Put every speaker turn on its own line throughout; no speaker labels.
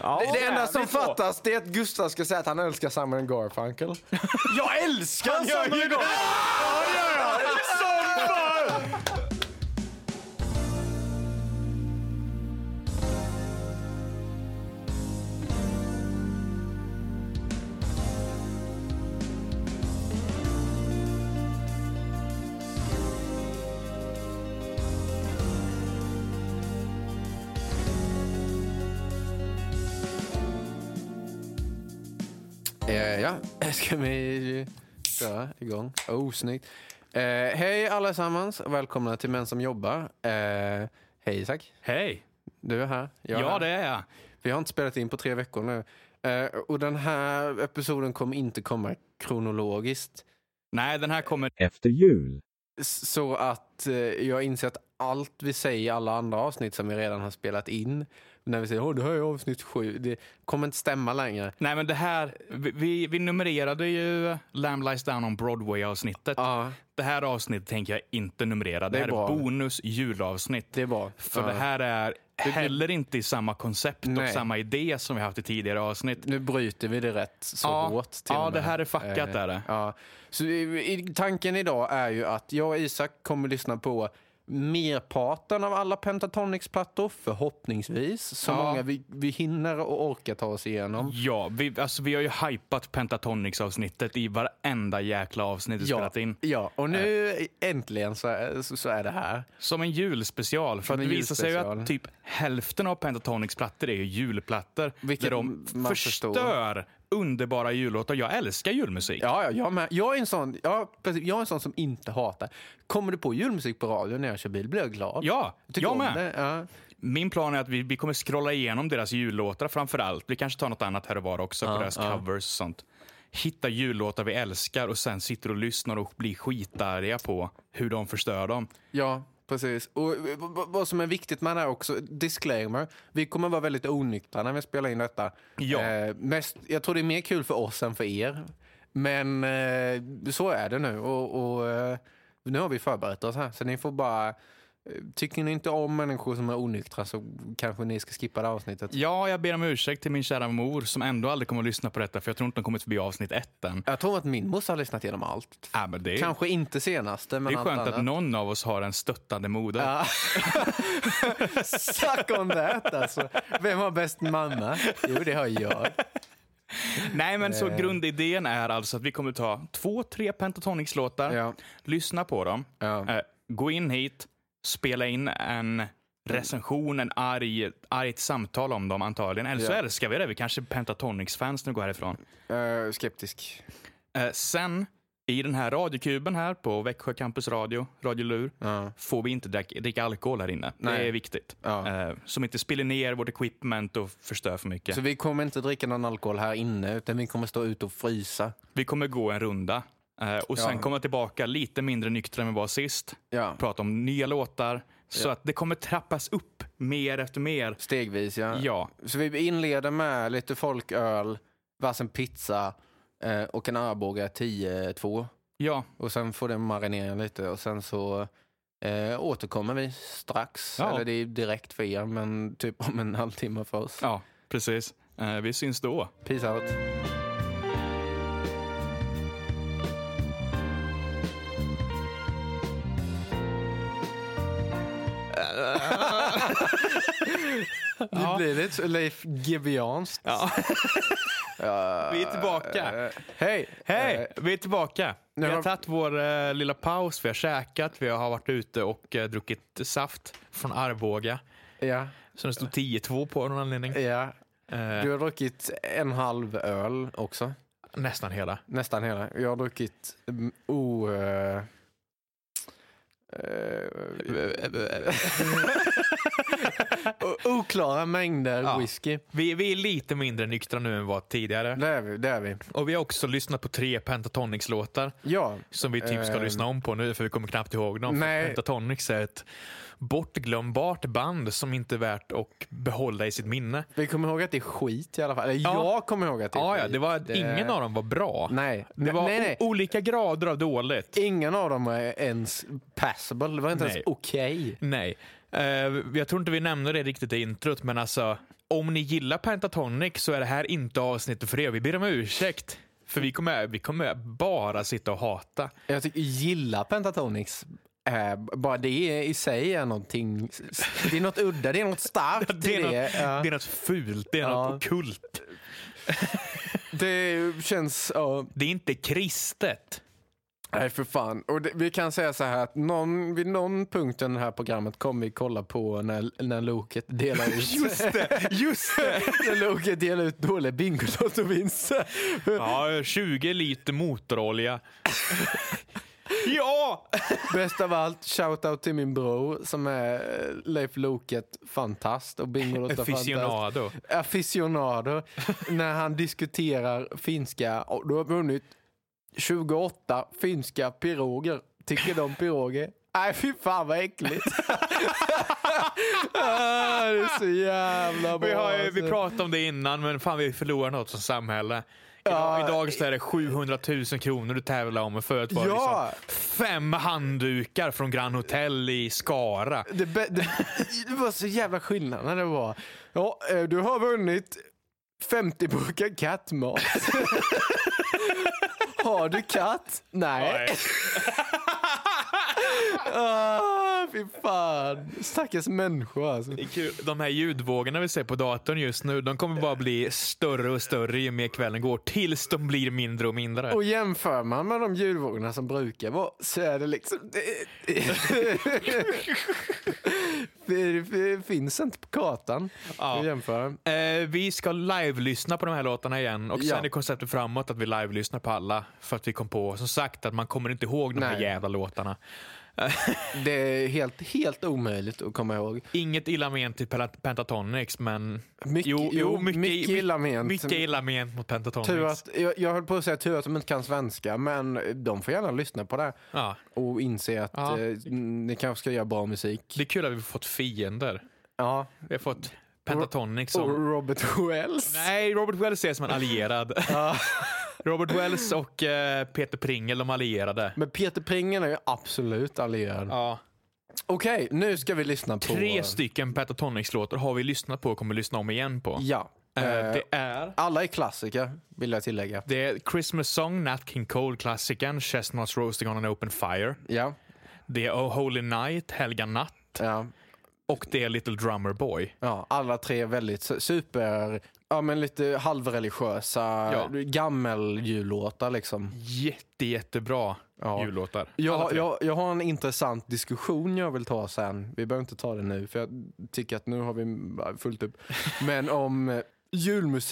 Ja,
Det enda
jävligt
som
bra.
fattas det är att Gustav ska säga att han älskar Simon Garfunkel.
Jag älskar
Han gör
Simon
ju
Garfunkel! Ja, det gör jag! Som fan!
Eh, ja, ska vi köra igång? Oh, snyggt. Eh, hej allesammans och välkomna till Män som jobbar. Eh, hej Isak,
Hej!
du är här. Jag är
Ja,
här.
det är jag.
Vi har inte spelat in på tre veckor nu. Eh, och den här episoden kommer inte komma kronologiskt.
Nej, den här kommer...
efter jul,
S- Så att eh, jag inser att allt vi säger i alla andra avsnitt som vi redan har spelat in, när vi säger åh, det här är avsnitt sju, det kommer inte stämma längre.
Nej, men det här... vi- Vi, vi numrerade ju Lamb Lies Down on Broadway-avsnittet.
Ja,
Det här avsnittet tänker jag inte numrera. Det,
Det är
här är
bra.
bonus julavsnitt.
det är bra.
För
Ja.
det här är heller inte i samma koncept och
Nej.
samma idé som vi haft i tidigare avsnitt.
Nu bryter vi det rätt så
Ja.
hårt. Till
Ja,
och med.
det här är fuckat,
Eh,
är det.
Ja. Så i, i, tanken idag är ju att jag och Isak kommer lyssna på merparten av alla Pentatonix-plattor, förhoppningsvis. Så
Ja.
många vi, vi hinner och orkar ta oss igenom.
Ja, vi, alltså, vi har ju hypat Pentatonix-avsnittet i varenda jäkla avsnitt vi spelat in. Eh.
ja, och nu äntligen så är, så, så är det här.
Som en julspecial. För att
Som
det
en
visar sig ju att
julspecial.
typ hälften av Pentatonix plattor är ju julplattor.
Vilket
där de
man förstår.
förstör underbara jullåtar. Jag älskar julmusik.
Ja, ja jag, med. jag är en sån, ja, precis. jag är en sån som inte hatar. Kommer du på julmusik på radio när jag kör bil blir jag glad.
Ja,
tycker
jag
om
med.
det, Ja.
Min plan är att vi, vi kommer scrolla igenom deras jullåtar framför allt. Vi kanske tar något annat här och var också på deras covers och sånt. Hitta jullåtar vi älskar och sen sitter och lyssnar och blir skitarga på hur de förstör dem.
Ja, precis. Och v- v- vad som är viktigt med det här också, disclaimer. Vi kommer vara väldigt onyktra när vi spelar in detta.
Ja.
Eh, mest, jag tror det är mer kul för oss än för er. Men eh, så är det nu. Och, och, eh, nu har vi förberett oss här, så ni får bara... eh, Tycker ni inte om människor som är onyktra så kanske ni ska skippa det här avsnittet.
Ja, jag ber om ursäkt till min kära mor som ändå aldrig kommer att lyssna på detta för jag tror inte de kommit förbi avsnitt ett än.
Jag tror att min morsa har lyssnat igenom allt.
Äh, men det, är,
Kanske inte senaste, men
det är
allt
skönt
annat.
att någon av oss har en stöttande moder.
Ja. Suck on that alltså. Vem har bäst mamma? Jo, det har jag.
Nej, men
Eh.
så grundidén är alltså att vi kommer ta två, tre Pentatonix-låtar,
Ja.
lyssna på dem,
Ja.
eh, gå in hit, spela in en recension, en arg, argt samtal om dem antagligen. Eller så
Ja.
älskar vi det. Vi kanske är Pentatonix-fans när vi går härifrån.
Eh, skeptisk.
Eh, sen, i den här radiokuben här på Växjö Campus Radio, Radio Lur,
Ja.
får vi inte dricka, dricka alkohol här inne. Det
Nej.
är viktigt.
Ja.
Eh, som inte spiller ner vårt equipment och förstör för mycket.
Så vi kommer inte dricka någon alkohol här inne, utan vi kommer stå ute och frysa.
Vi kommer gå en runda eh, och sen
Ja.
komma tillbaka lite mindre nyktra än vi var sist.
Ja.
Prata om nya låtar. Så att det kommer trappas upp mer efter mer.
Stegvis, ja.
Ja,
Så vi inleder med lite folköl, varsin pizza eh, och en Arboga 10-2.
ja,
Och sen får den marinera lite och sen så eh, återkommer vi strax.
Ja.
Eller det är direkt för er, men typ om en halvtimme för oss.
ja, precis. Eh, vi syns då.
Peace out. Det blir lite så Leif Gbianskt.
Ja.
Ja.
Vi är tillbaka.
Eh, Hej!
Hej,
Eh,
vi är tillbaka. Vi
nu
har
har-
tagit vår eh, lilla paus, vi har käkat, vi har varit ute och eh, druckit saft från Arboga.
Eh, Ja,
Så det stod 10-2 på av någon anledning.
ja.
Eh,
Du har druckit en halv öl också.
nästan hela.
Nästan hela. Jag har druckit mm, o... eh, eh, o- eh, oklara mängder
Ja.
whisky.
Vi, vi är lite mindre nyktra nu än vi var tidigare.
Det är vi. Det är vi.
Och vi har också lyssnat på tre Pentatonix-låtar
Ja,
som vi typ ska
Eh.
lyssna om på nu för vi kommer knappt ihåg dem. För
Nej.
Pentatonix är ett bortglömbart band som inte är värt att behålla i sitt minne.
vi kommer ihåg att det är skit i alla fall. Eller
Ja.
jag kommer ihåg att det är
Ja,
skit.
ja, det var, ingen av dem var bra.
Nej.
Det var
nej, nej.
o- olika grader av dåligt.
Ingen av dem är ens passable. Det var inte
Nej.
ens okej.
Nej. Eh, jag tror inte vi nämnde det riktigt i introt, men alltså
om ni gillar Pentatonic så är det här inte avsnittet för er. Vi ber om ursäkt. För vi kommer, vi kommer bara sitta och hata.
Jag tycker, gilla Pentatonix. Eh, bara det i sig är någonting, det är något udda, det är något starkt
Det är,
i
något,
det. Ja.
det är något fult, det är
Ja.
något ockult.
Det känns... ja.
Det är inte kristet.
Nej, för fan. Och det, vi kan säga så här att någon, vid någon punkt i det här programmet kommer vi kolla på när, när Loket delar ut...
Just det, just det!
när Loket delar ut dåliga Bingolotto-vinster.
Ja, 20 liter motorolja. ja!
Bäst av allt, shoutout till min bror som är eh, Leif Loket fantast och Bingolotto fantast.
Aficionado.
aficionado när han diskuterar finska. Och du har vunnit 28 finska piroger. Tycker de piroger? Nej, fy fan vad äckligt. Ah, det är så jävla bra.
Vi, har, ju- vi
alltså.
pratade om det innan, men fan vi förlorar något som samhälle. Idag,
Ja.
idag så är det 700 000 kronor du tävlar om för att vara
Ja.
liksom fem handdukar från Grand Hotel i Skara.
det, bä- det, det var så jävla skillnad när det var. Ja, eh, du har vunnit 50 burkar kattmat. har du katt? Nej. Ah, fy fan. Stackars människa alltså.
Det är kul. De här ljudvågorna vi ser på datorn just nu, de kommer bara bli större och större ju mer kvällen går. Tills de blir mindre och mindre.
Och jämför man med de julvågorna som brukar vara så är det liksom... det, det finns inte på kartan.
Ja.
att jämföra.
Eh, vi ska live-lyssna på de här låtarna igen och
Ja.
sen är konceptet framåt att vi live-lyssnar på alla för att vi kom på, som sagt, att man kommer inte ihåg de här
Nej.
jävla låtarna.
Det är helt, helt omöjligt att komma ihåg.
Inget illa ment till Pela- Pentatonix, men...
Mycket- jo, mycket illa ment.
Mycket illa ment mot Pentatonix.
Tur att, jag, jag höll på att säga tur att de inte kan svenska, men de får gärna lyssna på det
Ja,
och inse att
Ja.
eh, ni kanske ska göra bra musik.
det är kul att vi har fått fiender.
Ja.
Vi har fått Pentatonix som...
Och Robert Wells.
Nej, Robert Wells ses som en allierad. Robert Wells och eh, Peter Pringel, de allierade.
Men Peter Pringen är ju absolut allierad.
Ja.
Okej, nu ska vi lyssna på...
Tre stycken Pentatonix-låtar har vi lyssnat på och kommer lyssna om igen på.
Ja.
Eh,
Eh,
det är...
Alla är klassiker, vill jag tillägga.
Det är Christmas Song, Nat King Cole-klassikern, Chestnuts Roasting on an Open Fire.
Ja.
Det är Oh Holy Night, Helga Natt
ja.
och det är Little Drummer Boy.
ja alla tre är väldigt su- super... Ja, men lite halvreligiösa,
Ja.
gammeljullåtar liksom.
Jätte, jättebra
Ja.
jullåtar. Alla
Jag,
tre.
jag, jag har en intressant diskussion jag vill ta sen. Vi behöver inte ta den nu, för jag tycker att nu har vi mm, fullt upp. Men om eh,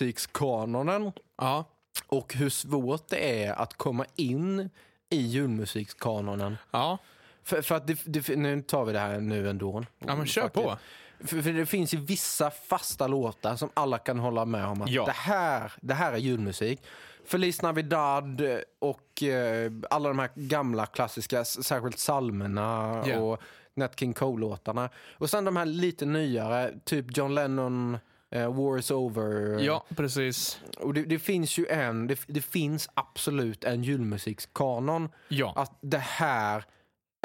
julmusikskanonen
ja.
och hur svårt det är att komma in i julmusikskanonen.
Ja.
För, för att det, det, nu tar vi det här nu ändå.
ja, men kör
Faktiskt.
på.
För, för det finns ju vissa fasta låtar som alla kan hålla med om att
Ja.
det, här, det här är julmusik. Feliz Navidad och eh, alla de här gamla klassiska, s- särskilt psalmerna
Ja.
och Nat King Cole-låtarna. Och sen de här lite nyare, typ John Lennon, eh, War is over.
Ja, precis.
Och det, det finns ju en, det, det finns absolut en julmusikskanon.
Ja.
Att det här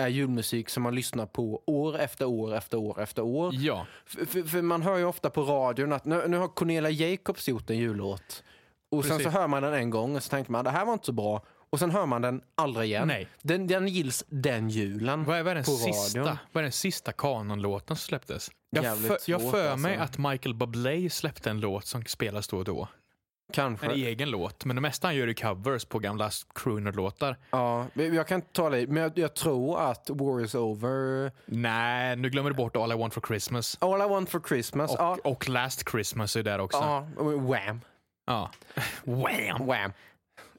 är julmusik som man lyssnar på år efter år efter år efter år.
Ja.
För, för, för man hör ju ofta på radion att nu, nu har Cornelia Jacobs gjort en jullåt. Och sen
Precis.
så hör man den en gång och så tänker man det här var inte så bra. Och sen hör man den aldrig igen.
Nej.
Den, den gills den julen.
Vad är, vad är den
På
sista,
radion.
vad är den sista kanonlåten som släpptes? Jag
Jävligt
för, jag
svårt,
för mig
alltså.
att Michael Bublé släppte en låt som spelas då och då. En
Kanske.
egen låt, men det mesta han gör är covers på gamla crooner-låtar.
Ja, men jag kan inte tala i, men jag, jag tror att War is over.
Nej, nu glömmer du bort All I Want For Christmas.
All I want for Christmas.
Och,
ja.
och Last Christmas är där också.
ja. och Wham.
Ja. Wham!
Wham.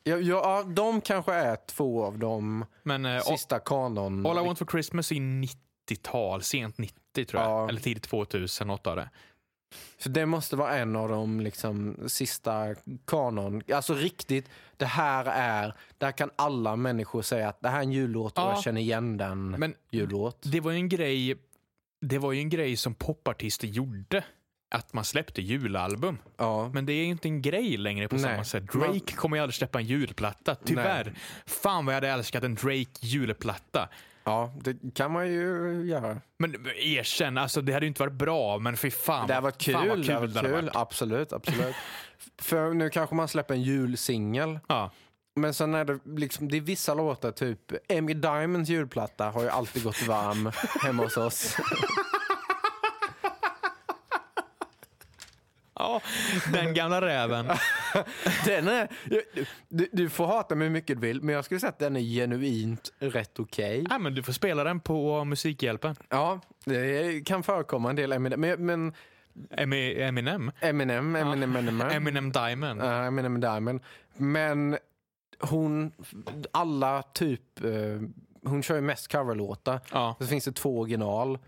Ja, ja, ja, de kanske är två av de
Men eh,
sista kanon...
All I Want For Christmas är 90-tal, sent 90 tror jag.
Ja.
Eller tidigt 2000, något av det.
Så det måste vara en av de liksom, sista kanon. Alltså riktigt, det här är, där kan alla människor säga att det här är en jullåt och
Ja.
jag känner igen den
Men
jullåt.
det var ju en grej, det var ju en grej som popartister gjorde. Att man släppte julalbum.
Ja.
Men det är ju inte en grej längre på
Nej.
samma sätt. Drake
Man-
kommer ju aldrig släppa en julplatta, tyvärr. Fan vad jag hade älskat en Drake julplatta.
Ja, det kan man ju göra.
Men erkänn, alltså, det hade ju inte varit bra, men fy fan.
Det har varit kul.
Fan vad
det har varit
det hade
kul.
varit.
Absolut, absolut. För nu kanske man släpper en julsingel.
Ja.
Men sen är det liksom, det är vissa låtar, typ Amy Diamonds julplatta har ju alltid gått varm hemma hos oss.
Ja, den gamla räven.
Den är, du, du får hata mig hur mycket du vill, men jag skulle säga att den är genuint rätt okej.
Ja, men du får spela den på Musikhjälpen.
Ja, det kan förekomma en del Eminem, men, men
Emi- Eminem.
Eminem, Eminem, Eminem.
Eminem Diamond.
Ja, Eminem Diamond. Men hon, alla typ, eh, hon kör ju mest coverlåtar.
Ja.
Så finns det två original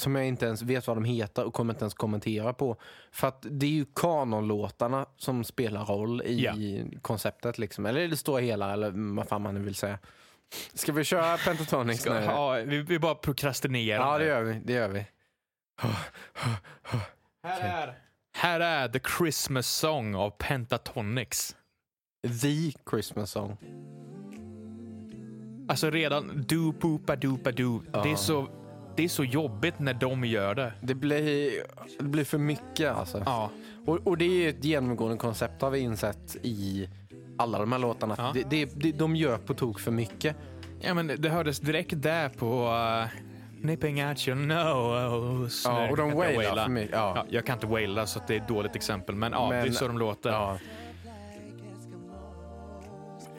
som jag inte ens vet vad de heter och kommer inte ens kommentera på. För att det är ju kanonlåtarna som spelar roll i
Ja.
konceptet liksom. Eller i det stora hela eller vad fan man nu vill säga. Ska vi köra Pentatonics nu?
Ja, vi, vi bara prokrastinerar.
Ja, det gör vi. Det gör vi.
Här är.
Här är The Christmas Song av Pentatonix.
The Christmas song.
Alltså redan do poopa doopa doo. Det, är så, det är så jobbigt när de gör det.
Det blir, det blir för mycket alltså.
Ja.
Och, och det är ett genomgående koncept har vi insett i alla de här låtarna.
Ja.
Det, det, det, de gör på tok för mycket.
Ja, men det hördes direkt där på uh, Nipping at your nose.
Ja,
Nej,
och de
oh, jag kan inte
wailar
waila.
för mycket. Ja.
Ja, jag kan inte waila så att det är ett dåligt exempel, men, ja, det är
Men-
så de låter.
Ja.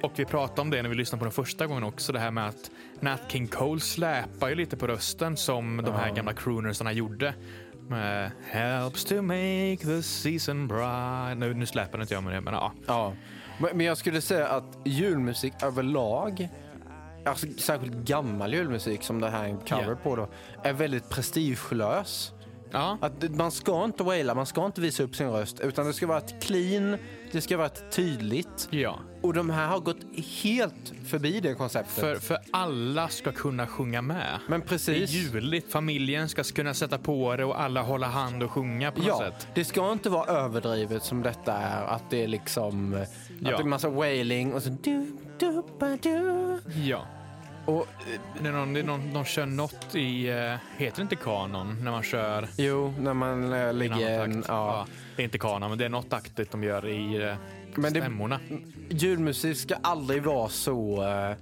Och vi pratade om det när vi lyssnade på den första gången också, det här med att Nat King Cole släpar ju lite på rösten som de här gamla croonersarna gjorde. Med Helps to make the season bright. Nu, nu släpar inte jag med det, men ja.
Ja. Men men jag skulle säga att julmusik överlag, alltså särskilt gammal julmusik som det här är en cover
Ja.
på då, är väldigt prestigelös.
ja.
Att det- man ska inte waila, man ska inte visa upp sin röst, utan det ska vara ett clean, det ska vara ett tydligt.
ja.
Och de här har gått helt förbi det konceptet.
För, för alla ska kunna sjunga med.
Men
Det är
precis.
juligt. Familjen ska kunna sätta på det och alla hålla hand och sjunga på något
Ja,
sätt.
det ska inte vara överdrivet som detta är. Att det är liksom eh,
Ja.
att det är massa wailing och så du, du, ba, du.
Ja.
Och,
Det är någon, det är någon, de kör något i, eh, heter det inte kanon, när man kör
jo, när man eh,
i en annan
ligger...
takt?
En, ja.
Det är inte kanon, men det är något taktigt de gör i eh,
Men det-
stämmorna.
Julmusik ska aldrig vara så eh,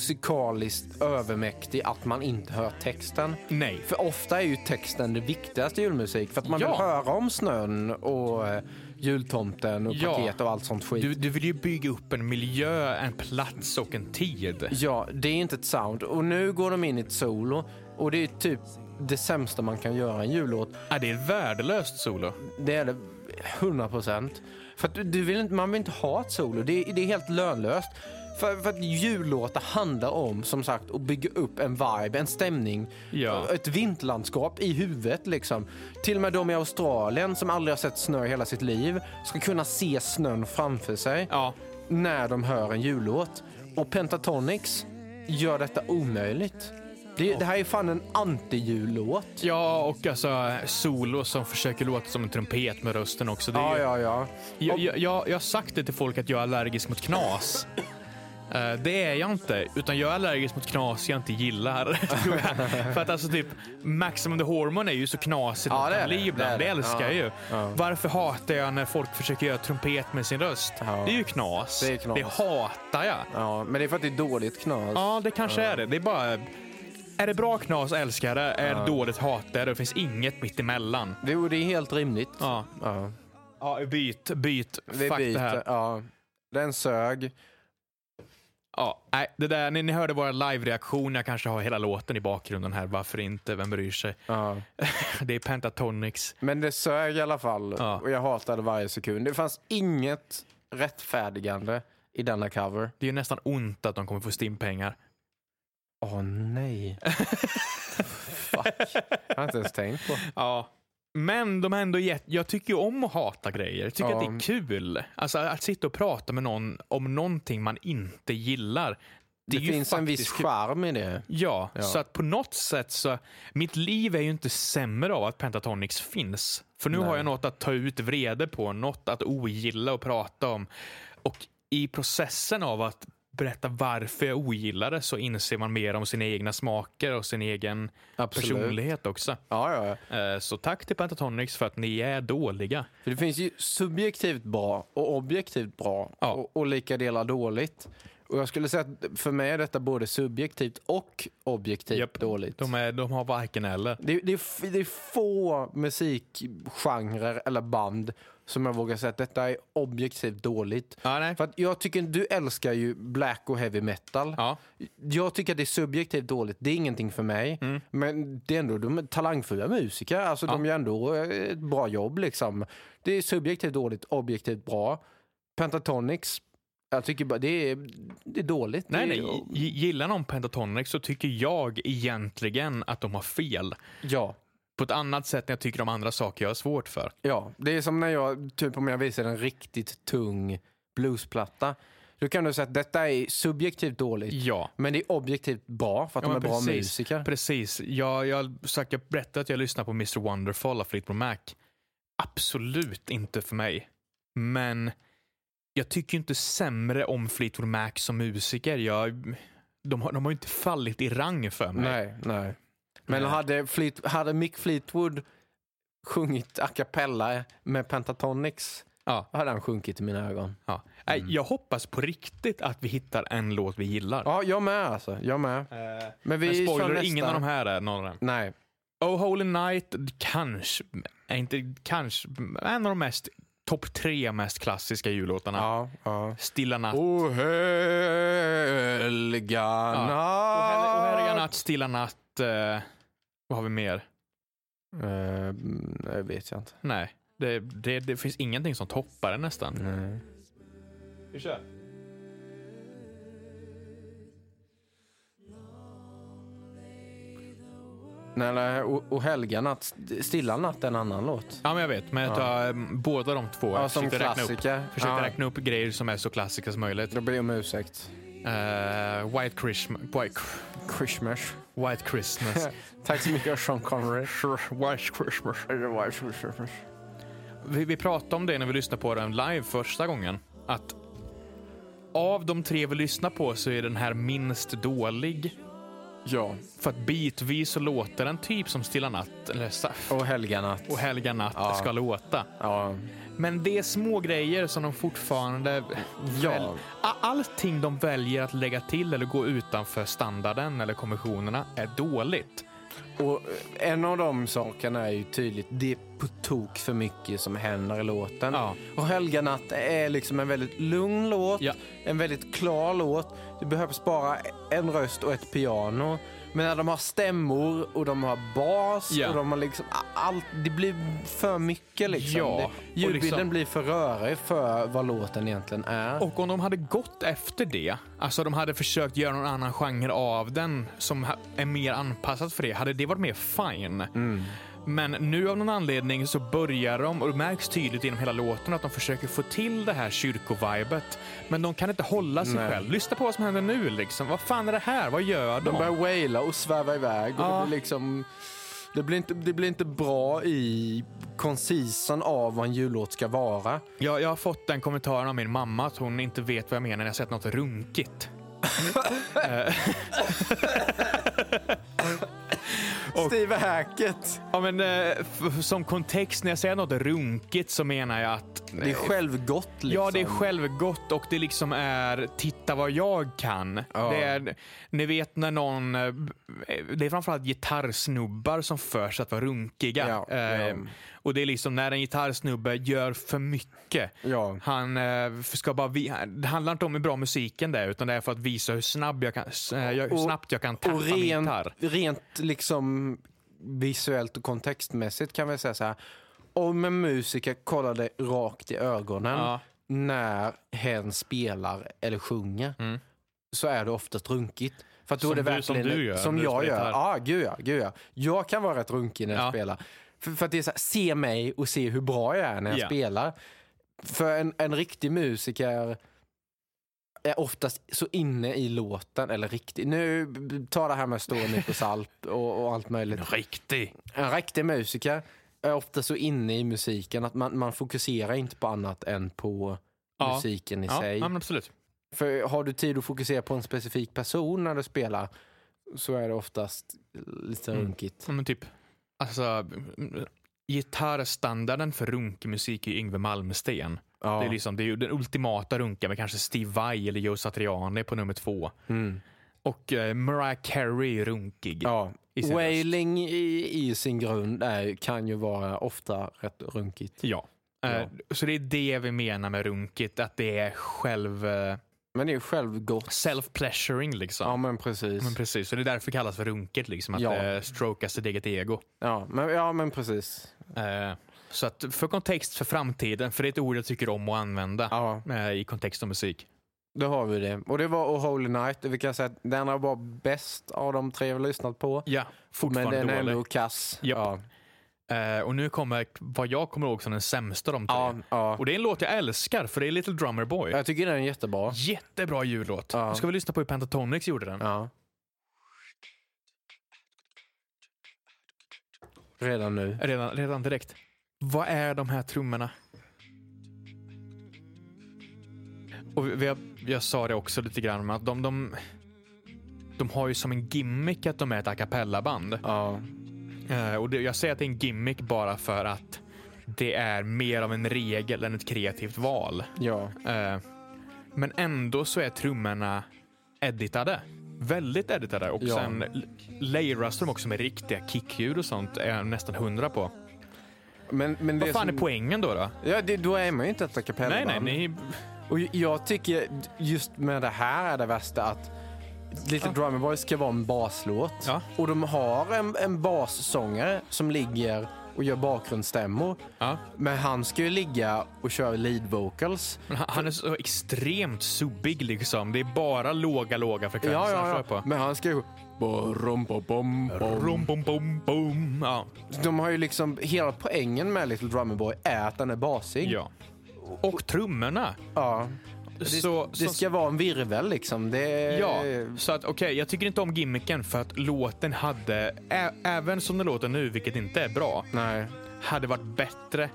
musikaliskt övermäktig att man inte hör texten.
Nej.
För ofta är ju texten det viktigaste i julmusik. För att man
Ja.
vill höra om snön och eh, jultomten och
Ja.
paket och allt sånt skit.
Du, du vill ju bygga upp en miljö, en plats och en tid.
Ja, det är inte ett sound. Och nu går de in i ett solo. Och det är typ det sämsta man kan göra i en jullåt.
Ja, det är ett värdelöst solo.
Det är det 100 procent. För att du- du vill inte, man vill inte ha ett solo. Det är, det är helt lönlöst. För, för att jullåtar handlar om, som sagt, att bygga upp en vibe, en stämning.
Ja.
Ett vinterlandskap i huvudet liksom. Till och med de i Australien som aldrig har sett snö i hela sitt liv ska kunna se snön framför sig
Ja.
när de hör en jullåt. Och Pentatonix gör detta omöjligt. Det, det här är fan en anti-jullåt.
ja, och alltså solo som försöker låta som en trumpet med rösten också. Det är
Ja,
ju,
ja, ja.
Jag, jag, jag, jag har sagt det till folk att jag är allergisk mot knas. Eh, Det är jag inte, utan jag är allergisk mot knas jag inte gillar. tror jag. För att alltså typ Maximum the Hormone är ju så knasigt
Ja,
man
det
kan
är det.
bli
Det
ibland.
är
Det
det.
älskar
Ja.
jag ju. Varför hatar jag när folk försöker göra trumpet med sin röst? Det är ju knas.
Det är knas.
hatar jag.
Ja, men det är för att det är dåligt knas.
Ja, det kanske är det. Det är bara... Är det bra knas älskar jag det. Är det dåligt hatar jag det. Det finns inget mitt emellan.
Det, och det är helt rimligt.
Ja,
Ja.
ja byt, byt.
Vi
Fuck
byter.
det här.
Ja. Den sög.
Ja, nej, det där, ni, ni hörde våra live-reaktion. Jag kanske har hela låten i bakgrunden här. Varför inte? Vem bryr sig?
Ja.
Det är Pentatonix.
Men det sög i alla fall.
Ja.
Och jag hatade varje sekund. Det fanns inget rättfärdigande i denna cover.
Det är ju nästan ont att de kommer få Stim-pengar.
Åh nej. Fuck. Jag har inte ens tänkt på.
Ja. Men de har ändå gett, jag tycker ju om att hata grejer. Jag tycker
Ja.
att det är kul. Alltså att sitta och prata med någon om någonting man inte gillar.
Det,
är ju
finns en viss
faktiskt kul.
charm i det.
Ja,
Ja.
så att på något sätt så... Mitt liv är ju inte sämre av att Pentatonix finns. För nu har jag något att ta ut vrede på, något att ogilla och prata om. Och i processen av att berätta varför jag ogillar det så inser man mer om sina egna smaker och sin egen
Absolut.
personlighet också.
Ja, ja, ja.
Eh, Så tack till Pentatonics för att ni är dåliga.
För det finns ju subjektivt bra och objektivt bra
Ja.
och, och lika delar dåligt. Och jag skulle säga att för mig är detta både subjektivt och objektivt
Japp.
dåligt.
De, är, de har varken eller.
Det, det, är f- det är få musikgenrer eller band som jag vågar säga att detta är objektivt dåligt.
Ja, nej.
För att jag tycker, du älskar ju black och heavy metal.
Ja.
Jag tycker att det är subjektivt dåligt, det är ingenting för mig.
Mm.
Men det är ändå de är talangfulla musiker, alltså de gör ändå eh, ett bra jobb liksom. Det är subjektivt dåligt, objektivt bra. Pentatonix, jag tycker bara det är, det är dåligt.
Nej,
det
nej.
är,
G- Gillar någon Pentatonics så tycker jag egentligen att de har fel.
Ja.
På ett annat sätt när jag tycker om andra saker jag har svårt för.
Ja, det är som när jag, typ om jag visar en riktigt tung bluesplatta. Då kan du säga att detta är subjektivt dåligt,
Ja.
men det är objektivt bra för att de är
men
bra musiker.
Precis. Jag, jag, sagt, jag berättade att jag lyssnar på Mr Wonderful av Fleetwood Mac. Absolut inte för mig. Men jag tycker ju inte sämre om Fleetwood Mac som musiker. Jag, de, har, de har ju inte fallit i rang för mig.
Nej, nej. Men
Nej.
Hade, Fleet, hade Mick Fleetwood sjungit a cappella med Pentatonix
Ja.
hade han sjunkit i mina ögon.
Ja. Nej,
Mm.
Jag hoppas på riktigt att vi hittar en låt vi gillar.
Ja, jag med alltså. Jag med.
Eh,
Men vi
Men
kör
spoiler,
nästa.
ingen av de här är någon av dem.
Nej.
Oh Holy Night, kanske, är inte kanske, en av de mest, topp tre mest klassiska jullåtarna.
Ja, ja.
Stilla natt.
O helga
Och Hel- och Helga
natt.
natt, Stilla natt. eh, vad har vi mer?
Eh, Det vet jag inte.
Nej, det, det, det finns ingenting som toppar det nästan.
Nej.
Mm. Vi kör.
Nej, eller, och, och Helga natt, Stilla natt är en annan låt.
Ja, men jag vet. Men jag tar eh, båda de två.
Ja,
jag
som
försökte räkna upp,
klassiker.
försökte
Ja.
räkna upp grejer som är så klassiska som möjligt.
Då ber jag om ursäkt.
Eh, White Christmas. White,
Christmas.
White Christmas.
Tack så mycket Sean Connery.
White Christmas. Vi, vi pratade om det när vi lyssnade på den live första gången. Att av de tre vi lyssnar på så är den här minst dålig.
Ja.
För att bitvis så låter den typ som Stilla natt eller Saff
Och Helga natt.
och Helga natt ska låta.
Ja.
Men det är små grejer som de fortfarande...
Ja.
Väl, a- allting de väljer att lägga till eller gå utanför standarden eller konventionerna är dåligt.
Och eh, en av de sakerna är ju tydligt, det är på tok för mycket som händer i låten.
Ja.
Och Helga natt är liksom en väldigt lugn låt,
Ja.
en väldigt klar låt. Det behövs bara en röst och ett piano. Men när de har stämmor och de har bas
Ja.
och de har liksom a- allt, det blir för mycket liksom.
Ja, och
Det, ljudbilden
liksom-
blir för rörig för vad låten egentligen är.
Och om de hade gått efter det, alltså de hade försökt göra någon annan genre av den som ha- är mer anpassad för det, hade det varit mer fine. Men nu av någon anledning så börjar de, och det märks tydligt genom hela låten, att de försöker få till det här kyrkovibet. Men de kan inte hålla sig själv. Lyssna på vad som händer nu liksom. Vad fan är det här? Vad gör de?
De börjar waila och sväva iväg. Och
Ja.
det, blir liksom, det, blir inte, det blir inte bra i koncisen av vad en jullåt ska vara.
jag, jag har fått den kommentaren av min mamma att hon inte vet vad jag menar när jag sett något runkigt. Eh,
Steve Hackett!
ja, men, eh, f- som kontext, när jag säger något runkigt så menar jag att
Det är självgott liksom.
Ja, det är självgott och det liksom är titta vad jag kan. Det är, ni vet när någon, eh, det är framförallt gitarrsnubbar som förs att vara runkiga.
Ja,
Eh,
ja.
Och det är liksom när en gitarrsnubbe gör för mycket.
Ja.
Han eh, ska bara, vi, det handlar inte om hur bra musiken det är utan det är för att visa hur, snabb jag kan, s- eh, jag- hur
Och-
snabbt jag kan tappa
Och
min
rent,
gitarr.
rent liksom visuellt och kontextmässigt kan vi säga så här. Om en musiker kollar dig rakt i ögonen
Ja.
när hen spelar eller sjunger så är det oftast runkigt. För att då
Mm. Som
är det
du- som
verkligen,
du gör
Som
när du
jag
spelar
gör. Ja,
gitarr.
ah, gud ja, gud ja. Jag kan vara rätt runkig när jag
Ja.
spelar. För, för att det är så här, se mig och se hur bra jag är när jag
Ja.
spelar. För en, en riktig musiker är oftast så inne i låten, eller riktig. Nu tar det här med stor nypa salt och, och allt möjligt.
Riktig.
En riktig musiker är ofta så inne i musiken att man, man fokuserar inte på annat än på
Ja.
musiken i
Ja,
sig.
ja, men absolut.
För har du tid att fokusera på en specifik person när du spelar så är det oftast lite
Mm.
runkigt.
Ja, men typ, alltså, mm, gitarrstandarden för runkmusik är ju Yngwie Malmsteen.
Ja.
Det, är liksom, det är ju den ultimata runken med kanske Steve Vai eller Joe Satriani på nummer två.
mm.
Och eh, Mariah Carey är runkig.
ja.
I sin
Wailing i, i sin grund är, kan ju vara ofta rätt runkigt.
Ja. Eh, Så det är det vi menar med runkigt, att det är själv eh,
Men det är ju självgott.
self-pleasuring liksom.
Ja men precis.
Men precis, så det är därför det kallas för runket, liksom, att
Ja.
eh, stroka sitt eget ego.
Ja, men, ja, men precis.
Eh, så att för kontext för framtiden, för det är ett ord jag tycker om att använda
Ja,
eh, i kontext och musik.
då har vi det. Och det var Oh Holy Night. Vi kan säga att den här var bäst av de tre vi har lyssnat på.
Ja,
Men
fortfarande
den är
dålig.
ändå kass.
Japp.
Ja.
Eh, och nu kommer vad jag kommer ihåg som den sämsta av de tre.
Ja, ja.
Och det är en låt jag älskar, för det är Little Drummer Boy.
Jag tycker den är
Mm.
jättebra.
Jättebra jullåt.
Ja.
Nu ska vi lyssna på hur Pentatonix gjorde den.
Ja. Redan nu.
Redan, redan direkt. Vad är de här trummorna? Och vi, vi, har- jag sa det också lite grann, men att de, de, de har ju som en gimmick att de är ett a cappella-band.
Ja.
Eh, och det, jag säger att det är en gimmick bara för att det är mer av en regel än ett kreativt val.
Ja.
Eh, men ändå så är trummorna editade. Väldigt editade. Och
Ja.
sen l- layras de också med riktiga kickljud och sånt. är jag nästan hundra på.
Men, men det
Vad fan
som-
är poängen då? då?
Ja, det, då är man ju inte ett a
Nej,
cappella-band.
nej, ni...
Och jag tycker just med det här är det värsta att Little Drummer Boy ska vara en baslåt.
Ja.
Och de har en, en bassångare som ligger och gör bakgrundsstämmor.
Ja.
Men han ska ju ligga och köra lead vocals.
Men han- Han är så extremt subbig liksom. Det är bara låga, låga frekvenser
Ja,
han
ja,
kör
ja.
på.
Men han ska ju... Bom, bom, bom, bom.
Rum, bom, bom, bom. Ja.
De har ju liksom... Hela poängen med Little Drummer Boy är att den är basig.
ja. Och trummorna.
Ja.
Så,
Det
så,
ska vara en virvel liksom. Det är...
Ja, så att okej, jag tycker inte om gimmicken för att låten hade, ä- även som den låter nu, vilket inte är bra,
Nej.
hade varit bättre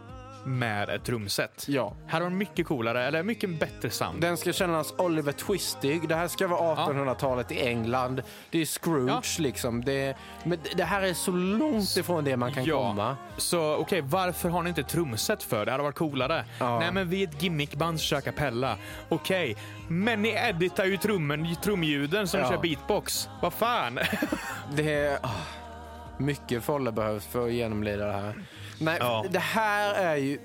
med ett trumset.
Ja.
Hade varit mycket coolare, eller mycket bättre sound.
Den ska kännas Oliver Twistig. Det här ska vara 1800-talet i England. Det är Scrooge liksom. Det, men det här är så långt ifrån det man kan komma.
Så okej, varför har ni inte trumset för? Det hade varit coolare.
Ja.
Nej, men vi är ett gimmickband som kör a cappella. Okej, men ni editar ju trummen, trumljuden som
Ja.
kör beatbox. Vad fan?
Det är ah, mycket folle behövs för att genomlida det här. Nej,
Ja.
det här är ju...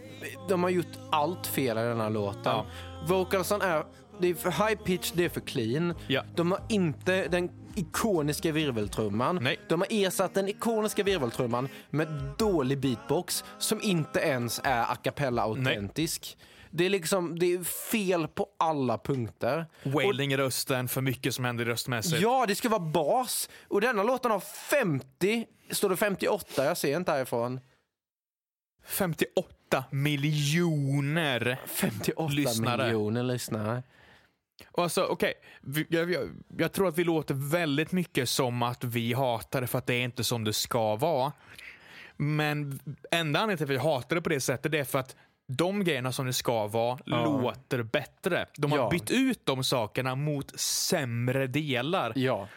De har gjort allt fel i den här låten.
Ja.
Vocalsen är... Det är för high pitch, det är för clean.
Ja.
De har inte den ikoniska virveltrumman.
Nej.
De har ersatt den ikoniska virveltrumman med dålig beatbox som inte ens är a cappella autentisk. Det är liksom, det är fel på alla punkter.
Wailing i rösten, för mycket som händer röstmässigt.
Ja, det ska vara bas. Och denna låten har 50, står det 58? Jag ser inte härifrån.
58 miljoner
58
Lyssnare.
miljoner lyssnare.
Och Alltså, okej. Vi- Jag, jag, jag tror att vi låter väldigt mycket som att vi hatar det för att det är inte som det ska vara. Men enda anledningen till att vi hatar det på det sättet det är för att de grejerna som det ska vara låter bättre. De har
Ja.
bytt ut de sakerna mot sämre delar.
Ja.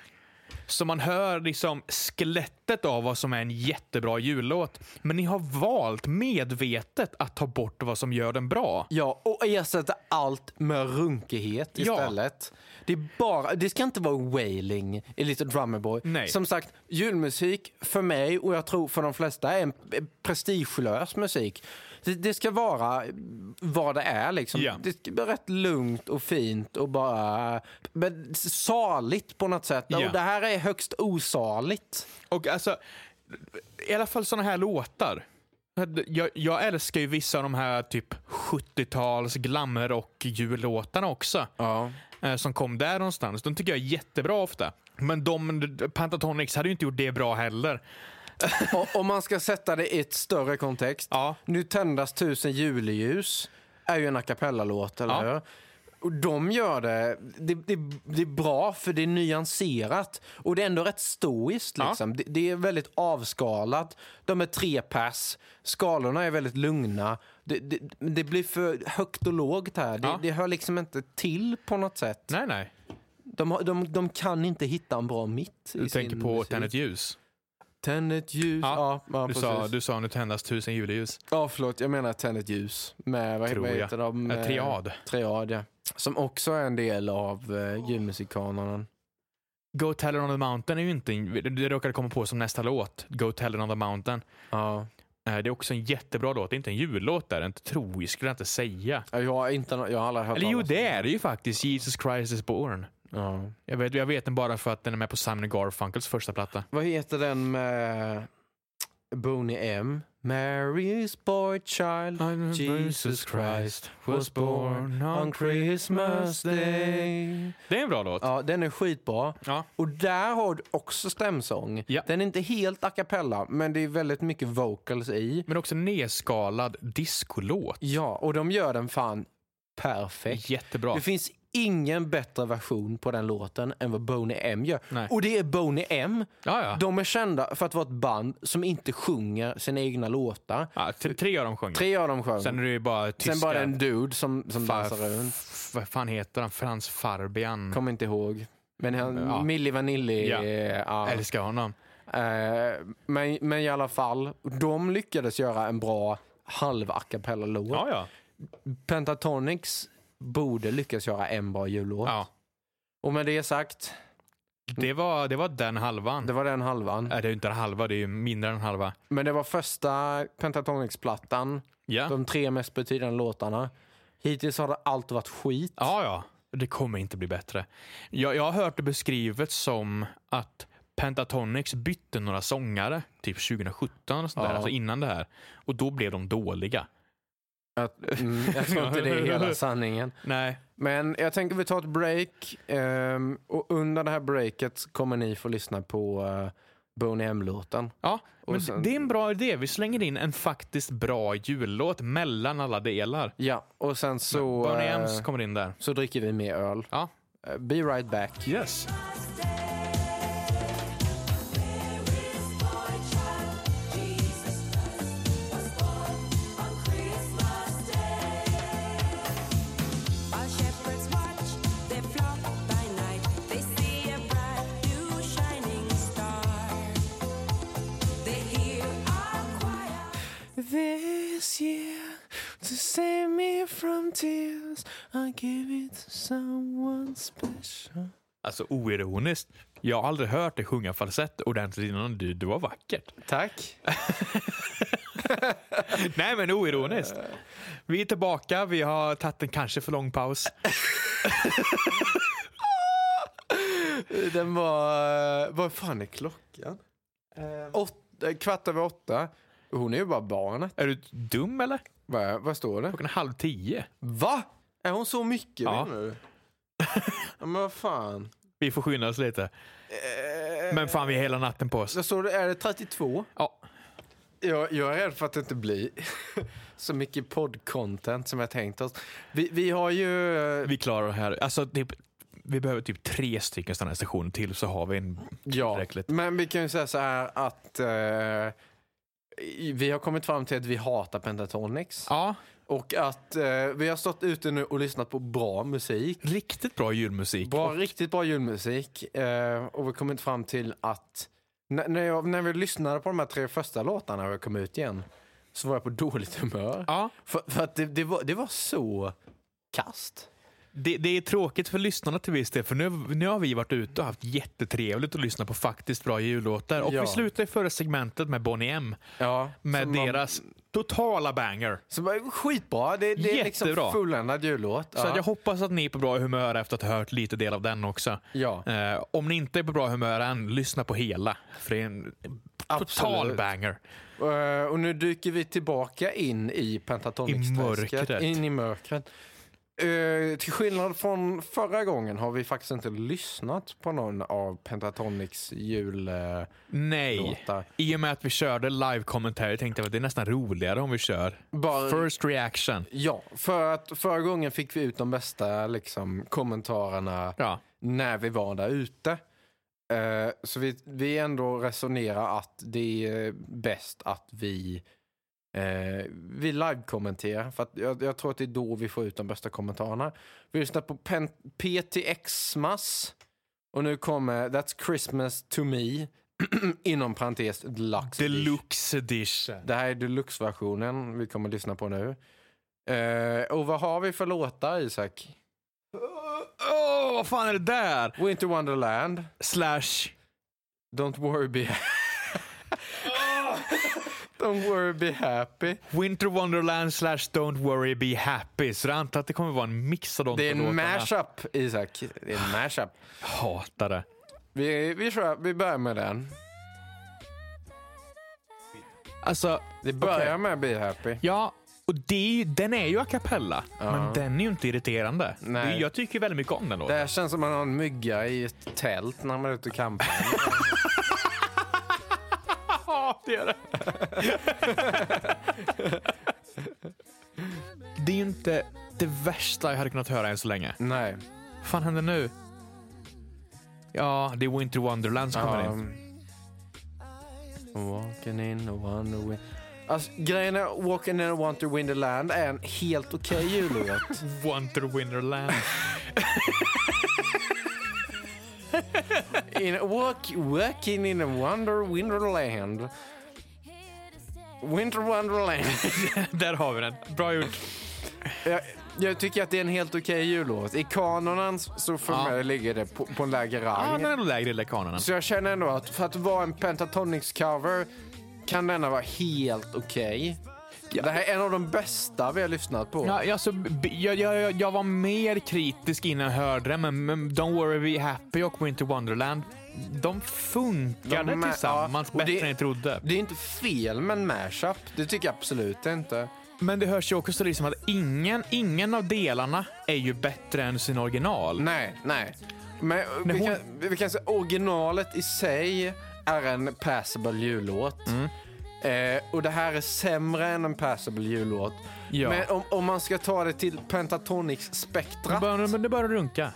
Så man hör liksom skelettet av vad som är en jättebra jullåt. Men ni har valt medvetet att ta bort vad som gör den bra.
Ja, och ersätta allt med runkighet
Ja.
istället. Det, är bara, det ska inte vara wailing i Little Drummer Boy.
Nej.
Som sagt, julmusik för mig och jag tror för de flesta är en en prestigelös musik. Det, det ska vara vad det är. Liksom.
Ja.
Det ska vara rätt lugnt och fint och bara men saligt på något sätt.
Ja.
Och det här är högst osaligt.
Och alltså, i alla fall såna här låtar. Jag, jag älskar ju vissa av de här typ 70-tals glamrock-jullåtarna också.
Ja.
eh, Som kom där någonstans. De tycker jag är jättebra ofta. Men de, Pentatonix hade ju inte gjort det bra heller.
Och, om man ska sätta det i ett större kontext.
Ja.
Nu tändas tusen juleljus är ju en a cappella-låt, eller
Ja.
hur? Och de gör det. Det, det, det är bra för det är nyanserat och det är ändå rätt stoiskt. Liksom. Det, det är väldigt avskalat. De är tre pass. Skalorna är väldigt lugna. Det, det, det blir för högt och lågt här. Det,
Ja.
det hör liksom inte till på något sätt.
Nej, nej.
De, har- de, de kan inte hitta en bra mitt. i
Du tänker
sin
på
musik.
Tänd ett ljus.
Tänd ett ljus. Ja,
Ja,
ja,
Du
precis.
sa, du sa nu tändas tusen juleljus.
Ja, förlåt. Jag menar Tänd ett ljus med, vad,
Tror
vad
jag.
heter de?
Eh, triad.
Triad, ja. Som också är en del av eh, julmusikanonen.
Go Tell It On The Mountain är ju inte... Det råkade komma på som nästa låt. Go Tell It On The Mountain.
Ja.
Eh, Det är också en jättebra låt. Det är inte en jullåt där. Inte troisk skulle jag inte säga.
Ja, Jag har, inte, no- jag har aldrig hört
Eller jo,
talas om
det är det ju faktiskt. Jesus Christ is born.
Ja.
Jag vet, jag vet den bara för att den är med på Simon Garfunkels första platta.
Vad heter den med Boney M? Mary's boy child Jesus Christ was born on Christmas day
Det är en bra låt.
Ja, den är skitbra.
Ja.
Och där har du också stämsång.
Ja.
Den är inte helt a cappella, men det är väldigt mycket vocals i.
Men också en nedskalad discolåt.
Ja, och de gör den fan perfekt.
Jättebra.
Det finns ingen bättre version på den låten än vad Boney M gör.
Nej.
Och det är Boney M.
Ja, ja.
De är kända för att vara ett band som inte sjunger sina egna låtar.
ja t- tre av dem sjöng.
Tre av dem sjöng.
Sen
Sen,
är det ju bara tyska...
bara en dude som, som
Fa-
dansar runt.
f- Vad fan heter han? Frans Farbian.
Kommer inte ihåg. Men han,
Ja.
Milli Vanilli.
Ja.
eh, ja.
Älskar honom.
Eh, men, men i alla fall, de lyckades göra en bra halv a cappella-låt.
Ja, ja.
Pentatonix borde lyckas göra en bra jullåt.
ja.
Och med det sagt,
Det, var, det var den halvan.
det var den halvan.
Nej, Äh, det är ju inte en halva, det är ju mindre än en halva.
Men det var första Pentatonix-plattan.
Ja.
De tre mest betydande låtarna. Hittills har det allt varit skit.
ja, ja. Det kommer inte bli bättre. Jag, jag har hört det beskrivet som att Pentatonix bytte några sångare, typ 2017 och sånt
Ja.
där, alltså innan det här. Och då blev de dåliga.
Att, mm, jag tror inte det är hela sanningen.
Nej.
Men jag tänker vi tar ett break. ehm, och under det här breaket så kommer ni få lyssna på uh, Boney M-låten.
Ja,
Och
men
sen-
det är en bra idé. Vi slänger in en faktiskt bra jullåt mellan alla delar.
Ja, och sen så,
Så, Bonnie M's
eh,
kommer in där.
så dricker vi mer öl.
Ja.
Eh, be right back.
Yes.
While shepherds watch, they flock by night. They see a bright new shining star. They hear our choir.
This year to save me from tears I give it to someone special
Alltså oironiskt. Jag har aldrig hört dig sjunga falsett ordentligt innan. Du, det var vackert.
Tack.
Nej, men oironiskt. Vi är tillbaka. Vi har tagit en kanske för lång paus.
Den var... Vad fan är klockan? Ehm. Åtta, kvart över åtta. Hon är ju bara barnet.
Är du dum eller?
Va, vad står det?
Klockan är halv tio.
Va? Är hon så mycket
Ja.
menar du? ja, men vad fan.
Vi får skynda oss lite. Men fan, vi har hela natten på oss.
Vad står det? Är det 32?
Eh. Ja.
Jag, jag är rädd för att det inte blir så mycket poddcontent som jag tänkt oss. Vi, vi har ju... eh,
Vi klarar det här. Alltså, typ, vi behöver typ tre stycken sådana här stationer till så har vi en
Ja,
tillräckligt.
men vi kan ju säga så här att eh, i- vi har kommit fram till att vi hatar Pentatonix.
Ja,
Och att eh, vi har stått ute nu och lyssnat på bra musik.
riktigt bra julmusik.
Bra, riktigt bra julmusik. Eh, och vi har kommit fram till att när, när, jag, när vi lyssnade på de här tre första låtarna när jag kom ut igen så var jag på dåligt humör.
Ja,
För, för att det, det, var, det var så kast.
det, det är tråkigt för lyssnarna till viss del, för nu, nu har vi varit ute och haft jättetrevligt och lyssnat på faktiskt bra jullåtar. Och
Ja.
vi slutar i förra segmentet med Bonnie M.
Ja,
Med deras totala banger.
Så bara, skitbra. Det, det är liksom
Jättebra.
fulländad jullåt.
Så
Ja.
att jag hoppas att ni är på bra humör efter att ha hört lite del av den också.
Ja.
Eh, om ni inte är på bra humör än, lyssna på hela. För det är en total
Absolut.
banger.
Eh, och nu dyker vi tillbaka in i
I
pentatonix
mörkret.
In i mörkret. Eh, till skillnad från förra gången har vi faktiskt inte lyssnat på någon av Pentatonics jullåtar.
Nej. I och med att vi körde live-kommentary tänkte jag att det är nästan roligare om vi kör
Bara-
first reaction.
Ja, för att förra gången fick vi ut de bästa liksom, kommentarerna
Ja.
när vi var där ute. Eh, så vi, vi ändå resonerar att det är bäst att vi, eh, vi live-kommenterar. För att jag, jag tror att det är då vi får ut de bästa kommentarerna. Vi lyssnar på Pen- PTX-mas. Och nu kommer That's Christmas to me. inom parentes deluxe. edition.
Deluxe edition.
Det här är deluxe-versionen vi kommer att lyssna på nu. Eh, och vad har vi för låtar, Isak?
Åh, vad fan är det där?
Winter Wonderland,
Slash
Don't worry be Don't worry be happy.
Winter Wonderland slash Don't Worry Be Happy. Så jag antar att det kommer vara en mix av de
Det är
två
en
låtarna.
mashup, Isak. Det är en mashup.
Jag hatar det.
Vi, vi, kör, vi börjar med den.
Alltså,
Det börjar
Okej.
med Be Happy.
ja. Och det är ju, den är ju a cappella, men den är ju inte irriterande.
Nej.
Det- Jag tycker väldigt mycket om den
Det
låten.
här känns som man har en mygga i ett tält när man är ute och campar.
Ja, det är det. det är ju inte det värsta jag hade kunnat höra än så länge.
Nej.
Vad fan händer nu? Ja, det är Winter Wonderland som kommer in.
Um, Walking in a wonder win- Alltså, grejen är Walking in a wonder wonderland är en helt okej jullåt.
Winter Wonderland.
in a walk, walking in a wonder wonderland. Winter wonderland.
Där har vi den. Bra gjort.
jag, jag tycker att det är en helt okej jullåt. I kanonen så för
Ja.
mig ligger det på, på en lägre
Ja,
rang.
den är nog lägre i lekanerna.
Så jag känner ändå att för att vara en Pentatonix cover kan denna vara helt okej. Det här är en av de bästa vi har lyssnat på.
Ja, alltså, b- jag, jag, jag- jag var mer kritisk innan jag hörde det, men, men Don't Worry Be Happy och Winter Wonderland, de funkade
De är-
tillsammans
ja, och
bättre
det-
än jag trodde.
Det är inte fel med en mashup. Det tycker jag absolut inte.
Men det hörs ju också liksom att ingen, ingen av delarna är ju bättre än sin original.
Nej, nej. Men eh, vi,
hon-
kan, vi kan säga originalet i sig är en passable jullåt.
Mm.
Eh, och det här är sämre än en passable jullåt.
Ja.
Men om, om man ska ta det till Pentatonix
Det
spektra.
börjar, men det börjar runka.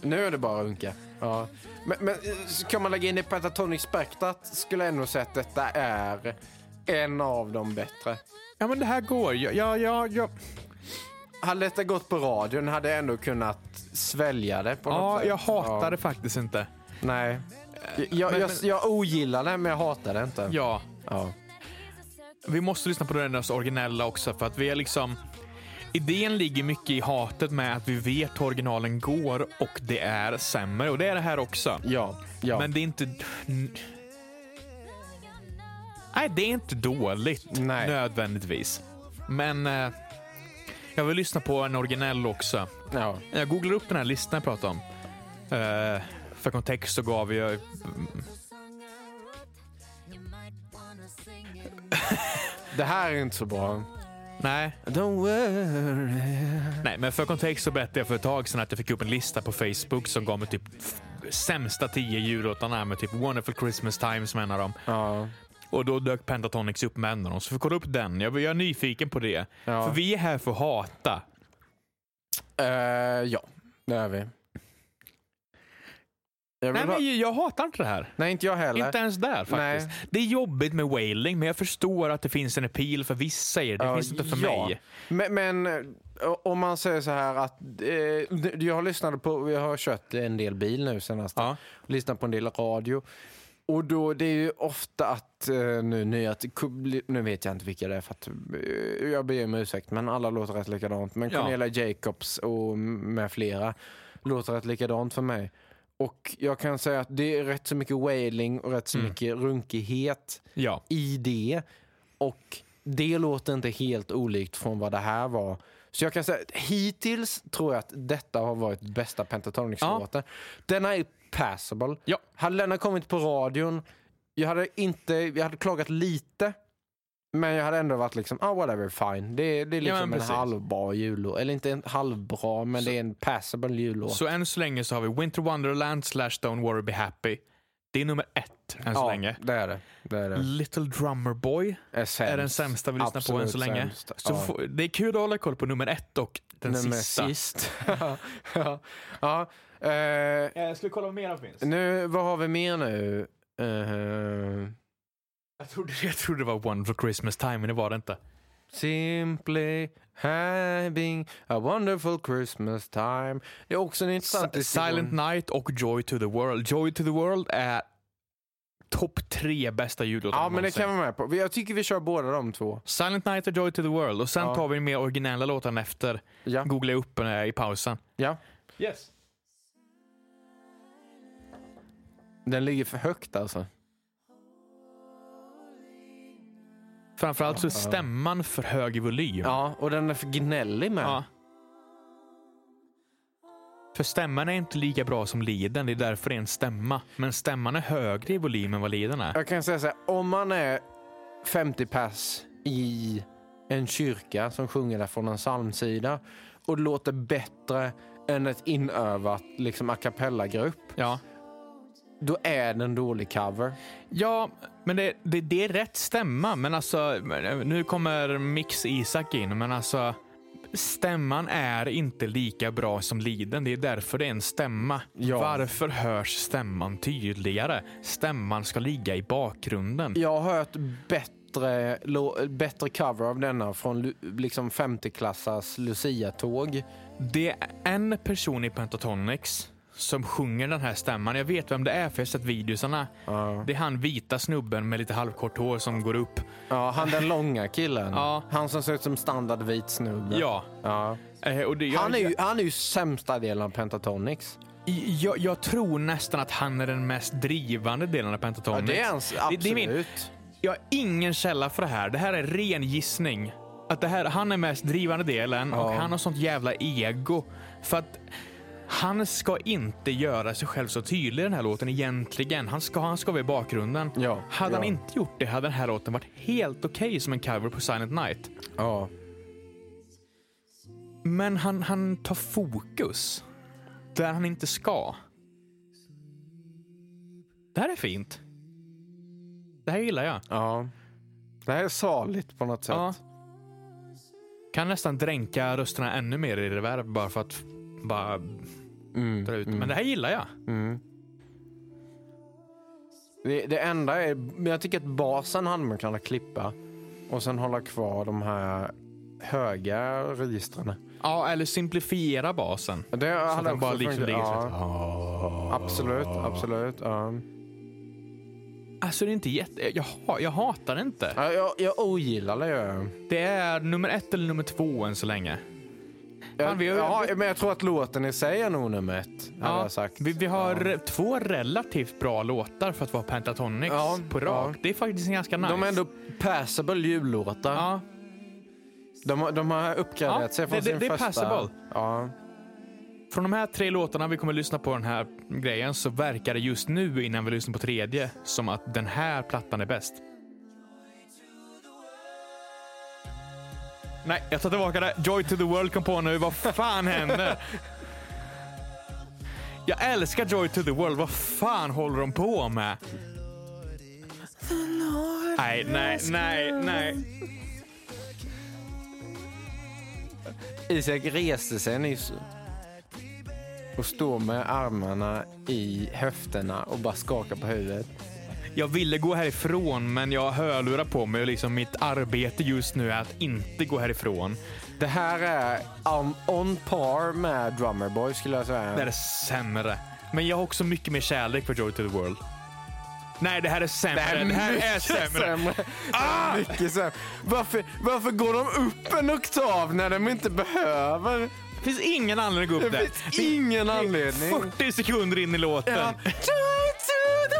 Nu är det bara unka. Ja. Men, men eh, ska man lägga in det i Pentatonix spektrat skulle jag ändå säga att detta är en av de bättre.
Ja, men det här går. Jag, jag, jag, jag,
Hade detta gått på radion hade jag ändå kunnat svälja det på något
ja,
sätt.
jag hatar det
Ja.
faktiskt inte.
Nej. Jag, jag,
men-
jag, jag ogillar det, men jag hatar det inte.
Ja,
Ja.
Vi måste lyssna på den originella också för att vi är liksom... Idén ligger mycket i hatet med att vi vet hur originalen går och det är sämre. Och det är det här också.
Ja. ja.
Men det är inte... Nej, det är inte dåligt
Nej.
nödvändigtvis. Men eh, jag vill lyssna på en originell också.
ja.
Jag googlar upp den här listan jag pratade om. Eh, för kontext så gav jag...
Det här är inte så bra.
Nej,
Don't worry.
Nej, men för kontext så berättade jag för ett tag sedan att jag fick upp en lista på Facebook som gav mig typ f- sämsta tio jullåtarna med typ Wonderful Christmas Time som en av dem.
Ja.
Och då dök Pentatonix upp med en av dem. Så vi kolla upp den. Jag, jag är nyfiken på det.
Ja.
För vi är här för att hata.
Eh, ja, det är vi. Jag vill
Nej,
bara...
men jag hatar inte det här.
Nej, inte jag heller.
Inte ens där faktiskt. Det är jobbigt med wailing, men jag förstår att det finns en appeal för vissa. i Det Det
Ja,
finns inte för
ja.
mig.
Men, men eh, om man säger så här att eh, jag lyssnade på, jag har kört en del bil nu senast.
Ja.
Lyssnat på en del radio. Och då, det är ju ofta att eh, nu nya, nu vet jag inte vilka det är för att eh, jag ber om ursäkt men alla låter rätt likadant. Men
Ja.
Cornelia Jacobs och med flera låter rätt likadant för mig. Och jag kan säga att det är rätt så mycket wailing och rätt så
Mm.
mycket runkighet
Ja.
i det. Och det låter inte helt olikt från vad det här var. Så jag kan säga att hittills tror jag att detta har varit bästa Pentatonix-låten. Denna är passable.
Ja.
Hade denna kommit på radion, jag hade, inte, jag hade klagat lite. Men jag hade ändå varit liksom, ah whatever, fine. Det, det är
men
liksom en
precis.
halvbra jullåt. Eller inte en halvbra, men det är en passable jullåt.
Så än så länge så har vi Winter Wonderland slash Don't Worry Be Happy. Det är nummer ett än så
ja,
länge.
det är det. det, är, det.
Little Drummer Boy
Är sämst.
är den sämsta vi lyssnar på än så
Absolut
länge.
sämst.
Så
Ja.
få- det är kul att hålla koll på nummer ett och den
Nummer
sista.
sist. ja. ja. Eh,
Jag skulle kolla vad mera finns.
nu, vad har vi mer nu? Eh,
Jag trodde, jag trodde det var Wonderful Christmas Time, men det var det inte.
Simply having a wonderful Christmas time. Det är också en intressant
Si-
diskussion.
Silent Night och Joy to the World. Joy to the World är topp tre bästa jullåtar
Ja, men det
någonsin.
kan vi vara med på. Jag tycker vi kör båda de två.
Silent Night och Joy to the World och sen
Ja.
tar vi den mer originella låten efter.
Ja.
Googla upp den här i pausen.
ja.
Yes.
Den ligger för högt alltså.
Framförallt så är stämman för hög i volym.
Ja, och den är för gnällig med.
Ja. För stämman är inte lika bra som liden, det är därför det är en stämma. Men stämman är högre i volym än vad liden är.
Jag kan säga så här, om man är 50 pass i en kyrka som sjunger där från en psalmsida och det låter bättre än ett inövat liksom a cappella-grupp,
Ja,
då är det en dålig cover.
ja men det, det, det är rätt stämma. Men alltså, nu kommer Mix Isak in, men alltså stämman är inte lika bra som liden. Det är därför det är en stämma.
Ja.
Varför hörs stämman tydligare? Stämman ska ligga i bakgrunden.
Jag har hört bättre, lo- bättre cover av denna från lu- liksom 50-klassars Lucia-tåg.
Det är en person i Pentatonix som sjunger den här stämman. Jag vet vem det är för jag har sett videosarna. Det är han vita snubben med lite halvkort hår som går upp.
Ja, han den långa killen.
Ja.
Han som ser ut som standardvit snubbe.
Ja.
Ja.
Eh, Och det, jag,
Han, är ju, han är ju sämsta delen av Pentatonix.
jag, jag tror nästan att han är den mest drivande delen av
Ja,
Pentatonix.
det är hans,
Det-
absolut.
det är min- jag har ingen källa för det här. Det här är ren gissning. Att det här, han är mest drivande delen och han har sånt jävla ego. För att han ska inte göra sig själv så tydlig i den här låten egentligen. Han ska, han ska vara i bakgrunden.
Ja,
hade han
ja.
inte gjort det hade den här låten varit helt okej som en cover på Silent Night.
Ja.
Men han, han tar fokus där han inte ska. Det här är fint. Det här gillar jag.
ja. Det här är saligt på något sätt.
Ja. Kan nästan dränka rösterna ännu mer i reverb bara för att bara
Mm,
dra ut.
mm,
Men det här gillar jag.
mm. Det, det enda är, men jag tycker att basen hade man kunnat klippa och sen hålla kvar de här höga registren.
Ja, eller simplifiera basen.
Det
Så att
hade
den bara
också
liksom
funkat.
ligger så
ja,
här. Ah.
Absolut, absolut. Ja.
Alltså det är inte jätte... Jag, ha- jag hatar det inte.
Ja, jag, jag ogillar det. gör Jag.
Det är nummer ett eller nummer två än så länge. Fan,
Jag,
vi har-
ja, men jag tror att låten i sig är nog nummer ett. Hade
Ja,
jag sagt.
vi, vi har två relativt bra låtar för att vara Pentatonix
Ja,
på rak.
ja.
Det är faktiskt ganska nice.
De är ändå passable jullåtar.
Ja,
De, de har uppgraderat
Ja,
sig från
det- det-
sin
det är
första...
passable.
Ja,
Från de här tre låtarna vi kommer lyssna på den här grejen så verkar det just nu innan vi lyssnar på tredje som att den här plattan är bäst. Nej, jag tar tillbaka det. Joy to the world kom på nu. Vad fan händer? Jag älskar Joy to the world. Vad fan håller de på med? Nej, nej, nej, nej.
Isak reste sig nyss och står med armarna i höfterna och bara skakar på huvudet.
Jag ville gå härifrån, men jag har hörlurar på mig och liksom mitt arbete just nu är att inte gå härifrån.
Det här är um, on par med Drummer Boy skulle jag säga.
Det här är sämre. Men jag har också mycket mer kärlek för Joy to the World. Nej, det här är sämre. Det här, är sämre.
Ah! Mycket sämre. Varför, varför går de upp en oktav när de inte behöver?
Det finns ingen anledning att gå upp
Det
där.
finns ingen anledning.
40 sekunder in i låten.
Ja. Joy to the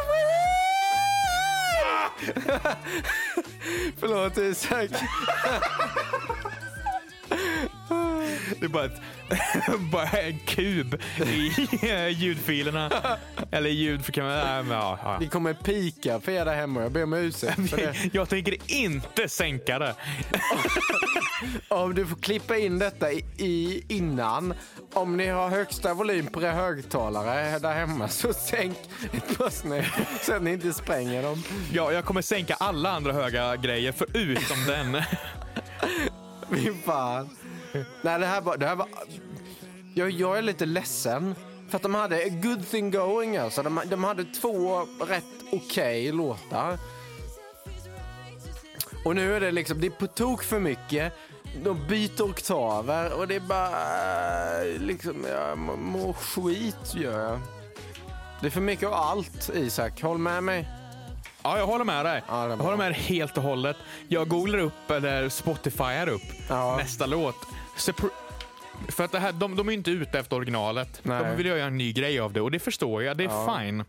Ah!
world! Förlåt Isak.
Det är bara ett bara en kub i eh, ljudfilerna. Eller ljud... För, kan man, nej, men, ja, ja.
Vi kommer pika för er där hemma. Jag ber om ursäkt för det.
Jag tänker inte sänka det.
Om du får klippa in detta i, i innan. Om ni har högsta volym på era högtalare där hemma så sänk ett par snäpp så att ni inte spränger dem.
Ja, jag kommer sänka alla andra höga grejer förutom den.
Fy fan. Nej, det här var... Det här var jag, jag är lite ledsen. För att de hade a good thing going alltså. De, de hade två rätt okej låtar. Och nu är det liksom, det är på tok för mycket. De byter oktaver och det är bara liksom, jag mår må skit gör jag. Det är för mycket av allt Isak, håll med mig.
Ja, jag håller med dig.
Ja, det är
jag
bra.
håller med dig helt och hållet. Jag googlar upp, eller spotifyar upp,
Ja.
nästa låt. Separ- för att det här, de, de är ju inte ute efter originalet.
Nej.
De vill göra en ny grej av det och det förstår jag. Det är fine.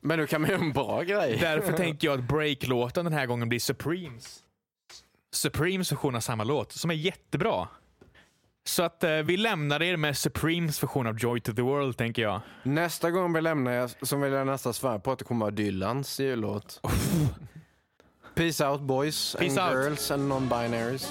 Men nu kan man göra en bra grej.
Därför tänker jag att breaklåten den här gången blir Supremes. Supremes version av samma låt, som är jättebra. Så att eh, vi lämnar er med Supremes version av Joy to the World, tänker jag.
Nästa gång vi lämnar jag så vill jag nästan svära på att det kommer vara Dylans jullåt. Peace out boys
Peace
and
out.
girls and non-binaries.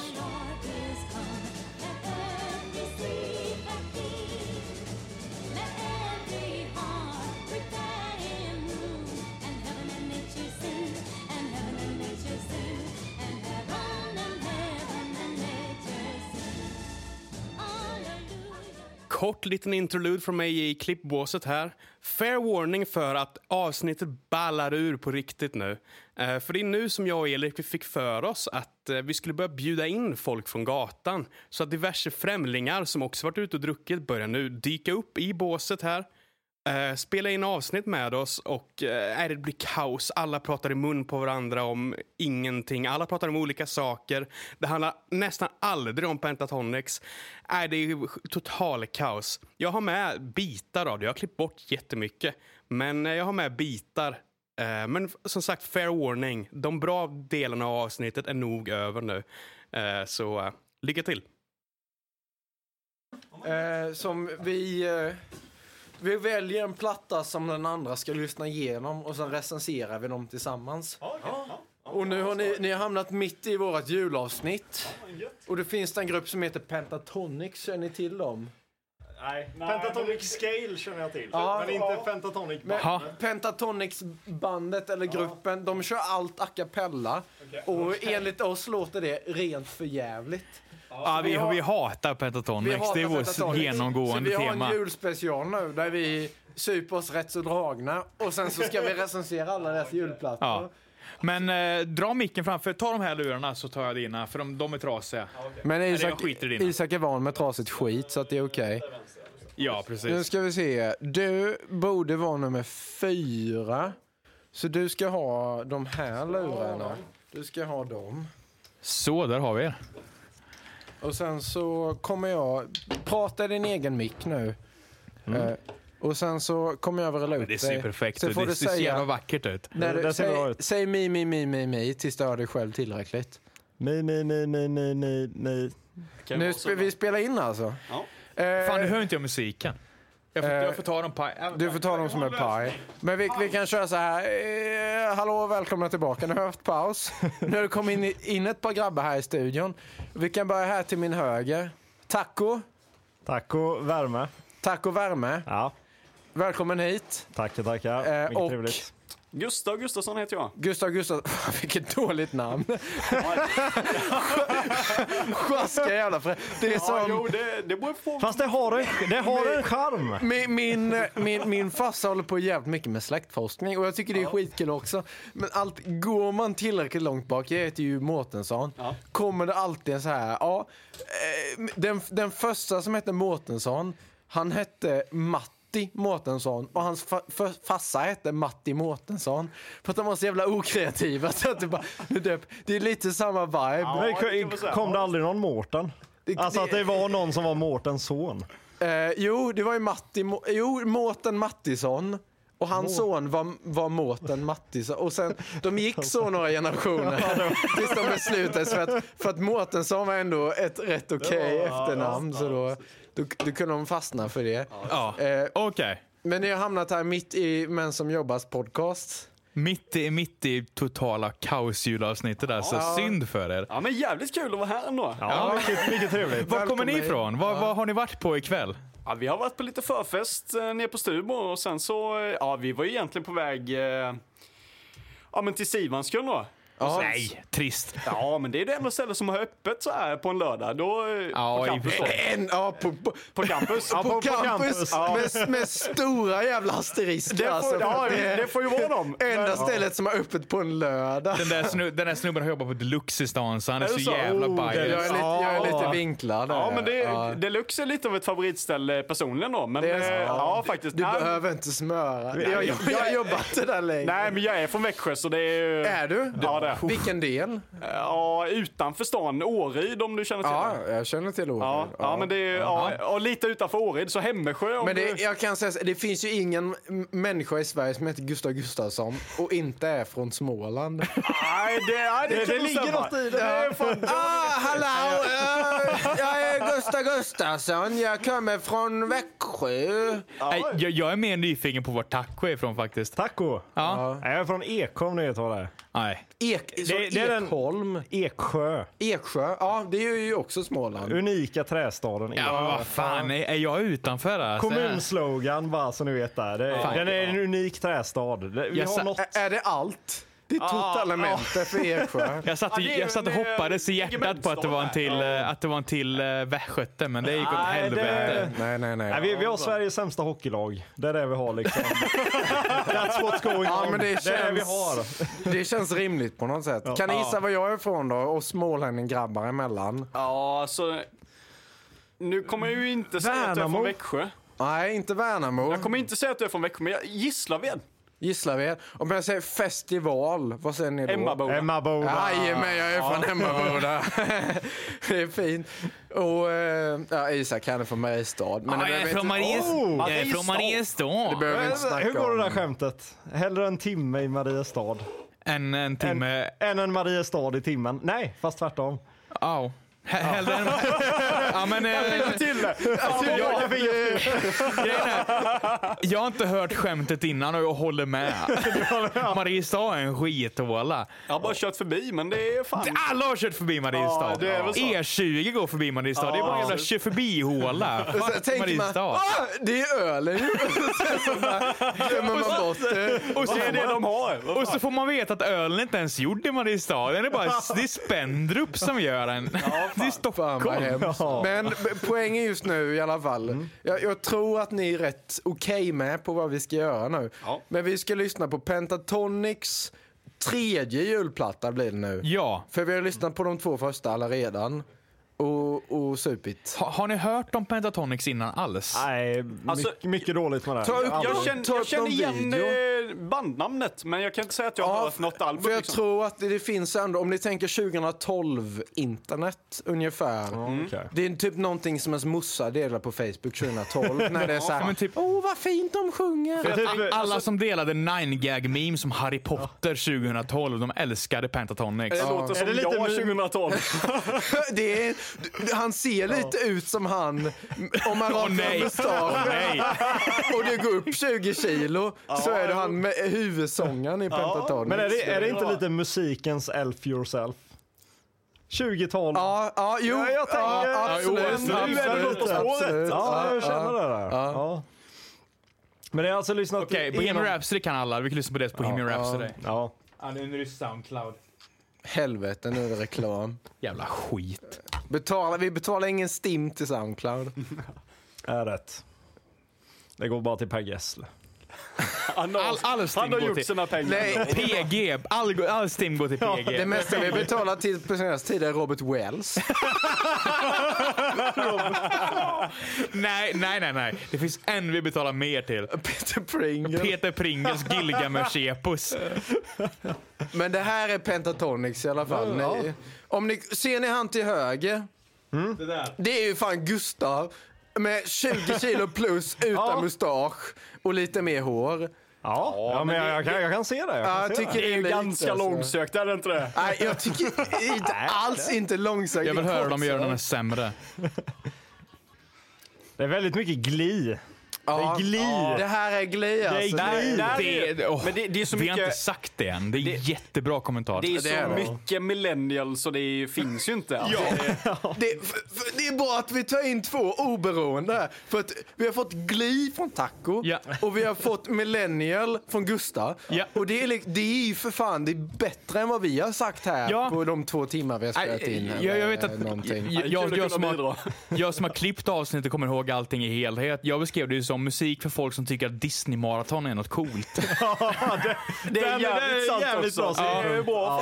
Kort liten interlude från mig i klippbåset här. Fair warning för att avsnittet ballar ur på riktigt nu. Eh, För det är nu som jag och Erik fick för oss att eh, vi skulle börja bjuda in folk från gatan. Så att diverse främlingar som också varit ute och druckit börjar nu dyka upp i båset här. Eh, Spela in avsnitt med oss och eh, nej, det blir kaos. Alla pratar i mun på varandra om ingenting. Alla pratar om olika saker. Det handlar nästan aldrig om Pentatonix. Nej, det är ju total kaos. Jag har med bitar av det. Jag har klippt bort jättemycket. Men eh, jag har med bitar. Eh, Men f- som sagt, fair warning. De bra delarna av avsnittet är nog över nu. Eh, Så eh, lycka till.
Eh, som vi... Eh, vi väljer en platta som den andra ska lyssna igenom och sen recenserar vi dem tillsammans. Och nu har ni, ni har hamnat mitt i vårt julavsnitt. Och det finns det en grupp som heter Pentatonic, känner ni till dem?
Nej, Pentatonic Scale känner jag till.
Ja,
men inte
ja.
Pentatonic
Men
Ha.
Pentatonics-bandet eller gruppen, de kör allt a cappella. Och enligt oss låter det rent förjävligt.
Ja, vi,
vi har-
vi hatar Pentatonix. Det är
hatar
vårt
Pentatonics.
genomgående
Så vi har
tema.
en julspecial nu där vi super oss rätt så dragna och sen så ska vi recensera alla deras julplattor.
Ja. Men eh, dra micken framför. Ta de här lurarna så tar jag dina, för de, de är trasiga.
Men
Isak- skiter i dina.
är van med trasigt skit så att det är okej.
Ja,
Nu
precis.
ska vi se. Du borde vara nummer fyra. Så du ska ha de här lurarna. Du ska ha dem.
Så, där har vi er.
Och sen så kommer jag... Prata i din egen mick nu. Eh, och sen så kommer jag vrida ut
Mm. Det ser perfekt
Sen
ut.
får
Det
du
ser så jävla
säga...
vackert ut.
När
Det-
du,
det ser bra
säg,
ut.
säg mi, mi, mi, mi, mi tills du hör dig själv tillräckligt.
Mi, mi, mi, mi, mi, mi, mi.
Nu spe, vi spelar in alltså. Eh,
Fan, nu hör inte jag musiken. Jag får,
Eh,
jag får ta dem på... äh,
Du får ta dem som är paj. Men vi, vi kan köra så här. Eh, hallå och välkomna tillbaka. Nu har jag haft paus. Nu har det kommit in, in ett par grabbar här i studion. Vi kan börja här till min höger. Taco.
Taco värme.
Taco Värme.
Ja,
Välkommen hit.
tackar, tackar.
Eh,
Mycket
och-
trevligt.
Gustav Gustafsson heter jag.
Gustav Gustafsson. Vilket dåligt namn. Sjaska jävla frä. Det är
Ja,
som...
jo, det, det beror på.
Fast det har en, det har en charm.
Min, min, min, min farsa håller på jävligt mycket med släktforskning och jag tycker det är skitkul också. Men allt, går man tillräckligt långt bak, jag heter ju Mårtensson, kommer det alltid en så här, ja, eh, den, den första som hette Mårtensson, han hette Matti Mårtensson och hans fa- för- farsa hette Matti Mårtensson. För att de var så jävla okreativa så att det bara, nu döp- det är lite samma vibe.
Men
Ja, det kan man
k-
säga.
kom det aldrig någon Mårten?
Det-
Alltså att
det-
det var någon som var Mårtens son.
Eh, jo, det var ju Matti, Mo- jo, Mårten Mattisson. Och hans son var, var Mårten Mattisson. Och sen, de gick så några generationer tills de beslutades för att, för att Mårtensson var ändå ett rätt okej efternamn. Så då Då, då kunde de fastna för det.
Ja.
Eh,
Okej.
men ni har hamnat här mitt i Män som jobbas podcast.
Mitt i, mitt i totala kaosjulavsnittet där, så synd för er.
Ja, men jävligt kul att vara här ändå. Ja.
Ja, mycket, mycket trevligt.
Var kommer
Välkomna
ni
hit.
ifrån? Vad vad har ni varit på ikväll?
vi har varit på lite förfest eh, nere på Stubor och sen så, eh, ja, vi var ju egentligen på väg, eh, ja men till Sivanskull då.
Ja.
Nej, trist.
Ja, men det är det enda stället som har öppet så här på en lördag. Då, eh, på
Ja, i och för
campus då.
sig.
En, ja, på, på,
På campus.
på,
på
campus,
campus, ja.
Med, med stora jävla asterisker.
Det får, ja, det, det får ju vara dem.
alltså, Enda stället som har öppet på en lördag.
Den där, snu, den där snubben har jobbat på Deluxe i stan, så han är,
Är
så,
det så?
jävla
Oh,
biased.
det
Jag är lite, jag är
Ja.
lite vinklad.
Ja, men det,
Ja.
Deluxe är lite av ett favoritställe personligen då. Men
Det är så.
eh, ja, faktiskt.
Du
nej,
behöver inte smöra. Jag, jag, jag har jobbat det där länge.
nej, men jag är från Växjö så det är ju...
Är du?
Ja, det är jag.
Vilken del?
Ja, utanför stan. Åryd om du känner till
Ja,
det.
jag känner till ordet.
Ja, ja, men det är ja,
Ja.
och lite utanför Åryd, så Hemmesjö om
Men det,
du...
jag kan säga så, det finns ju ingen m- människa i Sverige som heter Gustav Gustafsson och inte är från Småland.
Nej, det, nej, det,
Det,
kan
det
nog
ligger
stämma.
något i det.
Ja. ah, hallå! eh, jag är Gustav Gustafsson. Jag kommer från Växjö.
Nej, jag, jag är mer nyfiken på var Taco är ifrån faktiskt.
Taco.
Ja.
Nej, Jag är från Ekholm, ni vet vad det är.
Nej.
Ek, så
det är den-
Ekholm.
Eksjö.
Eksjö. Ja, det är ju också Småland.
Unika trästaden.
Ja, men vad fan, är, är jag utanför? Alltså?
Kommunslogan bara så ni vet där. Det,
Fan.
den är en unik trästad. Det- Vi
Jag sa-
har något...
Ä- Är det allt? Det är totalementet för Eksjö.
Jag satt,
Ja, det är
jag satt och
ju med
hoppades i hjärtat på att det var en till, eh, att det var en till eh, västgöte, men det gick åt
Nej, det-
helvete.
Nej, nej,
Nej, vi, vi har Sveriges sämsta hockeylag. Det är det vi har liksom. That's what's going
Ja,
on.
men det
det är det vi
känns-
har.
Det känns rimligt på något sätt. Kan ni gissa var jag är ifrån då? Och smålänning grabbar emellan?
Ja, så... Nu kommer jag ju inte säga att jag är
Värnamo.
från Växjö.
Nej, inte Värnamo.
Jag kommer inte säga att jag är från Växjö, men jag Gislaved.
Gislaved. Om jag säger festival, vad säger ni då?
Emmaboda.
Emma Boda.
Jajamän, jag är från Emmaboda. det är fint. Och eh, ja, Isak, han är från Mariestad. Men det
Ja, jag
behöver
är från
inte-
Maries-
Oh!
jag är från
det
Mariestad.
behöver vi inte snacka
Hur går det där
om.
skämtet? Hellre en timme i Mariestad.
En, en
Än,
timme...
än en Mariestad i timmen. Nej, fast tvärtom.
Au. He- Hellre än... Ja, men, eh,
Till det!
jag, Grejen är, jag har inte hört skämtet innan och jag håller med. Mariestad är en skithåla.
Jag har bara kört förbi, men det är fan...
Alla har kört förbi Mariestad.
Ja, det är väl så.
E20 går förbi Mariestad. Det är bara en jävla kör förbi-håla.
Och sen
Fuck
tänker man,
Mariestad.
ah, det är ölen ju. Och sen så bara glömmer man bort det.
Och så,
Det är det de har.
och så får man veta att ölen inte ens gjord i Mariestad. Den är bara, det är Spendrup som gör den. det är
Fan vad
Stockholm.
hemskt.
Ja.
Men b- poängen just nu i alla fall. Jag, jag tror att ni är rätt okej med på vad vi ska göra nu.
Ja.
Men vi ska lyssna på Pentatonics tredje julplatta blir det nu.
Ja.
För vi har lyssnat på de två första alla redan. Och, och supit.
Ha, har ni hört om Pentatonix innan alls?
Nej, mycket,
Alltså,
mycket dåligt med det här.
Ta upp-
Ja,
Jag
Aldrig.
känner,
Ta upp
jag känner
någon
igen
video.
eh, bandnamnet, men jag kan inte säga att jag har hört något album.
för jag
liksom.
tror att det, det finns ändå, om ni tänker 2012 internet ungefär.
okej.
Det är typ någonting som ens morsa delar på Facebook 2012 när det är så
Ja,
här,
men typ-
åh vad fint de sjunger.
Det är typ-
alltså-
Alla som delade 9gag memes som Harry Potter 2012, de älskade Pentatonix.
Det låter som
Är det lite
jag
min-
2012.
Det är, han ser lite ut som han om man rakar
Åh nej! Åh
mustaschen
nej!
och det går upp 20 kilo så är det han med huvudsångaren i Pentatonix.
Men är det, är det inte
vara.
lite musikens Elf yourself? 2012.
Ja, ja, jo,
Ja, jag tänker-
ja,
Ja,
absolut.
jo,
nu är det
absolut,
På spåret.
absolut.
Ja, jag känner
ja.
det där. Ja. Men det har alltså lyssnat
Okej,
igenom-
Bohemian Rhapsody kan alla. Vi kan lyssna på det på Bohemian Rhapsody.
Ja.
Ja, nu är det Soundcloud.
Helvete, nu är det reklam.
Jävla skit.
Betala, vi betalar ingen STIM till Soundcloud.
Mm. är rätt. Det går bara till Per Gessle.
Han
All,
har,
all Stim
han har
går
gjort
till
sina pengar.
Nej,
PG. All, all Stim går till PG.
det mesta
Mm.
vi betalar till på senaste tid är Robert Wells.
Nej, nej, nej, nej. Det finns en vi betalar mer till.
Peter Pringle.
Peter Pringles Gilgamesh epos.
Men det här är Pentatonix i alla fall. Ni, om ni, ser ni han till höger?
Mm.
Det är ju fan Gustav med 20 kilo plus utan
Ja.
mustasch och lite mer hår.
Ja, ja, men, jag, jag, kan, jag kan se det. Jag kan
Ja, jag
se
tycker
det.
det
Det är
är
ju
likt,
ganska
alltså.
långsökt, är det inte det?
Nej, jag tycker inte alls inte långsökt.
Jag vill höra dem göra den här sämre.
Det är väldigt mycket gli.
Ja,
Det är gli.
ja. Det här är gli
är
alltså.
gli.
Där, där
Det-
är, det,
åh,
men det, det är så
Vi har inte
mycket,
sagt det än. Det är
Det-
jättebra kommentar.
det är
Ja,
så
det är det.
mycket millennials så det finns ju inte. Alltså.
Det, f- f- det är bra att vi tar in två oberoende här. För att vi har fått Gli från Taco
Ja.
och vi har fått Millennial från Gustav.
Ja.
Och det är, lik- det är ju för fan det är bättre än vad vi har sagt här
Ja.
på de två timmar vi har spelat in.
Nej, jag, jag vet
eller
att
någonting.
jag,
Kul
jag,
att
jag, som
kunna
har,
bidra.
jag som har klippt avsnittet kommer ihåg allting i helhet. Jag beskrev det ju som musik för folk som tycker att Disney-maraton är något coolt.
Det är
men det är
jävligt sant
jävligt
också.
bra, så
det
det
är bra.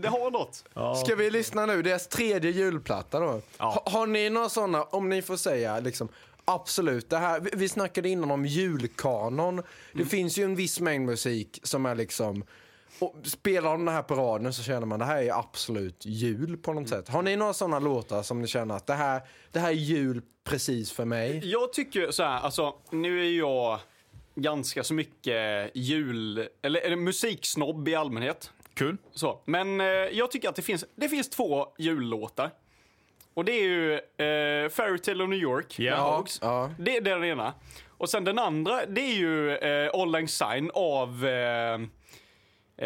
Det har något.
Ska vi lyssna nu? Deras tredje julplatta då. Ha, har ni några sådana, om ni får säga liksom Absolut. Det här, vi- vi snackade innan om julkanon. Det finns ju en viss mängd musik som är liksom... Och spelar de det här på radion så känner man det här är absolut jul på något sätt. Har ni några sådana låtar som ni känner att det här, det här är jul precis för mig?
Jag tycker så här, alltså nu är jag ganska så mycket jul, eller, eller musiksnobb i allmänhet.
Kul.
Så. Men eh, jag tycker att det finns, det finns två jullåtar. Och det är ju eh, Fairytale of New York med Hogs.
ja.
Det, det är den ena. Och sen den andra, det är ju eh, All Lang Syne av eh,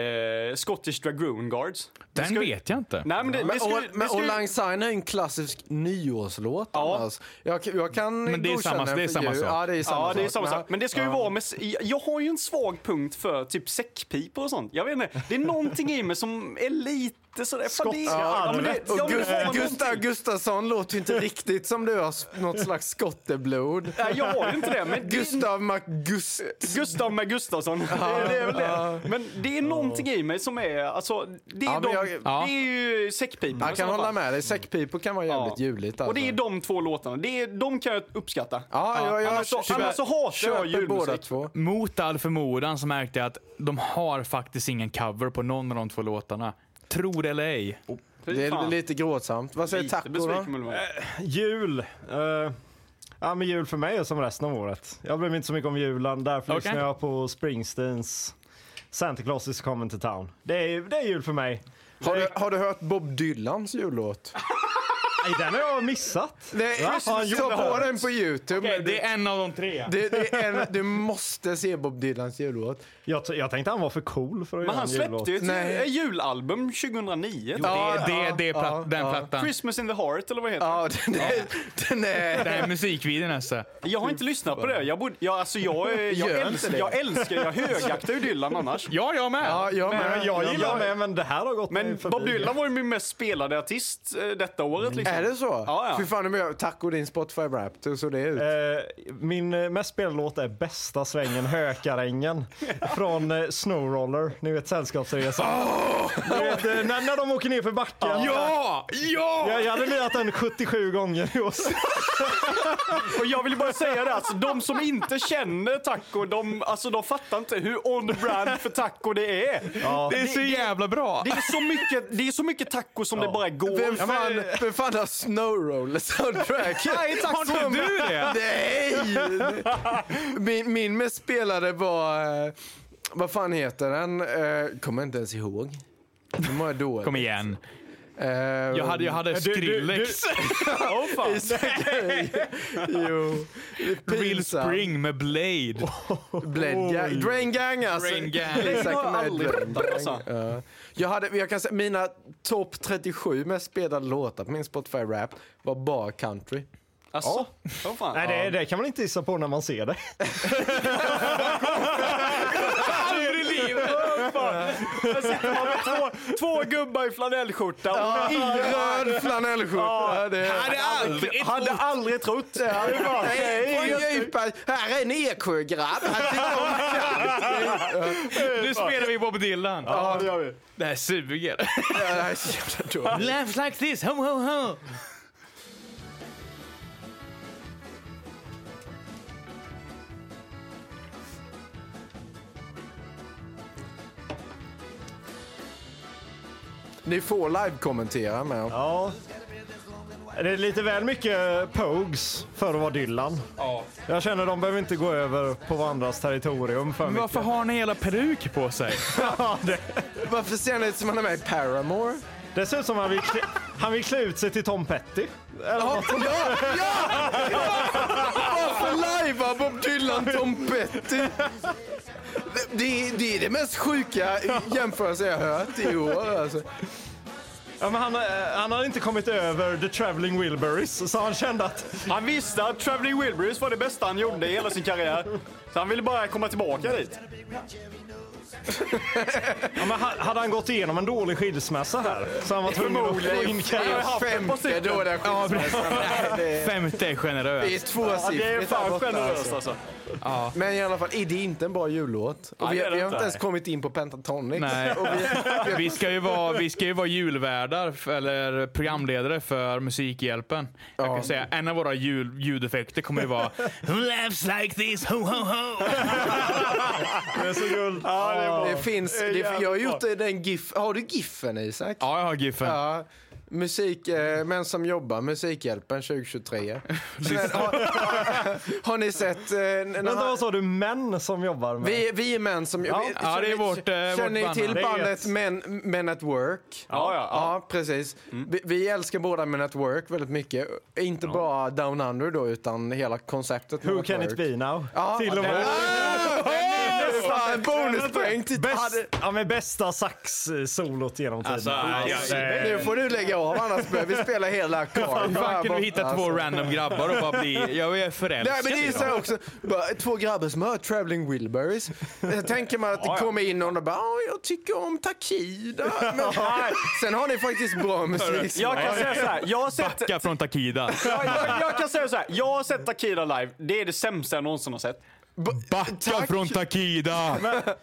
eh, Scottish Dragoon Guards.
Den
ska-
vet jag inte.
Nej men det,
Men
vi ska,
All-
vi
Men
ska,
Auld Lang Syne är en klassisk nyårslåt
Ja.
annars. Jag, kan- jag kan
Men det är
godkänna
samma-
den
det är
för
samma
jul.
sak.
alltså. Ja, det är samma
Ja, det är
sak.
samma
Men-
sak. Men det ska ju vara med... jag- Jag har ju en svag punkt för typ säckpipor och sånt. Jag vet inte, det är någonting i mig som är lite sådär... Fan, det,
Skotska
men det,
arvet.
Och
jag vill
Gust-
ha
Gustav
någonting.
Gustafsson låter ju inte riktigt som du har s- något slags skotteblod.
Nej, jag har ju inte det, men... Det,
Gustav McGust...
Gustav med Gustafsson. Det, är- det är väl det. Men det är någonting i mig som är... Alltså, det är,
Ja, men
de,
jag-
det är ju säckpipor.
Jag kan hålla med dig, säckpipor kan vara jävligt juligt. Alltså.
Och det är de två låtarna. Det är, de kan jag uppskatta.
Ja, jag, jag,
annars så-
köper-
annars så hatar jag
köper
julmusik.
båda två.
Mot all förmodan så märkte jag att de har faktiskt ingen cover på någon av de två låtarna. Tro det eller ej.
Fy
Det är
fan.
lite gråtsamt. Vad säger
Lite
Taco då?
besviken vill man vara.
Jul. eh, ja, men jul för mig är som resten av året. Jag bryr mig inte så mycket om julen. Därför
Okej.
lyssnar jag på Springsteens Santa Claus is coming to town. Det är, det är jul för mig.
Har du, har du hört Bob Dylans jullåt?
Nej, den har jag missat.
Nej,
Va? Har han gjort
ta
det
på
här?
den på Youtube. men du,
Det är en av de tre.
det, det är en, du måste se Bob Dylans jullåt.
Jag, t- jag tänkte han var för cool för att
Men
göra
han
en jullåt.
släppte ju ett
Nej.
jul- ett julalbum 2009. tror jag.
Det, det, det är plat-
ja,
den
ja.
plattan.
Christmas in the heart eller vad heter
Ja, den är... Den
Den
är
här musikvideon alltså.
det? Jag har inte lyssnat på det. Jag, borde, jag, alltså jag, är- jag,
Gör inte
älskar,
det.
jag älskar, jag högaktar ju Dylan annars.
Ja, jag med.
ja, jag
Nej,
med.
men jag gillar
med.
med, men det här har gått mig
Men
förbi.
Bob Dylan var ju min mest spelade artist eh, detta året. Liksom.
Mm. Är det så?
Ja, ja.
Fy fan, nu gör jag taco din Spotify-rap. Hur såg det ut?
Eh, Min eh, mest spelade låt är Bästa svängen Hökarängen från eh, Snowroller. Ni vet Sällskapsresan. Ni vet, eh, när, när de åker ner för backen.
Ja! Ja!
Jag, jag hade lirat den 77 gånger i år.
Och jag vill bara säga det, alltså, de som inte känner Taco, de, alltså, de fattar inte hur on the brand för Taco det är.
Det är så jävla bra.
Det är så mycket, det är så mycket taco som det bara går.
Vem fan, vem fan har Snowroller soundtrack? Nej, tack
Har inte du det?
Nej! Min, min mest spelade var, eh, vad fan heter den? Eh, Kommer inte ens ihåg. Nu mår jag dåligt.
Kom igen.
Eh,
Jag hade, jag hade
du-
Skrillex.
Jo.
Real
Pinsam.
Spring med Blade.
Blade Gang. Drain Gang alltså.
Drain Gang.
Exakt,
Den har jag
med
aldrig
Drain
pratat om,
Gang.
alltså.
Ja. Jag hade, jag kan säga, mina topp 37 mest spelade låtar på min Spotify-rap var bara country.
Alltså, vad fan.
Nej, det, det kan man inte gissa på när man ser det.
Aldrig i livet!
Där sitter man med två, två gubbar i flanellskjorta. Och
I röd flanellskjorta. Det-
Hade aldrig
hade aldrig trott det. Hade bara,
Nej,
nej,
från djupa- Här är en Eksjögrabb. Han tycker om country.
Nu spelar vi Bob Dylan.
Ja, det gör vi.
Det här suger.
Ja, det här är så jävla dåligt.
Laughs like this, ho ho ho.
Ni får live-kommentera med.
Ja. Det är lite väl mycket Pogues för att vara Dylan. Jag känner de behöver inte gå över på varandras territorium för mycket.
Varför har ni hela peruk på sig?
Varför ser han ut som han är med i Paramore?
Det ser ut som han vill klä, han vill klä ut sig till Tom Petty.
Ja, ja, ja! Varför lajvar Bob Dylan Tom Petty? Det- Det, det är det mest sjuka jämförelse jag hört i år. Alltså.
Ja, men han, eh, han hade inte kommit över The Traveling Wilburys, så han kände att
Han visste att Traveling Wilburys var det bästa han gjorde i hela sin karriär. Så han ville bara komma tillbaka dit.
ja, men ha- hade han gått igenom en dålig skilsmässa här så han var tvungen att få in
Jag har
karriär.
haft en på
Femte
cykeln.
dåliga skilsmässan. Nej, det är-
50 är
Det är
generöst.
Alltså. Ja, det är
tvåsiffrigt där
fan
borta,
generöst
alltså.
alltså.
Men i alla fall, är det inte en bra jullåt? Och vi,
Nej, det är det
vi har inte
inte.
ens kommit in på Pentatonic.
Nej.
Och vi,
Vi ska ju vara, vi ska ju vara julvärdar, f- eller programledare för Musikhjälpen. Jag
Ja.
kan säga, en av våra jul, ljudeffekter kommer ju vara Who laughs like this? Ho, ho, ho!
Det är så guld.
det finns, det, jag har gjort den GIF. Har du GIFen Isak?
Ja, jag har giffen.
Ja, musik, eh, män som jobbar, Musikhjälpen 2023. Men, har, har ni sett... Eh, när
Vänta,
han,
vad sa du? Män som jobbar med...
vi, vi är män som... vi,
Ja, det är vårt, eh,
Känner
vårt
ni
band.
till
Det är
bandet
ett-
men, men at Work?
Ja, ja, ja.
Ja, precis. Vi, vi älskar båda Men at Work väldigt mycket. Inte bara Down Under då, utan hela konceptet Men
Who
at
can
work.
it be now?
Ja,
Till och med.
Ah, en bonuspoäng till...
Bäst,
Hade-
ja, men bästa sax-solot genom tiden.
Alltså, ja,
det-
Nu får du lägga av, annars behöver vi spela hela Carl.
Fan kunde vi hitta två random grabbar och bara bli, jag är förälskad
alltså. Nej men det är
i
ju så
dem.
här också, bara, två grabbar som har Traveling Wilburys. Eh, Tänker man att det kommer in någon och bara "Ah, “jag tycker om Takida”. Men, sen har ni faktiskt bra musik.
Jag kan säga så här. Jag har sett...
Backa från Takida.
Jag, jag, jag kan säga så här. Jag har sett Takida live. Det är det sämsta jag någonsin har sett.
Backa
Tack.
från Takida!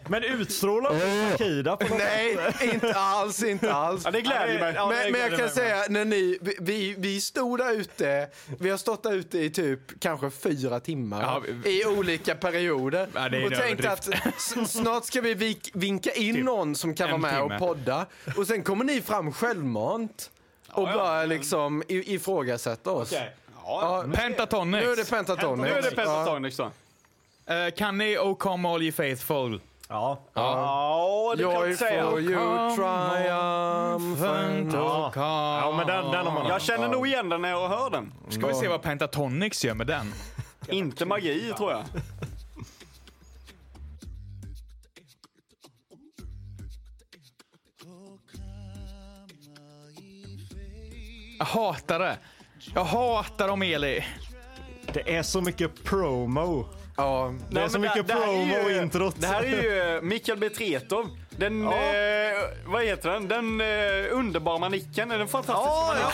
Men utstrålar du Kida på något
Eh. Nej, inte alls, inte alls.
Ja, det gläder mig.
Ja, det
Men, men jag
gläder
kan
mig
säga, när ni, vi- vi, vi stod där ute, vi har stått där ute i typ kanske fyra timmar
Ja,
i olika perioder.
Ja, det är en
och tänkte att s- snart ska vi vik- vinka in någon som kan vara
en
med
timme.
och podda. Och sen kommer ni fram självmant och bara liksom i- ifrågasätta oss.
Ja,
Pentatonix.
Nu är det pentatonic.
nu är det
Ja.
Pentatonics då.
Eh, Kan ni O come all ye faithful?
Ja.
Ja, det kan jag inte säga.
Joyful you
Fun
triumphant.
to come.
ja, men den, den har man
Jag känner nog igen den när jag hör den.
Ska vi se vad Pentatonix gör med den?
Inte magi, tror jag.
Jag hatar det. Jag hatar om Eli.
Det är så mycket promo.
Ja.
Det är så mycket promo i introt.
Det här är ju eh, Mikael Betretov. Den, eh, vad heter den? Den eh, underbara manicken. Är den fantastisk?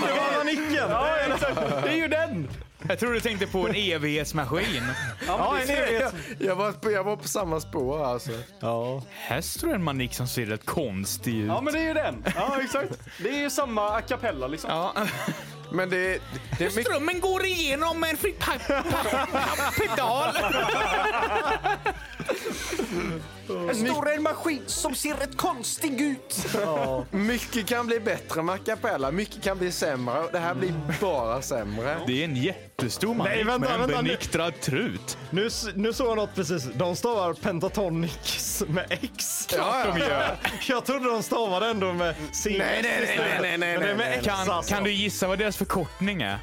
Underbara nicken!
Ja, exakt. det är ju den!
Jag tror du tänkte på en evighetsmaskin.
Ja, men det är
Jag, jag, var på, jag var på samma spår alltså.
Ja.
Här står en manik som ser rätt konstig ut.
Ja, men det är ju den. Ja, exakt. Det är ju samma a cappella liksom.
Ja.
Men det, det är mycket...
Strömmen går igenom en fri pa- pa- pa- pedal.
står en maskin som ser rätt konstig ut.
Mycket kan bli bättre med a cappella, mycket kan bli sämre och det här blir bara sämre.
Det är en jättestor manik
Nej, vänta,
med en
vänta, nu-
beniktrad trut.
Nu, s- nu såg jag något precis. De stavar pentatonics med X.
Ja, ja.
Jag trodde de stavade ändå med C.
Nej, nej, nej, nej, nej, nej,
Men det är med
nej,
X
Kan,
alltså.
kan du gissa vad deras förkortning är?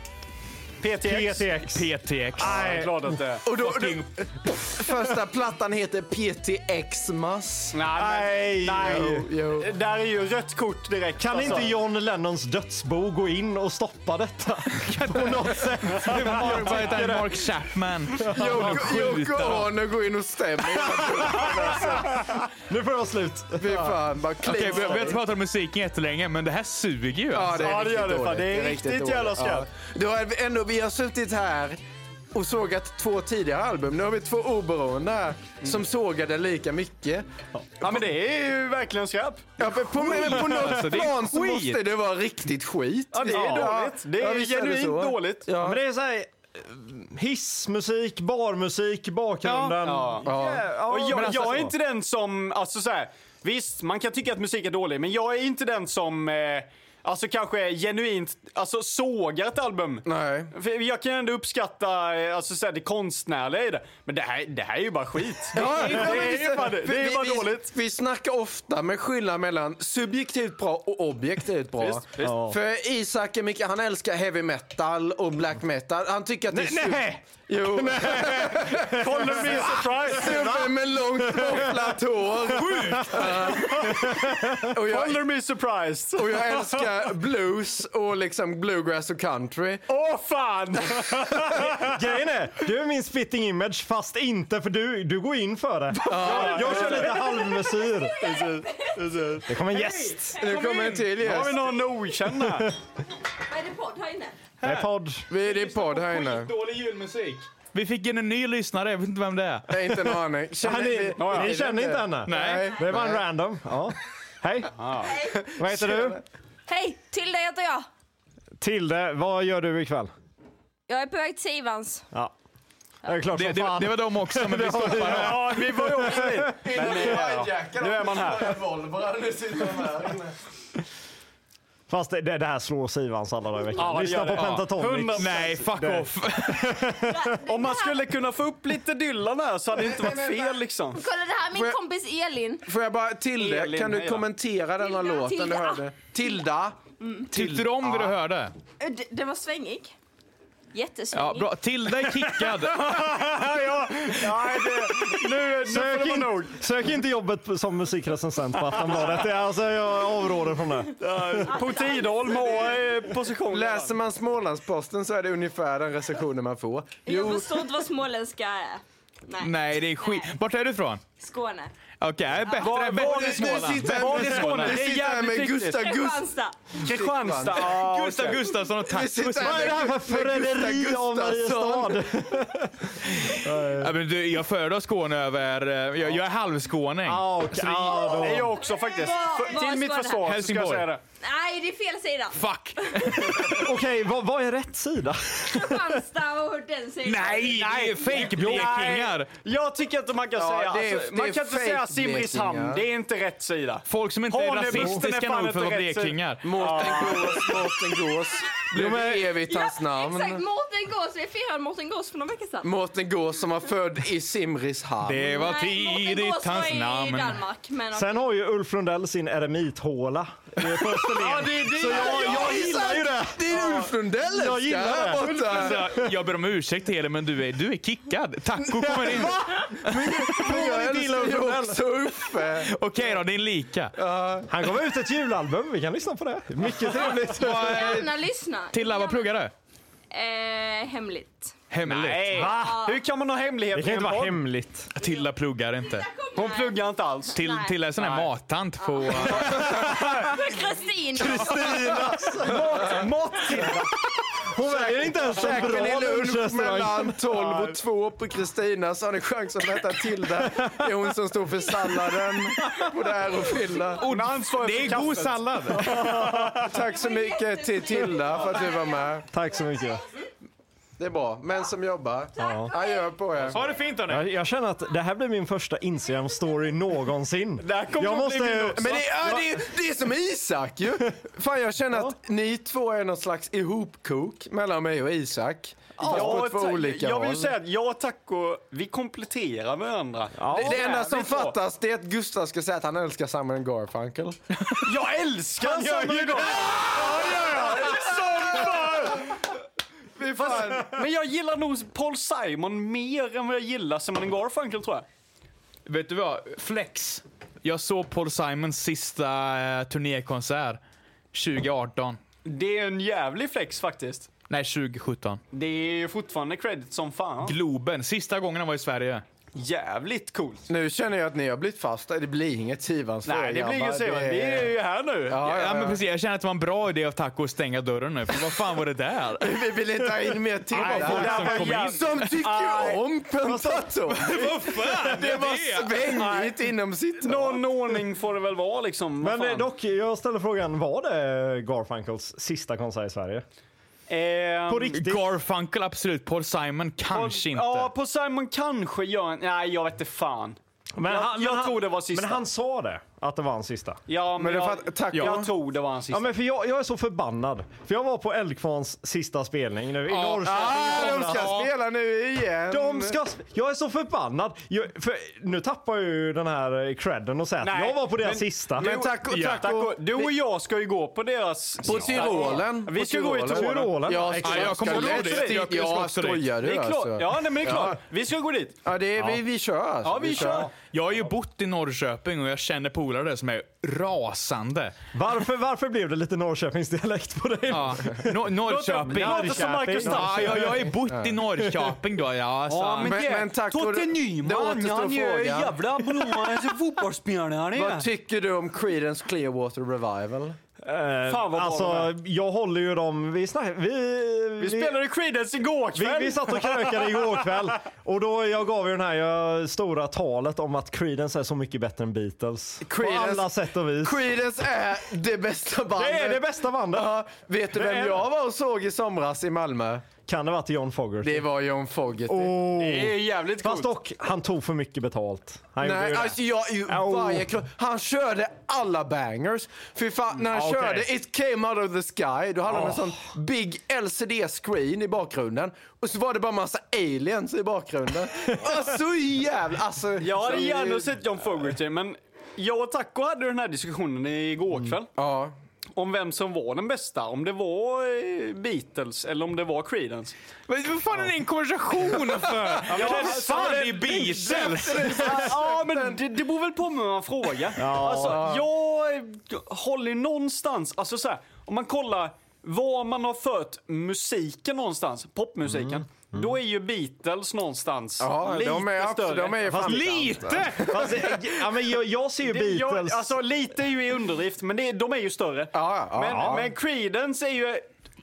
PTX.
PTX.
PTX.
Nej, glad att det
Och då, då, första plattan heter PTX-mass.
Nej, nej.
Jo, jo.
Där är ju rött kort direkt.
Kan
alltså.
inte John Lennons dödsbo gå in och stoppa detta? På något sätt.
Det var Mark, vad heter han? Mark Chapman.
Yoko- Yoko Ono går in och stämmer.
Nu får jag slut.
Fy fan, bara klipp.
Okej, vi vi har inte pratat om musiken jättelänge, men det här suger ju.
Ja,
alltså.
det är riktigt
Ja, det gör det, fan.
dåligt.
Det är riktigt jävla
dåligt.
skarpt.
Ja. Då har vi, ändå, vi har suttit här och sågat två tidigare album. Nu har vi två oberoende här
Mm.
som sågade lika mycket.
Ja, men det är ju verkligen skräp.
Ja, men på, men på något
Alltså, det är
plan så
skit.
måste det vara riktigt skit.
Ja, det är dåligt. Det är
visst så.
genuint dåligt.
Ja,
Ja.
Men det är så här, eh, hissmusik, barmusik, bakgrunden.
Ja. Och jag,
men alltså-
jag är inte den som, alltså så här, visst man kan tycka att musik är dålig, men jag är inte den som eh, alltså kanske genuint, alltså sågar ett album.
Nej.
För jag kan ändå uppskatta eh, alltså, så här, det konstnärliga i det. Men det här, det här är ju bara skit.
Ja,
det, är ju bara, det är ju bara dåligt.
Vi, vi snackar ofta med skillnad mellan subjektivt bra och objektivt bra.
Visst, visst.
Ja.
För Isak är mycket, han älskar heavy metal och black metal. Han tycker att det är...
Nej!
Jo.
Kolla min surprise!
Snubben med långt kopplat hår. Ja. och, jag,
Color me surprised!
och jag älskar blues och liksom bluegrass och country.
Åh fan!
Grejen är, du är min spitting image fast inte för du, du går in för det. Jag, jag kör lite halvmesyr. Det kommer en gäst.
Nu kommer en till
Har
gäst.
vi någon okänd här?
Vad är det podd här inne?
Det är podd.
Vi är i podd här inne.
Dålig julmusik.
Vi fick in en ny lyssnare, jag vet inte vem det är.
Nej, inte en aning. Känner,
Han
vi-
är, ni känner inte henne?
Nej.
Det var en random. Ja. Hej,
Hej.
vad heter du?
Hej, Tilde heter jag.
Tilde, vad gör du ikväll?
Jag är på väg till Sivans.
Ja. Det är klart
Det,
som
det,
fan.
det var de också, men vi stoppade dem.
Ja, vi var ju också det.
Nu
Nu är man här.
Fast det, det det här slår Sivans alla dagar i veckan.
Ja, det
Lyssna
gör
på
det.
Pentatonic.
Hundra-
Nej, fuck off.
Om man skulle kunna få upp lite Dylan här så hade det inte varit fel liksom.
Kolla, det här är
Får
min
jag-
kompis Elin.
Får jag bara, Tilde,
Elin,
kan du
hej då.
kommentera denna
Tilda,
låten du
Tilda.
hörde? Tilda.
Tyckte du om det du hörde?
Ö, d- Den var svängig. Jättesvängig.
Ja, bra. Tilda är kickad.
Nu, sök,
man
in,
nog.
sök inte jobbet på- som musikrecensent på Aftonbladet. Det är Alltså, jag avråder från det.
På Tidholm och eh, position.
Läser man Smålandsposten så är det ungefär den recensionen man får.
Jag
Jo,
förstår inte vad småländska är. Nej,
Nej, det är skit. Vart är du ifrån?
Skåne.
Okej, okay, bättre, bättre än Småland.
sitter
Bättre än
vi
Småland.
vi sitter här med Gustav Gust-
Kristianstad.
Kristianstad. Ah,
Gustav
okej.
Gustafsson och
vi
tack.
sitter här
Vad är det här för
med Gustav
förräderi av
Gustafsson.
Mariestad?
Ja, men du, jag föredrar Skåne över... eh, Jag, jag är halvskåning.
Ah, okej. Ah, då.
Det är jag också faktiskt.
Var-
För-
var
Till mitt
ska
försvar så ska jag
Helsingborg.
säga det.
Nej, det är fel sida.
Fuck!
Okej, vad, vad är rätt sida?
Kristianstad och den sidan.
Nej! det är fake blekingar!
Jag tycker inte man kan
Ja,
säga,
det är-
alltså,
det
man
är
kan inte
fake
säga Simrishamn,
blekingar.
det är inte rätt sida.
Folk som inte är
Hanöbukten är
rasistiska
fan
nog för att vara
inte rätt.
blekingar.
Mårten Gås, Mårten Gås. Blev det evigt hans
Exakt,
namn.
Mårten Gås. Vi firade Mårten Gås för några veckor sedan.
Mårten Gås som var född i Simrishamn.
Det var
Nej, Mårten Gås
tidigt
var
hans
i
namn.
Danmark. Men
Sen har ju Ulf Lundell sin eremithåla eh, på
Ja,
Österlen.
det är det.
Så jag, jag gillar ju det.
Det är Ulf Lundell
Jag gillar
älskar,
det.
här borta.
Alltså, jag ber om ursäkt till er, men du är, du är kickad. Taco kommer in.
Jag älskar ju också Uffe.
Okej då, det är en lika.
Han gav ut ett julalbum. Vi kan lyssna på det. Mycket trevligt.
Vad, eh,
Gärna lyssna.
Tilla, vad pluggar du?
Eh, hemligt.
Hemligt.
Nej.
Va?
Hur kan man ha hemligheter
Det kan ju
i en
inte vara
podd?
hemligt.
Tilla pluggar inte.
Hon pluggar inte alls.
Till,
Nej.
till en sån här mattant på... eh,
Eh, Kristin.
Hon väljer inte ens en
Käkar
bra
ni lunch
lunchrestaurang.
mellan 12 och 2 på Kristina så har ni chans att möta Tilda. Det är hon som står för salladen, både och fylla.
Hon ansvarar
Det
för
är god
kaffet.
sallad.
Tack så mycket till Tilda för att du var med.
Tack så mycket.
Det är bra. Män som jobbar. Adjö på er.
Ha det fint hörni.
Jag, jag känner att det här blir min första Instagram-story någonsin.
Det här kommer
jag
att bli min
måste...
också.
Men det, ja, det, är- det är som Isak ju. Fan jag känner att ni två är någon slags ihopkok mellan mig och Isak. Fast på
Jag,
två olika
jag vill ju
håll.
säga att jag och Taco, vi kompletterar varandra.
Det, det enda
jävligt
som
bra.
fattas det är att Gustav ska säga att han älskar Simon Garfunkel.
Jag älskar sådana gånger!
Fy fan.
Men jag gillar nog Paul Simon mer än vad jag gillar Simon Garfunkel tror jag.
Vet du vad? Flex. Jag såg Paul Simons sista eh, turnékonsert 2018.
Det är en jävlig flex faktiskt.
Nej, 2017.
Det är ju fortfarande credit som fan.
Globen. Sista gången han var i Sverige.
Jävligt coolt.
Nu känner jag att ni har blivit fast. Det blir inget Sivans för er,
Nej, det blir
grabbar.
inget så. Vi är ju här nu.
Ja,
Ja,
ja,
men
ja.
precis. Jag känner att det var en bra idé av Taco att stänga dörren nu. För vad fan var det där?
Vi vill inte ha in mer
det
Tilda.
här
som
var
kom in.
jävligt-
Som tycker om Pentaton.
det
Vad svängigt inom sitt tak.
Någon ordning får det väl vara liksom. vad
Men eh,
fan.
dock, jag ställer frågan, var det Garfunkels sista konsert i Sverige?
Ehm,
På riktigt?
Mm, Garfunkel absolut, Paul Simon kanske inte.
Ja, på Simon kanske gör en... Nej, jag vet inte fan.
Men
Jag-
han-
jag
men han-
tror det var sista.
Men han sa det. att det var hans sista.
Ja, men,
Men det
jag,
fatt- tack.
jag
Ja.
tror det var hans sista.
Ja, men för jag, jag är så förbannad. För jag var på Eldkvarns sista spelning nu i Norrköping. i
Ah, de
somras.
ska spela nu igen!
De ska... sp- Jag är så förbannad. Jag, för nu tappar jag ju den här eh, credden och säger att
Nej,
jag var på deras
men-
sista.
Men tack och
Ja.
tack
Tack
och...
och, du och jag ska ju gå på deras...
På
sista.
Tyrolen.
Vi
På
ska gå i
Tyrolen.
Tyrolen.
Tyrolen.
Ja,
Ja, jag kommer
ska
ihåg
lätt
det. Jag-
dit.
jag ska
Ja,
också dit.
skojar du
Det är klart.
alltså?
Ja, nej, men det är
Ja.
klart. Vi ska gå dit.
Ja, det är, vi, vi kör alltså.
Ja, vi kör.
Jag har ju bott i Norrköping och jag känner polare där som är rasande.
Varför, varför blev det lite Norrköpingsdialekt på dig?
Ja. No- Norrköping.
Det låter som Marcus Stark.
Ja, jag, jag har ju bott i Norrköping då. Ja, så.
Ja, men,
Men-
det,
men tack för
Totte
det- det
Nyman,
återstår
han är ju
frågan.
jävla bra alltså, fotbollsspelare. han är.
Vad tycker du om Creedence Clearwater Revival?
Eh,
Fan, vad bra
alltså, jag håller ju dem... Vi, snack, vi,
Vi spelade Creedence igår
vi,
kväll.
vi satt och krökade igår kväll och då jag gav ju den här jag, stora talet om att Creedence är så mycket bättre än Beatles. På
Creedence-
alla sätt och vis.
Creedence är det bästa
Det
bandet.
är det bästa bandet.
Ja, vet du
Det är
vem
det.
jag var och såg i somras i Malmö?
Kan det vara till John Fogerty?
Det var John Fogerty.
Åh.
Det är jävligt
Fast
coolt.
dock, han tog för mycket betalt. Han gjorde ju
Nej,
det.
alltså jag, ju,
Au.
varje kro- han körde alla bangers. Fy fan, när han
Ja, okej.
körde It came out of the sky, då hade han
Ah.
en sån big LCD-screen i bakgrunden. Och så var det bara massa aliens i bakgrunden. alltså jävla... Alltså,
Jag hade
så-
gärna sett John Fogerty, men jag och Taco hade den här diskussionen igår kväll.
Mm. Ja.
Om vem som var den bästa. Om det var eh, Beatles eller om det var Creedence.
Men Vad fan är det en konversation för? Ja, men fan, det är Beatles!
ja, men det, det beror väl på med man frågar. Alltså, jag håller ju någonstans, alltså så här, om man kollar var man har fört musiken någonstans, popmusiken, då är ju Beatles någonstans
Mm. Ja,
lite
de är, absolut,
större.
de är ju fan
Lite!
Fast, eh, ja, men jag, jag ser ju
Det- jag-
Beatles.
alltså lite är ju i underdrift, men det, de är ju större.
Ja, ja,
men,
ja.
men Creedence är ju...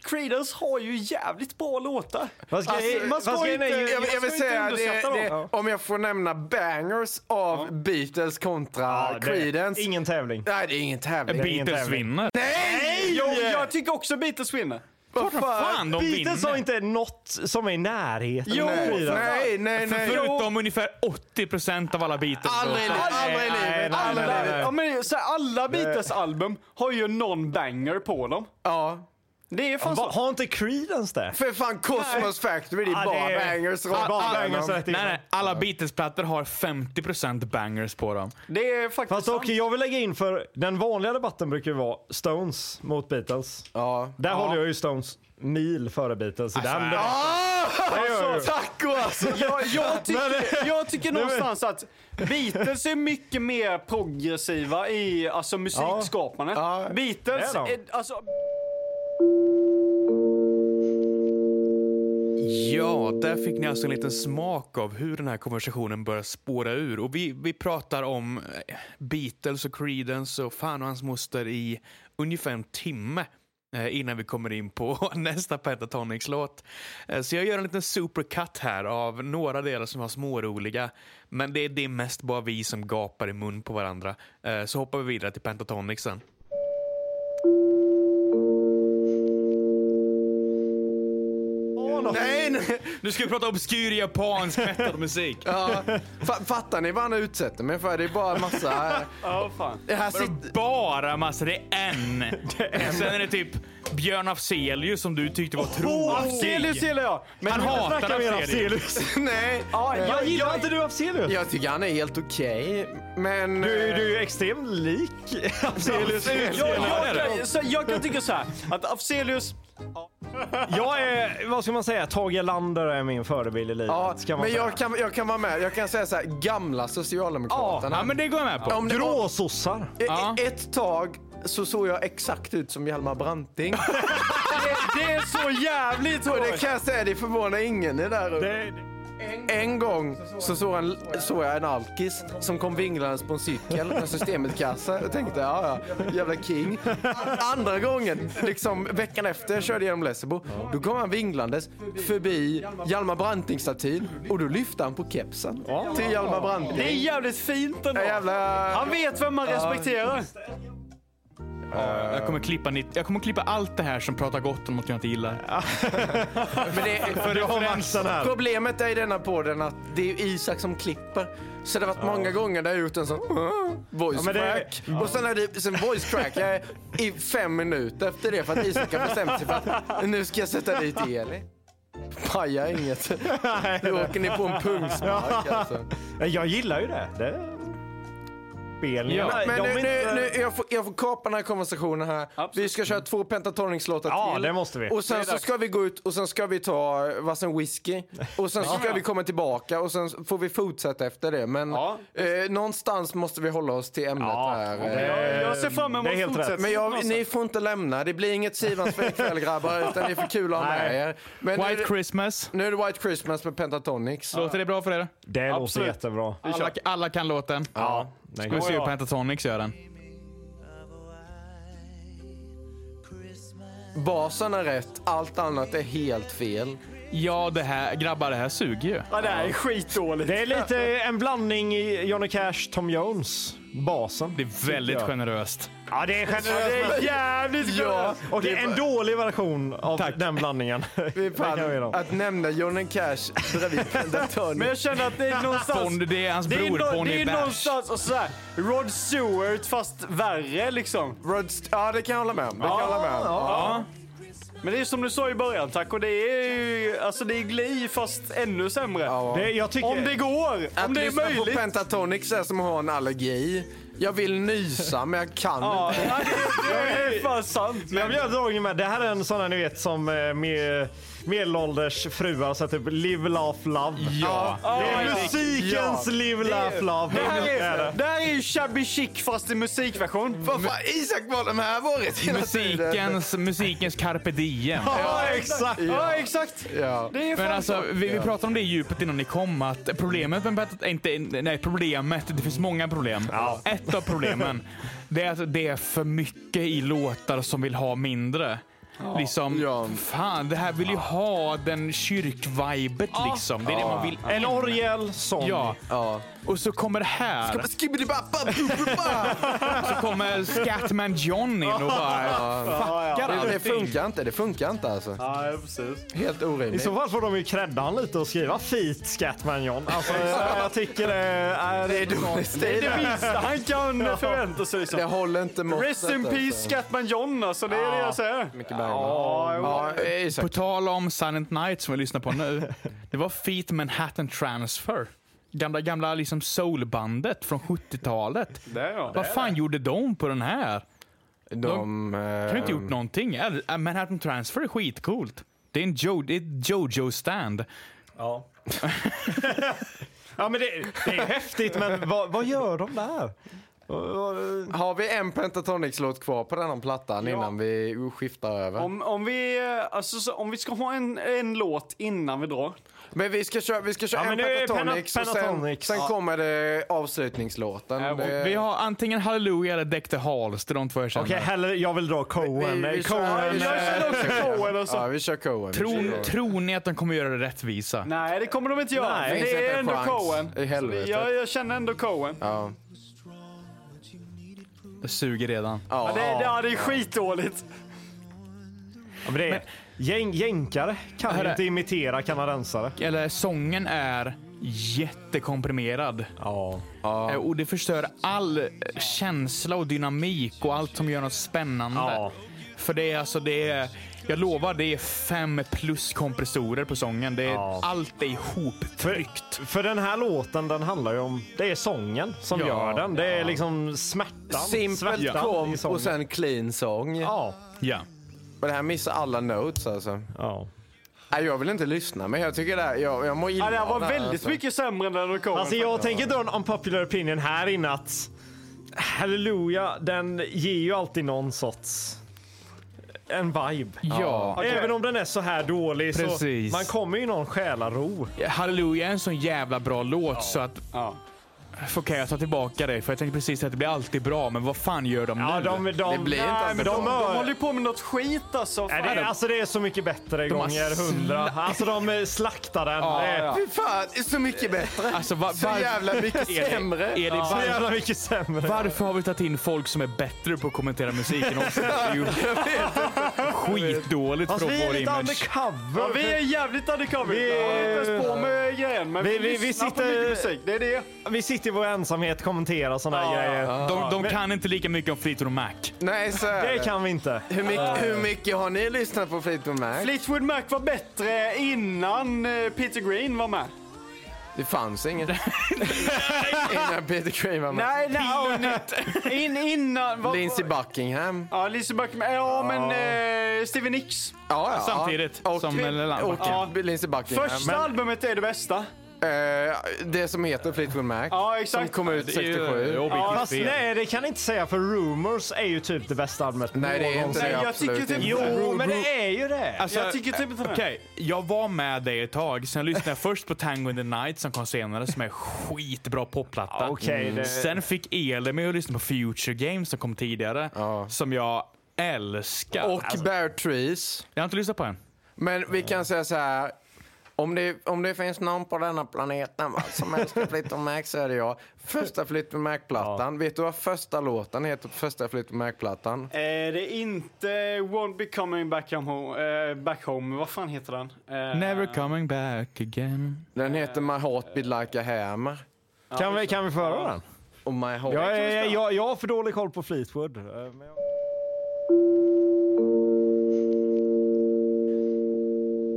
Creedence har ju jävligt bra låtar.
Fast grej-
Alltså, man ska
fast
ju
grejen är ju-
inte-
Jag, jag
man
vill
ska ju
säga,
inte
det,
underskatta dem.
det, om jag får nämna bangers av Beatles kontra
Ja, det-
Creedence.
Ingen tävling.
Nej, det är ingen tävling.
Beatles
tävling.
vinner.
Nej!
Jo, jag tycker också Beatles vinner.
Vad fan?
Fan, de
Beatles har
vinner.
inte något som är i närheten.
Jo,
av
Nej,
Creedence.
nej, nej.
För,
nej.
förutom ungefär 80 procent av alla Beatles.
Aldrig i livet, aldrig i
nej,
livet,
nej,
aldrig i
nej,
livet.
nej.
Ja, men, så här, alla Beatles-album har ju någon banger på dem.
Ja.
Det är fan
Va,
så.
har inte Creedence det?
För fan, Cosmos Factory, det är
Ja,
bara
det är-
bangers.
Ja, bara bangers rätt
Nej,
igenom.
nej, alla Beatles-plattor har 50 procent bangers på dem.
Det är faktiskt
Fast
sant.
okej, jag vill lägga in för den vanliga debatten brukar ju vara Stones mot Beatles.
Ja.
Där håller jag ju Stones mil före Beatles. i den debatten.
Ah!
Det gör jag ju.
Tack och alltså!
Jag, jag tycker, jag tycker
men-
någonstans att Beatles är mycket mer progressiva i alltså, musikskapandet.
Ja.
Beatles,
Det är de.
är, alltså,
Ja, där fick ni alltså en liten smak av hur den här konversationen börjar spåra ur. Och vi, vi pratar om eh, Beatles och Creedence och fan och hans moster i ungefär en timme eh, innan vi kommer in på nästa Pentatonics-låt. Eh, Så jag gör en liten supercut här av några delar som var småroliga. Men det, det är mest bara vi som gapar i mun på varandra. Eh, Så hoppar vi vidare till Pentatonicsen.
Nej, nej.
Nu ska vi prata obskyr japansk metalmusik.
Ja. Fa- Fattar ni vad han utsätter mig för? Det är bara massa...
ja, fan.
Det här sitter...
Vadå bara massa? Det är en. Sen är det typ Björn Afzelius som du tyckte var
Afzelius
tråkig.
gillar jag. Men
Han
nu
hatar
snackar vi om
Afzelius.
Nej.
Ja, jag,
Gillar
jag,
inte du Afzelius?
Jag tycker han är helt okej, men...
Du, du är ju extremt lik Afzelius.
jag, jag, kan- så jag kan tycka så här att Afzelius,
Jag är, vad ska man säga, Tage Erlander är min förebild i livet.
Ja,
ska man
men
säga.
jag kan, jag kan vara med. Jag kan säga så här, gamla Socialdemokraterna.
Ja, men det går jag med på.
Om det-
Gråsossar.
E-
Ja.
Ett tag så såg jag exakt ut som Hjalmar Branting.
det, det är så jävligt
Och det
hårt.
kan jag säga, det förvånar ingen i det här rummet.
Det-
En gång så såg, han, såg jag en alkis som kom vinglandes på en cykel med systemet-kassa. Jag tänkte, ja ja, jävla king. Andra gången, liksom veckan efter jag körde genom Lessebo, då kom han vinglandes förbi Hjalmar Branting-statyn och då lyfte han på kepsen till Hjalmar
Det är
Branting.
jävligt fint ändå.
Ja, jävla...
Han vet vem man respekterar.
Ja, jag, kommer klippa nitt, jag kommer klippa allt det här som pratar gott om något jag inte gillar.
Men det, för
Du har maxen här.
Problemet är i denna podden att det är ju Isak som klipper. Så det har varit många gånger där jag har gjort en sån "Ah", voice
men det-
crack. Och sen är det sen voice crack jag är i fem minuter efter det för att Isak har bestämt sig för att nu ska jag sätta dit Eli. Pajar inget. Nu åker ni på en pungspark alltså.
Jag gillar ju det. det... Spelningarna,
Ja,
Men
De
nu,
är inte-
nu, nu, jag, får, jag får kapa den här konversationen här.
Absolut.
Vi ska köra två pentatonics-låtar
Ja,
till.
det måste vi.
Och
Det
sen
är
så
dags.
ska vi gå ut och sen ska vi ta varsin whisky. Och sen så ska vi komma tillbaka och sen får vi fortsätta efter det. Men
Ja.
eh, någonstans måste vi hålla oss till ämnet
Ja,
här.
det-
Eh,
Jag, jag ser fram
Det är
emot
helt rätt.
fortsättning.
Men jag,
någonstans.
ni får inte lämna. Det blir inget Sivans för ikväll grabbar utan ni får kul att ha med
Nej.
er. Men nu,
White Christmas.
nu är det White Christmas med Pentatonics.
Låter det bra för er?
det låter
Absolut.
jättebra.
Alla, alla kan låten.
Ja,
Ska vi se hur
Ja, ja.
Pentatonix gör den.
Basen är rätt, allt annat är helt fel.
Ja, det här, grabbar, det här suger ju.
Ja, det här är skitdåligt.
Det är lite en blandning i Johnny Cash, Tom Jones, basen.
Det är väldigt generöst.
Ja, det är generöst. men-
jävligt ja,
Och det är en
bara-
dålig version av den blandningen.
Vi
Det kan vi
fan,
då.
att nämna Johnny Cash bredvid
Men
Pentatonics.
jag känner att det är någonstans...
Bond, det är hans
det är,
bror
nå- det
Bonnie
är
Bash.
någonstans, och sådär, Rod Stewart fast värre liksom.
Rod St- ja, det kan jag hålla med om. Det kan jag hålla med om.
Men det är som du sa i början, tack och det är ju, alltså det är Glee fast ännu sämre.
Det, jag tycker...
Om det går,
Att
om det är
lyssna på
möjligt.
Pentatonix är som att ha en allergi. Jag vill nysa, men jag kan
Ja,
inte.
det är- det är fan sant.
Jag vill göra dragning med. Det här är en sån här ni vet som eh, med, medelålders fruar så typ live, laugh, love.
Ja.
Det är
ja.
musikens live, laugh, love.
Det här är,
det.
det här är ju shabby chic fast i musikversion.
Vad fan, Isak var den här varit hela tiden.
Musikens, musikens carpe diem.
Ja, exakt. Ja, exakt.
Ja.
Det är
Men
fan
alltså,
sant.
vi, vi pratade om det i djupet innan ni kom, att problemet med Penta- inte, nej problemet, det finns många problem. Ett av problemen, det är att det är för mycket i låtar som vill ha mindre. Liksom,
Ja.
fan, det här vill ju ha den kyrkvibet liksom. Det är det man vill.
En orgel sång.
Ja,
Ja.
och så kommer det här.
Skibbidi-bappa, bubba.
Så kommer Scatman John in och bara fuckar
Det- Det
allting.
funkar inte, det funkar inte alltså.
Ja, precis.
Helt
I
orimligt.
så fall får de ju credda han lite och skriva feat Scatman John. Alltså, eh, jag tycker det är...
Det är dåligt. Det,
Det är det
är-
minsta han kan förvänta sig.
det
Liksom.
håller inte måttet.
Rest in
alltså.
peace Scatman John, alltså. Det är det jag säger.
Mycket bättre. Ja,
eh, På
Isak.
tal om Silent Night som vi lyssnar på nu. Det var Feet Manhattan Transfer. Gamla, gamla liksom soulbandet från 70-talet.
Där ja.
Vad fan gjorde de på den här?
De...
De har inte
ehm,
gjort någonting. Äh, Manhattan Transfer är skitcoolt. Det är en jo, det är ett Jojo-stand.
Ja, men det, det är häftigt, men vad, vad gör de där?
eh, Har vi en Pentatonix-låt kvar på denna plattan innan vi skiftar över?
Om, om, vi, eh, alltså, så, om vi ska ha en, en låt innan vi drar.
Men vi ska köra, vi ska köra
Ja,
en
men nu är det
Pentatonix
Pena-
och sen,
Pentatonix.
sen
Ja.
kommer det avslutningslåten.
Ja, och
det,
Vi har antingen Hallelujah eller Deck the Halls. Det är de två jag känner.
Okej, hellre, jag vill dra Cohen.
Vi- vi kör-
Cohen.
vi kör-
eh,
känner också Cohen och så.
ja, vi kör Cohen. vi
Tror,
kör
tror ni att de kommer göra det rättvisa?
Nej, det kommer de inte göra.
Nej,
Nej,
finns
det
inte
är
en
ändå
chans.
Cohen.
I helvete.
Jag, jag känner ändå Cohen. Ja.
Ja.
Det suger redan.
Ja.
det, det, ja, det är skitdåligt.
Ja, men det är, gäng, jänkare kan
Hörru.
ju inte imitera kanadensare.
Eller sången är jättekomprimerad.
Ja.
Eh, Och det förstör all eh, känsla och dynamik och allt som gör något spännande.
Ja.
För det är alltså, det är, jag lovar, det är fem plus kompressorer på sången. Det är,
Ja.
Allt är ihoptryckt.
För den här låten, den handlar ju om... Det är sången som
Ja,
gör den. Det är liksom smärtan.
Simpelt
svärtan i
prompt
sången.
och sen clean sång.
Ja.
Ja.
Men det här missar alla notes alltså.
ja.
Nej, jag vill inte lyssna men jag tycker det här, jag, jag mår illa
Ja, det här var
av här,
väldigt
alltså.
mycket sämre än den Cohen.
Alltså jag tänker dra en unpopular opinion här inne att Halleluja, den ger ju alltid någon sorts... En vibe.
Ja.
Även om den är så här dålig
Precis.
så man kommer ju någon själaro.
Hallelujah är en sån jävla bra låt så att
Ja.
Okej, jag tar tillbaka det. För jag tänkte precis att det blir alltid bra, men vad fan gör de
Ja,
nu?
de, de,
Det blir inte
nej,
alls
men
bra.
de,
De håller ju
de
på med något skit alltså.
Nej,
Fan.
det, alltså det är så mycket bättre
har
gånger hundra.
slakt-
Alltså de eh, slaktar den.
Ja,
det är
ja.
Fy fan, så mycket bättre.
Alltså, va,
Så
varf-
jävla mycket sämre.
Är det
så
var,
jävla mycket sämre.
varför har vi tagit in folk som är bättre på att kommentera musiken också? Det är ju skitdåligt
Alltså,
från
vi är
vår
lite
image.
undercover.
Ja, vi är jävligt undercover.
Vi-
Vi är inte ens på med grejen, men
Vi-
vi,
vi- vi
lyssnar
sitter-
på mycket musik. Det är det.
Vi sitter i vår ensamhet och kommenterar sådana här
Ja,
grejer.
De, de kan inte lika mycket om Fleetwood och Mac.
Nej, så är
Det
det.
kan vi inte.
Hur mycket, hur mycket har ni lyssnat på Fleetwood Mac?
Fleetwood Mac var bättre innan eh, Peter Green var med.
Det fanns inget. Innan Peter Craven var med.
Nej, nej. In, innan... Vad,
Lindsey Buckingham.
Ja, Lindsey Buckingham. Ja, men eh, Stevie Nicks.
Ja, ja.
Samtidigt
och,
som Lennart
och,
Buckingham.
Lindsey Buckingham.
Första albumet är det bästa.
Men, eh, det som heter Fleetwood Mac.
Ja, exakt.
Som kom ut
Det är ju
67.
objektivt
Fast
fel.
nej, det kan jag inte säga för Rumors är ju typ det bästa albumet
Nej, det är inte
någonsin.
det.
jag
absolut
tycker typ-
inte.
Jo,
Ru-
men det är ju det.
Alltså,
Jag tycker typ inte det.
Okej, jag var med dig ett tag. Sen lyssnade jag först på Tango in the Night som kom senare som är skitbra popplatta. Mm.
Ja, okej, det-
Sen fick Elin mig att lyssna på Future Games som kom tidigare.
Ja.
Som jag älskar. Alltså,
Och Bear Trees.
Jag har inte lyssnat på den.
Men vi kan säga så här. Om det, om det finns någon på denna planeten va, som älskar Fleetwood Mac så är det jag. Första Fleetwood Mac-plattan. Vet du vad första låten heter på första Fleetwood Mac-plattan?
Är Eh, det inte Won't Be Coming Back Home? eh, back home. Vad fan heter den? Eh,
Never coming back again.
Den heter My Heart Beat Like A Hammer.
kan, vi, kan vi få höra den?
Och My Heart...
Jag, är, jag, jag har för dålig koll på Fleetwood. eh, men jag-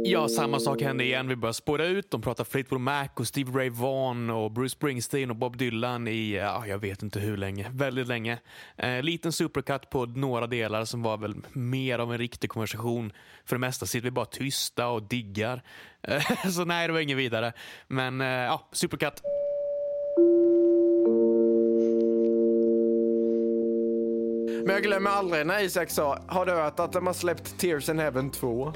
Ja, samma sak hände igen. Vi började spåra ut. De pratar Fleetwood Mac och Steve Ray Vaughan och Bruce Springsteen och Bob Dylan i, ja, jag vet inte hur länge, väldigt länge. Eh, liten supercut på några delar som var väl mer av en riktig konversation. För det mesta sitter vi bara tysta och diggar. Eh, så nej, det var inget vidare. Men eh, ja, supercut.
Men jag glömmer aldrig när Isak sa, har du hört att de har släppt Tears in Heaven 2?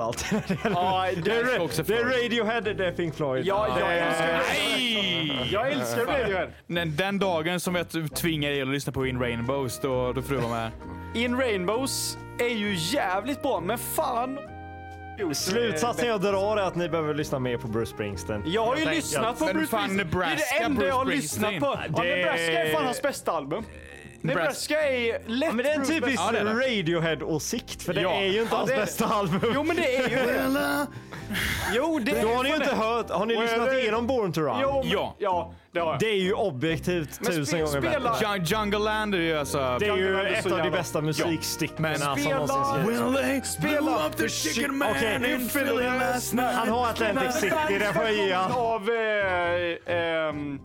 Alltid när det gäller-
Ja,
Det
det,
är, Ra- det är Radiohead, det är Pink Floyd.
ja, jag
Det är-
älskar
Nej!
jag älskar Radiohead.
Den, den dagen som jag tvingade er att lyssna på In Rainbows, då, då fruar med.
In Rainbows är ju jävligt bra, men fan.
Slutsatsen jag drar är att ni behöver lyssna mer på Bruce Springsteen.
Jag har ju
tänker-
lyssnat på
Men
Bruce
fan,
Springsteen. det är
Nebraska,
det enda
Bruce
jag har lyssnat
Springsteen.
på. Ja,
Det-
Nebraska är fan hans bästa album. Nebraska är lätt
Ja, men det är en
Bruce
typisk
bästa.
det är det.
Radiohead-åsikt, för det
Ja.
är ju inte
Ja,
hans
det är det.
bästa album.
Jo, men det är ju det. Jo, det är
Då har ni ju
fan
inte
det.
hört, har ni
Well,
lyssnat
det-
igenom Born to Run?
Jo, men-
Ja.
ja, det har jag.
Det är ju objektivt
Men
tusen
spe-
gånger
spela-
bättre.
Jung- Jungle Land är ju alltså...
Det är ju
Jungle Land är
ett
så
av de
jävla-
bästa
alltså,
musikstyckena
Men
som
spela-
någonsin skrivits.
Well, they
Spela-
blew up the chicken man
Okej,
in Philly last night.
Han har Atlantic City, det får jag ge han.
Av... Eh, ehm,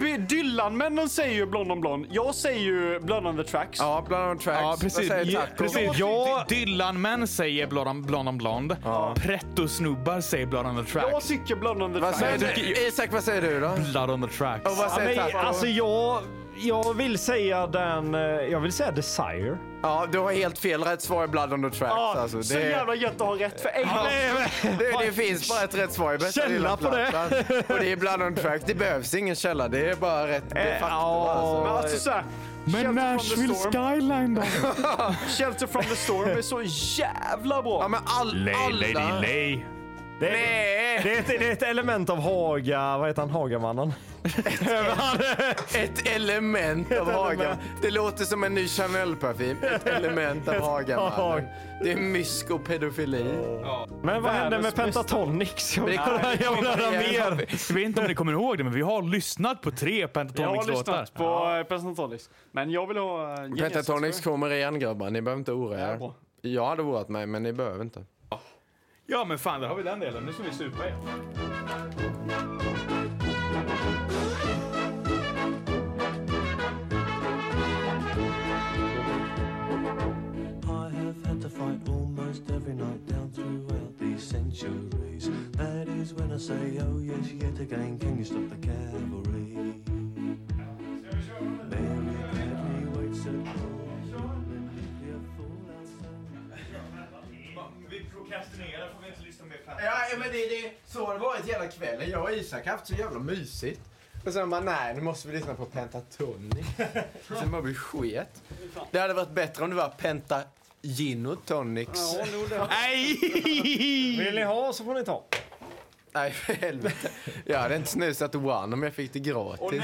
By- Dylan-männen säger ju Blond on Blond. Jag säger ju Blond on the Tracks.
Ja, bland annat tracks.
Ja, precis.
Vad säger
Ja,
Taco?
precis.
Jag-
Jag... Dylan-män säger Blond on Blond. On blond. Pretto-snubbar säger Blood on the
Jag
Tracks.
tycker Blond on the
Vad
Tracks.
säger
Jag tycker-
du? Isak, vad säger du då?
Blood on the Tracks.
Och vad
Ja,
säger
men,
Taco?
alltså jag, jag vill säga den, eh, jag vill säga Desire.
Ja, du har helt fel. Rätt svar är Blood on the Tracks.
Ja,
alltså.
Så
det,
jävla gött att ha rätt för en gång.
det, det finns bara ett rätt svar i bästa
Källa
lilla
på det.
plattan. Och det är Blood on the Tracks. Det behövs ingen källa. Det är bara rätt. Det
Eh,
är faktum, alltså.
Men alltså såhär, Shelter
Men
from the
Nashville
Storm,
Skyline då?
Shelter from the Storm är så jävla bra.
Ja, men all, alla...
lay.
Det är, Det, är ett, det är ett element av Haga, vad heter han, Hagamannen?
Ett element av Hagan. Det låter som en ny Chanel-parfym. Ett element av Hagan. Det är mysk och pedofili.
Men vad hände med
Världens bästa.
Pentatonix? Jag vill
Det-
höra- jag vill höra mer.
Jag vet inte om ni kommer ihåg det, men vi har lyssnat på tre
jag har
Pentatonix-låtar.
lyssnat på eh, Pentatonix. Men jag vill ha... eh, Genesis,
Pentatonix
tror
kommer igen grabbar. Ni behöver inte oroa
jag. Ja,
er.
bra.
Jag hade oroat mig, men ni behöver inte.
Ja, men fan, där har vi den delen. Nu ska vi supa igen.
I have had to fight almost every night down throughout these centuries. That is when I say, oh yes, yet again, can you stop the cavalry? Mary Cadney waits at home. You're a fool outside.
Vi prokrastinerar, får vi inte lyssna mer
Ja, men det, det, så har det varit hela kvällen. Jag och Isak har haft så jävla mysigt. Och sen bara, nej, nu måste vi lyssna på Pentatonic. Och sen bara, vi sket. Det hade varit bättre om det var Penta Gin och Tonics.
Ja, nog det.
Vill ni ha så får ni ta.
Nej, för helvete. Jag hade inte snusat One om jag fick det gratis.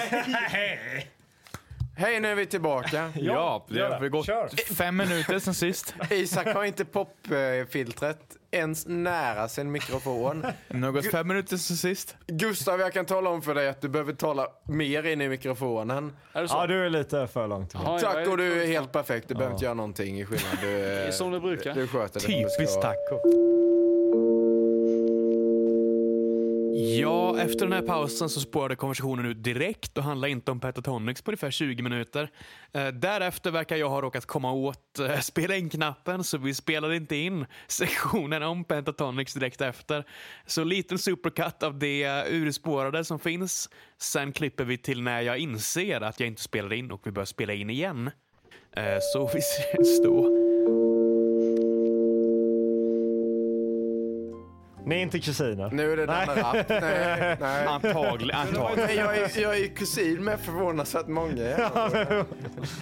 Hej, nu är vi tillbaka.
Ja, det
gör
har väl gått
Kör.
fem minuter sen sist.
Isak har inte popfiltret ens nära sin mikrofon.
Nu har det gått fem minuter sen sist.
Gustav, jag kan tala om för dig att du behöver tala mer in i mikrofonen.
Är det så?
Ja, du är lite för långt bort.
Ja, jag
Tack, och du är
lite-
helt perfekt. Du behöver inte göra någonting i skillnad. Du,
Som du brukar.
du sköter det. Du ska-
Typiskt taco. Ja, efter den här pausen så spårade konversationen ut direkt och handlade inte om Pentatonix på ungefär 20 minuter. Eh, därefter verkar jag ha råkat komma åt eh, spela in-knappen så vi spelade inte in sektionen om Pentatonix direkt efter. Så liten supercut av det urspårade som finns. Sen klipper vi till när jag inser att jag inte spelade in och vi börjar spela in igen. Eh, så vi ses då.
Ni är inte kusiner.
Nu är det den här app. Nej, nej.
Antagligen. antagligen.
Men Jag är, jag är kusin med förvånansvärt många.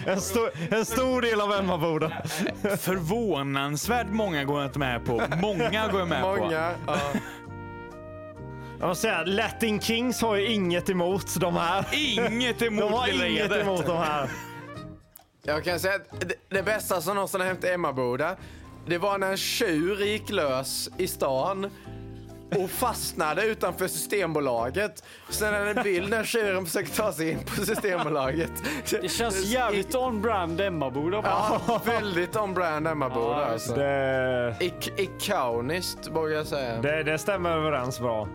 En, stor, en stor del av Emmaboda.
Förvånansvärt många går jag inte med på. Många går jag med på.
Många. Ja.
Jag måste säga, Latin Kings har ju inget emot de här.
Inget
De
emot
har
Lilla
inget
Edet.
emot de här.
Jag kan säga att det, det bästa som någonsin har hänt i Emmaboda, det var när en tjur gick lös i stan och fastnade utanför Systembolaget. Sen är det en bild när tjuren försöker ta sig in på Systembolaget.
Det känns jävligt on-brand Emmaboda. Ja.
Ja, väldigt on-brand Emmaboda alltså.
Det,
Ik- ikoniskt vågar jag säga.
det, det stämmer överens bra.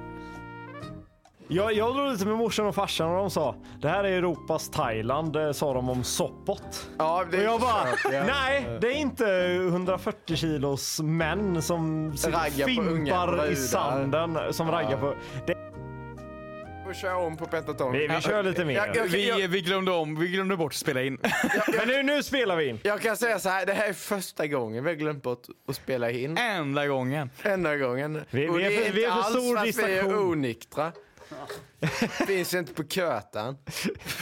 Jag, jag drog lite med morsan och farsan och de sa det här är Europas Thailand, eh, sa de om Sopot.
Ja, det
Och
är
jag bara,
kört, ja.
nej, det är inte 140 kilos män som sitter och
Raggar på ungar och
fimpar
brudar.
i sanden som raggar på. Det,
Vi kör om på Pentaton.
vi, vi kör lite
Jag,
mer.
jag, jag,
Vi, vi, glömde om, vi glömde bort att spela in.
Men nu, nu spelar vi in.
jag kan säga så här, det här är första gången vi har glömt bort att spela in.
Enda gången.
Enda gången.
Vi-
Och
vi är
det
för-
inte
vi är för
alls
stor
för att vi är
distraktion.
onyktra. Finns inte på kötan.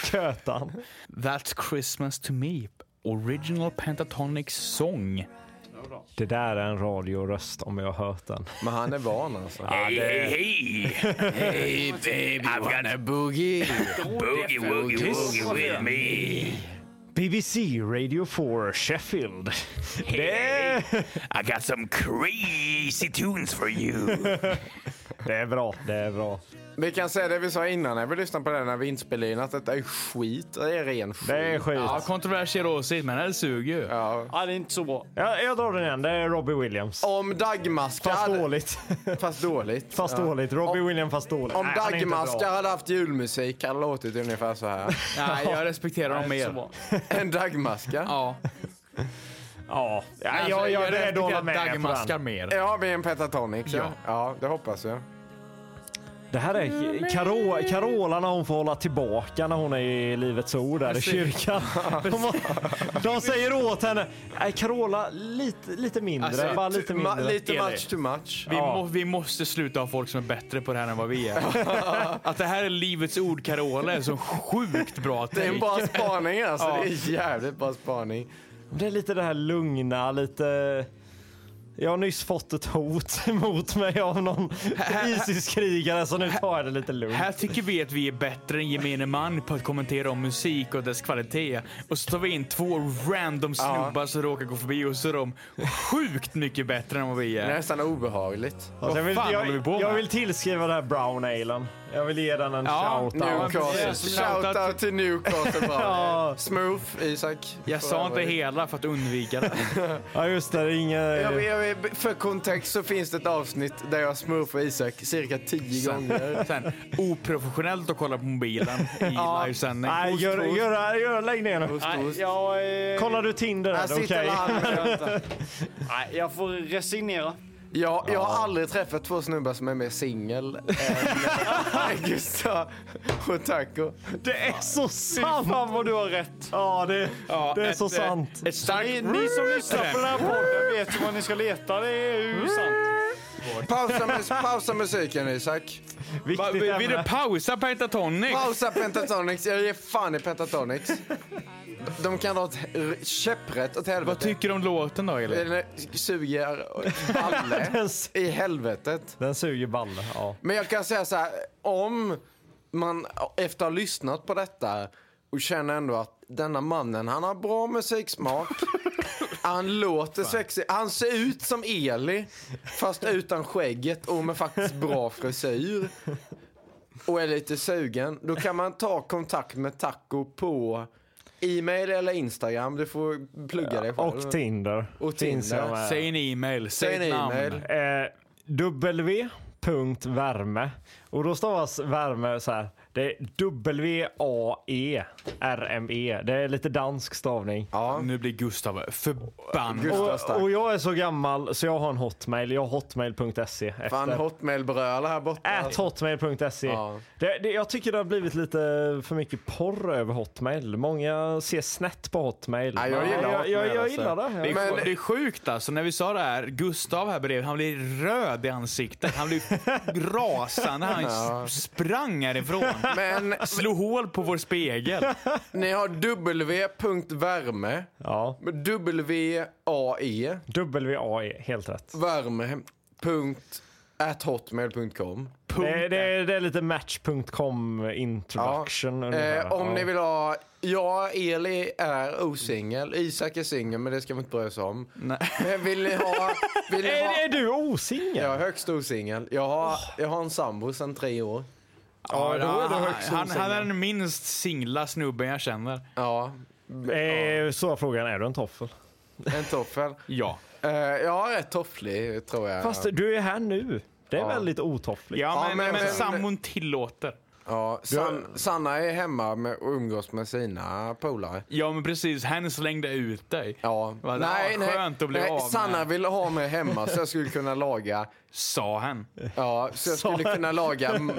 Kötan.
That's Christmas to me. Original Pentatonic song.
Det där är en radioröst om jag har hört den.
Men han är van alltså.
Ja, det,
Hey baby, wanna boogie? boogie, woogie, woogie with me.
BBC Radio 4 Sheffield. Det,
I got some crazy tunes for you.
det är bra, det är bra.
Vi kan säga det vi sa innan när vi lyssnade på den när vi inspelade in, att detta är skit. Det är ren skit.
Det är skit.
Ja, kontroversiell åsikt, men det suger ju.
Ja.
"Ah, det är inte så bra.
Jag, jag drar den igen, det är Robbie Williams.
Om dagmaskar...
Fast dåligt.
Fast dåligt.
Fast
Ja.
dåligt. Robbie Williams fast dåligt.
Om
Nej, han är inte bra.
dagmaskar hade haft julmusik hade det låtit ungefär så här.
Nej, jag respekterar dem
Det är inte så
mer.
bra.
En dagmaska.
Ja. alltså,
Ja, ja jag, jag är beredd att hålla
respekterar
med på
Dagmaskar
den.
mer.
Ja, vi är en pentatonic. Ja. ja, det hoppas jag.
Det här är Carola, Carola när hon får hålla tillbaka när hon är i Livets Ord där i kyrkan. De, har- de säger åt henne, nej Carola lite, lite mindre,
Alltså,
bara lite
ma-
mindre.
lite
Eli.
much too much.
Vi,
alltså, Ja.
må, vi måste sluta ha folk som är bättre på det här än vad vi är. Att det här är livets ord Carola är så sjukt bra
Det är
take.
en bra spaning alltså. Det är jävligt bra spaning.
Det är lite det här lugna, lite... Jag har nyss fått ett hot mot mig av någon Isis-krigare så nu tar jag det lite lugnt.
Här tycker vi att vi är bättre än gemene man på att kommentera om musik och dess kvalitet. Och så tar vi in två random snubbar som råkar gå förbi och så är de sjukt mycket bättre än vad vi
Det är
är.
nästan obehagligt.
Alltså, jag, vill,
fan håller vi på
jag,
med?
jag vill tillskriva det här brown alen. Jag vill ge den en
Ja,
shout-out.
Newcastle.
precis.
Shoutout till Newcastle. ja. Smooth, Isak.
Jag sa inte hela för att undvika det.
Ja just det, det är ingen...
Jag vet, jag vet, för kontext så finns det ett avsnitt där jag smurfar Isak cirka tio gånger.
Sen, oprofessionellt att kolla på mobilen i livesändning.
Nej, gör,
host.
gör, gör, lägg ner nu.
Ost, ost.
Jag, eh,
Kollar du Tinder?
Här
är det
sitter
Okej.
han.
nej, jag får resignera.
Jag, jag har aldrig träffat två snubbar som är mer singel än- än Gustav och Taco.
Det är så sant!
Fan vad du har rätt.
Ja, det, det är
ett,
så
eh,
sant.
Ett starkt...
Ni, ni som lyssnar på den här podden vet ju vad ni ska leta. Det är ju sant.
Pausa, mus- pausa musiken Isak.
Va,
Viktigt
vill du
ämne.
pausa Pentatonic?
Pausa Pentatonix. Jag ger fan i Pentatonix. De kan dra åt r- käpprätt åt helvete.
Vad tycker du om låten då, Elin?
Eller suger
Den
balle
s-
i helvetet.
Den suger balle. Ja.
Men jag kan säga så här, om man efter att ha lyssnat på detta och känner ändå att denna mannen, han har bra musiksmak. Han låter sexig. Han ser ut som Eli, fast utan skägget och med faktiskt bra frisyr. Och är lite sugen. Då kan man ta kontakt med Taco på e-mail eller Instagram. Du får plugga det själv.
Och Tinder.
Och
Finns
Tinder.
jag med.
Säg en e-mail. Säg
Säg
ett
en
namn.
e-mail.
Eh, w.värme. Och då stavas värme så här. Det är E W-A-E-R-M-E. E. Det är lite dansk stavning.
Ja.
Nu blir Gustav förbannad.
Gustav Stark.
Och, och jag är så gammal så jag har en hotmail. Jag har hotmail.se. efter.
Fan, hotmail brölar här borta.
At hotmail.se.
Ja.
Det, det, jag tycker det har blivit lite för mycket porr över hotmail. Många ser snett på hotmail.
Ja, jag
Men
gillar
jag, jag,
Hotmail,
jag
alltså.
gillar det. Jag-
Det är,
Men-
sj- det är sjukt alltså, när vi sa det här, Gustav här bredvid, han blir röd i ansiktet. Han blir rasande, han s- sprang härifrån.
Men
Slog hål på vår spegel.
ni har w.värme.
Ja.
W-A-E,
W-A-E, helt rätt.
E, värme, punkt, at hotmail.com.
Det, det, det är lite match.com
Ja.
introduction. ungefär.
Eh, om
Ja.
ni vill ha, ja, Eli är osingel, Isak är singel, men det ska man inte bry sig om. Men vill ni ha, vill ni
Är, är
ha
du osingel?
jag är högst osingel. Jag har, jag har en sambo sedan tre år.
Oh. Ja, då är det
han,
högst
han, han är
osannolikt.
den minst singla snubben jag känner.
Ja,
Eh, så är frågan, är du en toffel?
en toffel.
Ja.
Eh, jag är rätt tofflig, tror jag.
Fast du är här nu. Det är väldigt otoffligt.
Ja, men,
men-
men,
men-
sambon tillåter.
Ja, San, Sanna är hemma med, och umgås med sina polare.
Ja, men precis. Han slängde ut dig.
Ja.
Vad
nej, nej.
skönt att bli
nej,
av med.
Sanna vill ha mig hemma så jag skulle kunna laga,
Sa han.
ja, så jag skulle kunna laga m-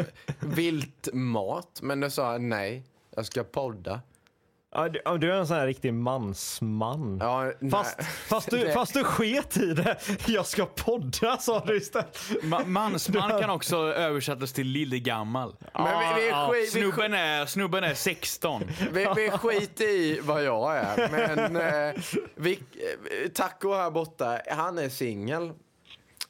viltmat. Men då sa jag nej, jag ska podda.
Ja, du, ja, du är en sån här riktig mansman.
Ja, nej.
Fast, fast, du,
Det-
fast du sket i det. Jag ska podda sa du istället.
Ma- mansman kan också översättas till lillegammal.
Men vi, vi,
Ja,
skit, vi,
Snubben är, snubben är 16.
vi, vi skiter i vad jag är. Men eh, vi, eh, Taco här borta, han är singel.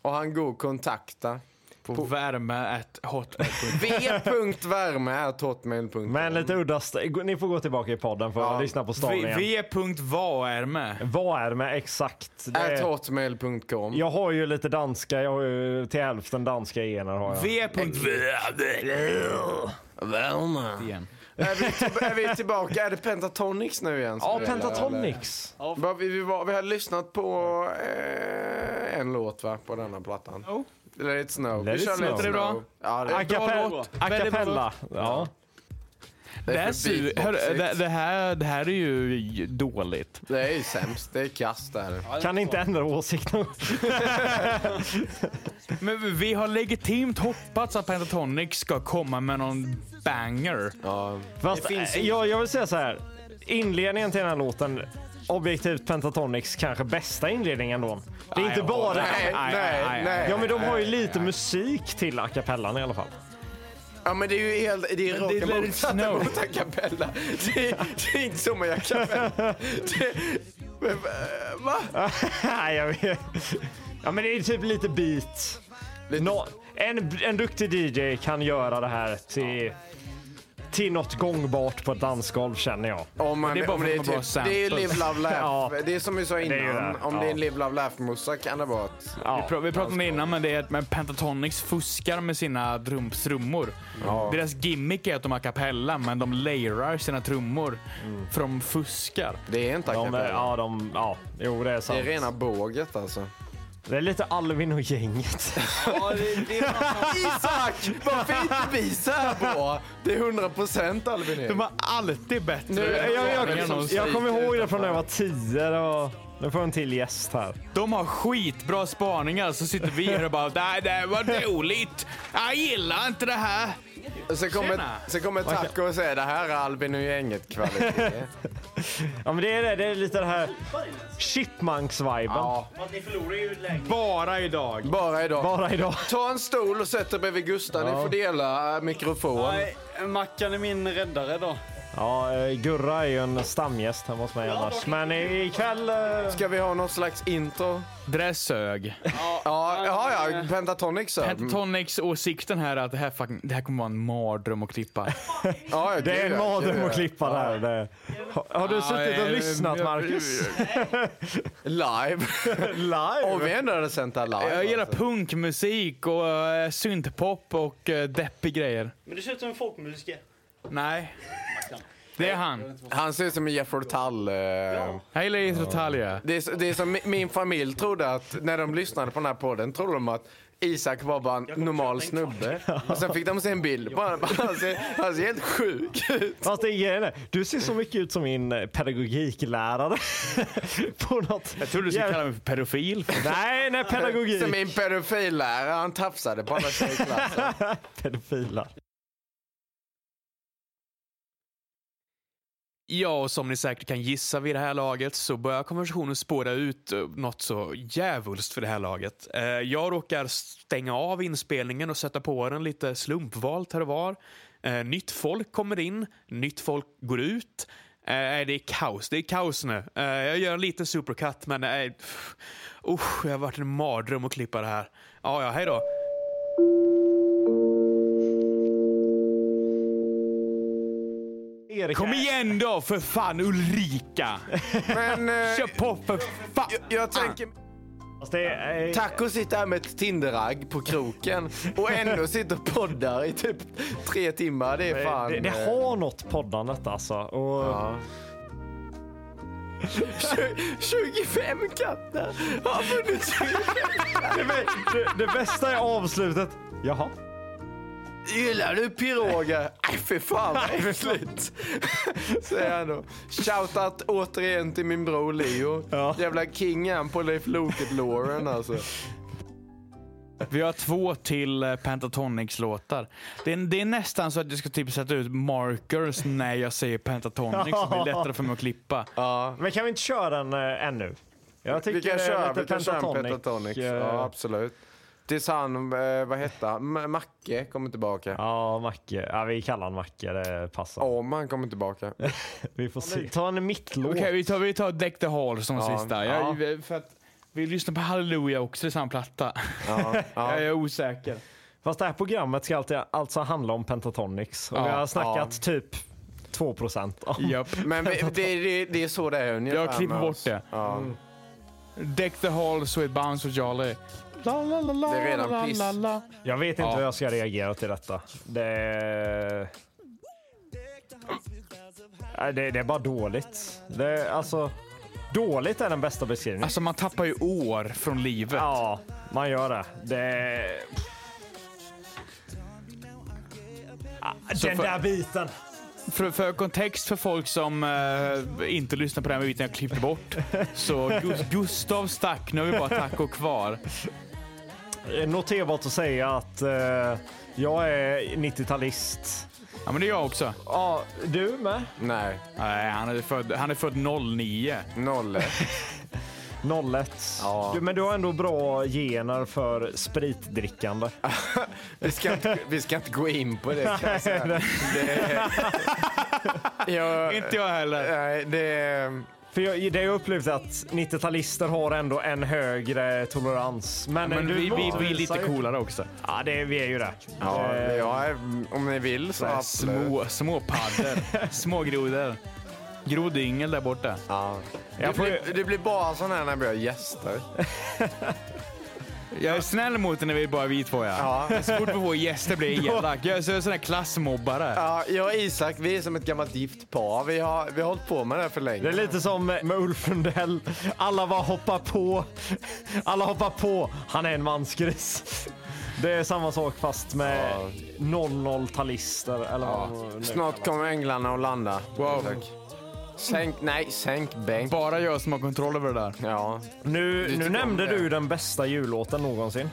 Och han går att kontakta.
På värme at hotmail.com.
v.värme.hotmail.com
Men lite udda. st- gå- Ni får gå tillbaka i podden för att
Ja.
lyssna på stavningen.
V.varme.
Vad är det med exakt? Det
At
är,
hotmail.com.
jag har ju lite danska. Jag har ju till hälften danska gener. Har jag.
V.v. igen.
Är vi, till, är vi tillbaka? Är det Pentatonix nu igen? som
Ja,
gäller, eller?
Pentatonix.
Vad Vi, vi, var, vi har lyssnat på eh, en låt va, på denna plattan.
Oh.
Let it snow.
Let
vi
it
kör
snow.
Let it
Låter det
snow. Ja, det
A
är bra
cappella.
låt.
A
Väldigt bra
cappella. Ja.
Det
Det,
är
här
för
su- hör, det,
beatboxigt.
det, här, det här är ju dåligt.
Det är ju sämst. Det är kast där.
Kan inte ändra åsikt. någon-
Men vi har legitimt hoppats att Pentatonic ska komma med någon banger.
Ja.
Fast, eh, jag, jag vill säga så här. Inledningen till den här låten, objektivt Pentatonix kanske bästa inledningen då. Det är inte bara...
Nej,
nej,
nej,
nej,
nej.
Ja men de har ju lite musik till a cappellan i alla fall.
Ja men det är ju helt, det är
det är
raka
Let It
motsatsen
Snow.
mot a cappella. Det, är- det är inte som en a cappella. Det, men, eh, va?
Nej, jag vet. Ja men det är typ lite beat.
Lite-
Nå- en, en duktig DJ kan göra det här till, till något gångbart på ett dansgolv känner jag.
Om man,
Det är bara
om
för
det, är
att man bara
typ, det är ju
samples.
Live Love Laugh.
Ja.
Det är som vi sa
är ju
innan.
det.
om
Ja.
det är en Live Love Laugh-morsa kan det vara ett...
Ja.
Pra- Vi pratade om det innan, men det är att men Pentatonix fuskar med sina drum- trummor. Deras gimmick är att de har a cappella, men de layerar sina trummor. För de fuskar.
Det är inte a
De,
cappella.
ja, de, ja, jo det är
Det
sant.
är rena båget alltså.
Det är lite Alvin och gänget.
Isak! Varför är inte vi så här bra? Det är 100%
De
Albin.
har alltid bättre.
Nu-
Jag, jag, jag, jag kommer ihåg det från när jag var tio. Det var- Nu får jag en till gäst här.
De har skitbra spaningar, så sitter vi här och bara nej, det var dåligt. Jag gillar inte det här.
Sen kommer, sen kommer Taco och säger det här är Albin och gänget kvalitet.
Ja, men det är det. Det är lite det här chipmunks-viben.
Ja,
Ni förlorar ju lägenheten.
Bara idag.
bara idag.
Bara idag.
Ta en stol och sätt dig bredvid Gustav. Ni får dela eh, mikrofon.
Nej, Mackan är min räddare då.
Ja, eh, Gurra är ju en stamgäst hemma hos mig annars. Men i- ikväll... eh,
Ska vi ha någon slags intro?
Det där sög.
Ja, ja, ja Pentatonic så.
Pentatonics åsikten här är att det här, fucking, det här kommer vara en mardröm att klippa.
Ja, ja,
Det är
gud, ja,
en
gud,
mardröm
ja.
att klippa där. Det. Har, har du suttit och
eh,
lyssnat,
jag-
Marcus?
Live. Och vi
Live?
ändå hade sänt det här live.
Jag gillar
alltså.
punkmusik och uh, syntpop och uh, deppig grejer.
Men du ser ut som en folkmusiker.
Nej. Det är han.
Han ser ut som en Jeffrey Tull. eh.
Jag gillar Jethro Tull, ja.
Det, är, så- det är som mi- min familj trodde att när de lyssnade på den här podden trodde de att Isak var bara en normal snubbe. Och sen fick de se en bild på honom. Han ser, han ser helt sjuk ut.
Fast det är grejen är, du ser så mycket ut som min eh, pedagogiklärare. på något...
Jag trodde du skulle kalla mig för pedofil.
Nej, nej, pedagogik.
Som min pedofillärare. Han tafsade på alla tjejer i klassen.
Pedofiler.
Ja, och som ni säkert kan gissa vid det här laget så börjar konversationen spåra ut eh, något så djävulskt för det här laget. Eh, Jag råkar stänga av inspelningen och sätta på den lite slumpvalt här och var. Eh, Nytt folk kommer in, nytt folk går ut. Eh, nej, det är kaos. Det är kaos nu. Eh, Jag gör en liten supercut, men nej. pff. Usch, det har varit en mardröm att klippa det här. Ja, ja, hej då.
Erik,
Kom igen då, för fan Ulrika!
Men eh,
Kör på för fan!
jag, jag tänker...
fast Det är, eh,
Taco sitter här med ett Tinderagg på kroken och ändå sitter och poddar i typ tre timmar. Det är fan...
det, det
eh,
har något poddandet alltså. Och,
25 katter har funnits.
det, det, det bästa är avslutet. Jaha.
Gillar du piroger? Nej, fy fan vad äckligt. Säger han då. Shoutout återigen till min bror Leo.
Ja.
Jävla kingen på Leif Loket-låren alltså.
Vi har två till eh, Pentatonics-låtar. Det är, det är nästan så att jag ska typ sätta ut markers när jag säger Pentatonics. så Det blir lättare för mig att klippa.
Ja.
Men kan vi inte köra den eh, ännu? Jag tycker
Vi kan
det är
köra,
lite
vi kan köra en
pentatonic,
pentatonics.
eh,
Ja, absolut. Tills han, eh, vad hette han, M- Macke kommer tillbaka.
Ja, Macke. Ja, vi kallar han Macke, det passar.
Om han kommer tillbaka.
Vi får se. Ta en mittlåt.
Okej, vi tar, vi tar Deck the Hall som
Ja,
sista. Jag, för att, vi lyssnar på Hallelujah också i samma platta.
Ja, ja.
Jag är osäker.
Fast det här programmet ska alltid, alltså handla om pentatonics. Och
Ja,
vi har snackat typ 2 procent.
Japp.
Men vi, det, det, det är så det är ungefär
Jag klipper
med
bort
oss.
det.
Ja.
Deck the Hall, Sweet Bounce och Jolly. La, la, la, la,
Det är redan
la,
piss.
la, la.
Jag vet inte
Ja.
hur jag ska reagera till detta. Det... Nej, Det, det är bara dåligt. Det, alltså, dåligt är den bästa beskrivningen.
Alltså man tappar ju år från livet.
ja, man gör det. det... Ah, Den
för-
där biten.
För, för kontext för folk som eh, inte lyssnar på den här biten jag klippte bort. Så Gus- Gustav stack, nu har vi bara Taco kvar.
Noterbart Eh, att säga att eh, jag är 90-talist.
Ja men det är jag också.
Ja, du med?
Nej,
Nej, han är född, han är född 09.
noll.
01.
Ja.
Du, men du har ändå bra gener för spritdrickande.
Vi ska, inte, vi ska inte gå in på det kan jag säga. Det, jag,
Inte jag heller.
Nej, det...
För jag, det jag upplevt är att 90-talister har ändå en högre tolerans. Men,
Men
du
vi, vi, vi är
motbevisar
lite
ju-
coolare också.
Ja, det, vi är ju det.
Ja,
Eh,
jag är, om ni vill så absolut.
Små, små paddor. Små grodor. Grodyngel där borta.
Ja. Det,
Jag får ju-
blir, det blir bara sån här när vi har gäster.
Jag är snäll mot er när vi är bara vi två ja.
Ja.
Men Så fort vi får gäster blir jag elak. Jag är så- sån här klassmobbare.
Ja, jag och Isak, vi är som ett gammalt gift par. Vi har, vi har hållit på med det här för
Det är
länge.
lite som med Ulf Lundell. Alla bara hoppar på. Alla hoppar på. Han är en mansgris. Det är samma sak fast med 00-talister. Eller vad de nu
Snart kommer änglarna att landa.
Wow.
Isak. Sänk, nej, sänk bänk.
Bara jag som har kontroll över det där.
Ja.
Nu, nu
tycker
nämnde
om det.
du den bästa jullåten någonsin.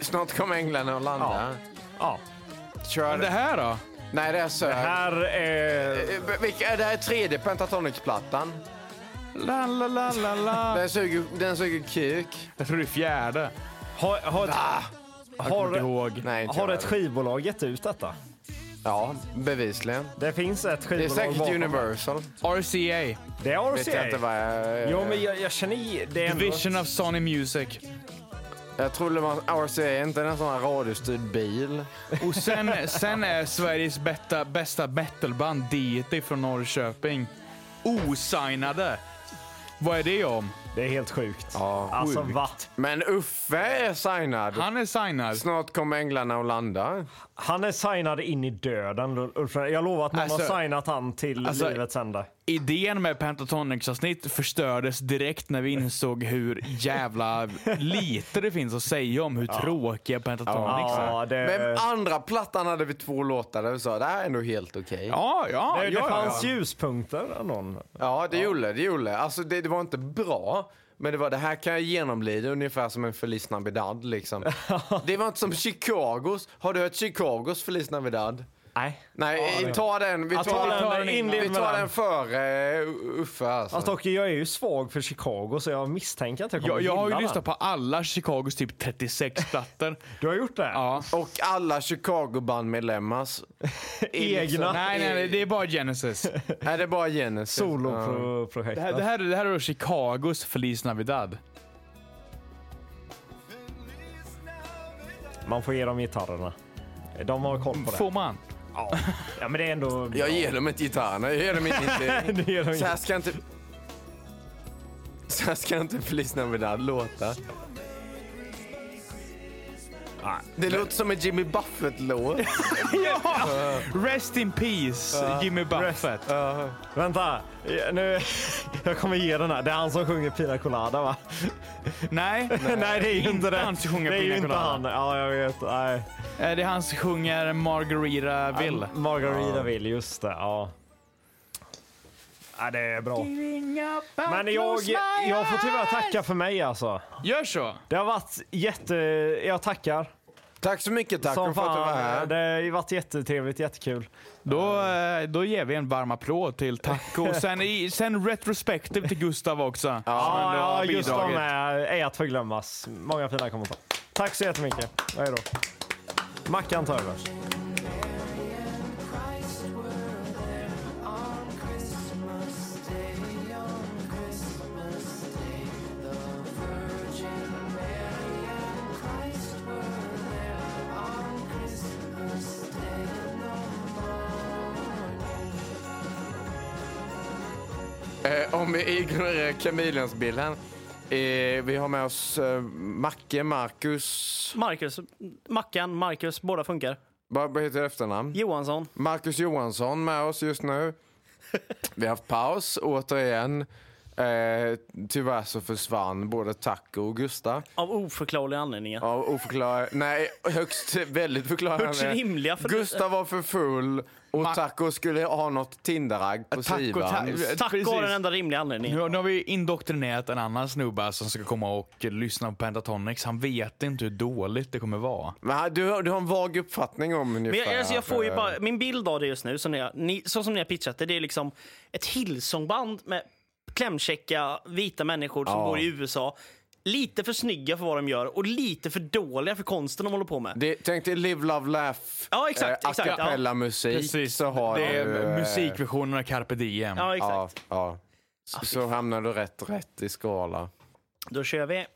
Snart kommer änglarna att landa.
Ja.
Kör.
Det här då?
Nej, det är Söd. Det här,
Här är...
det här är tredje Pentatonix-plattan.
La, la, la, la, la.
Den suger, den suger kuk.
Jag tror det är fjärde.
Har, har, ett,
Jag kommer inte
har,
ihåg.
Nej, inte
har
jag.
ett skivbolag gett ut detta?
Ja, bevisligen.
Det finns ett
Det är
skivbolag
säkert
bakom.
Universal.
RCA.
Det är
Vet jag inte
RCA.
vad jag...
Jo, men jag, jag känner i- det är ändå...
Division of Sony Music.
Jag tror det var RCA, är inte en sån här radiostyrd bil.
Och sen, sen är Sveriges bästa, bästa battleband Deity från Norrköping. Osignade. Vad är det om?
Det är helt sjukt.
Ja,
alltså,
sjukt.
vad?
Men Uffe är signad.
Han är signad.
Snart kommer änglarna att
Eh.
landa.
Han är signad in i döden, Ulf. Jag lovar att någon
Alltså-
har signat han till
alltså-
livets ände.
Idén med Pentatonix-avsnitt förstördes direkt när vi insåg hur jävla lite det finns att säga om hur tråkiga Pentatonix är.
Ja, det...
Men andra plattan hade vi två låtar där vi sa det här är ändå helt okej.
Ja, ja,
det, det
ja, ja.
fanns ljuspunkter, någon. Alltså,
Ja, det gjorde det. Gjorde. Alltså, det, det var inte bra, men det var det här kan jag genomlida ungefär som en Feliz Navidad. Liksom. det var inte som Chicagos. Har du hört Chicagos Feliz Navidad?
Nej.
Nej, ta den. Vi
Ja,
tar,
ta den.
den,
Inlev
vi
med
tar
den.
den före eh, Uffe. Alltså.
Alltså, dock, jag är ju svag för Chicago, så jag misstänker att jag kommer
Jag, jag har
gilla
ju
den.
lyssnat på alla Chicagos typ 36 plattor.
Du har gjort det?
Ja.
Och alla Chicago-bandmedlemmars
Egna
Nej, nej, nej, det är bara Genesis.
Nej, det är bara Genesis. Ja.
soloprojekt.
Det här, det här, det här är då Chicagos Feliz Navidad.
Man får ge dem gitarrerna. De har koll på det.
Får man?
Ja, men det är ändå...
Jag ger dem inte gitarrerna. Jag ger dem inte...
Det ger dem
Så här ska inte... Så här ska inte Feliz Navidad låta. Det låter som en Jimmy Buffett-låt.
Eh, Rest in peace,
Eh,
Jimmy Buffett.
Vänta, nu... jag kommer ge den här. Det är han som sjunger Pina Colada, va?
Nej,
Nej, det är ju inte det.
Eh, han som sjunger
det är ju
Pina
inte
Colada.
han. Ja, jag vet. Nej.
Eh, det är han som sjunger Margaritaville.
Margaritaville, just det. Ja. Ja, det är bra. Men jag, jag får tyvärr tacka för mig alltså.
Gör så.
Det har varit jätte... Jag tackar.
Tack så mycket, tack
som
för att du var
fan. Det
här.
har ju varit jättetrevligt, jättekul.
Då, eh, då ger vi en varm applåd till Taco. Och Sen, i- sen retrospektiv till Gustav också. som
Ja,
ändå har
ja just de
bidragit.
är, är att förglömmas. Många fina kommentarer. Tack så jättemycket. Hej då. Mackan tar över.
Eh, om vi ignorerar kameleonsbilden. Eh, vi har med oss eh, Macke, Marcus...
Marcus, Mackan, Marcus, båda funkar.
Vad vad heter efternamn?
Johansson.
Marcus Johansson med oss just nu. Vi har haft paus återigen. Eh, tyvärr så försvann både Taco och Gustav.
Av oförklarliga anledningar.
Av oförklar... Nej, högst väldigt förklarande.
Högst rimliga för-
Gustav var för full och Taco skulle ha något Tinderagg på
Taco, ta-
sidan.
Tack
precis.
vare den enda rimliga
Nu,
anledningen.
nu har vi indoktrinerat en annan snubbe som ska komma och lyssna på Pentatonix. Han vet inte hur dåligt det kommer vara.
Men han- du, har- du har en vag uppfattning om
Men
ungefär.
jag, alltså jag får ju
eh,
bara, min bild av det just nu, som ni, har- ni, så som ni har pitchat det, det är liksom ett Hillsongband med klämkäcka vita människor som bor i USA. Lite för snygga för vad de gör och lite för dåliga för konsten de håller på med.
Det, tänk dig Live, Love, Laugh,
Ja, exakt,
eh, a
exakt, ja.
cappella musik. Så har
det är
du, eh,
musikversionen av Carpe Diem.
Ja, exakt. Ah,
Ja, ja. Så, så hamnar du rätt, rätt i skala.
Då kör vi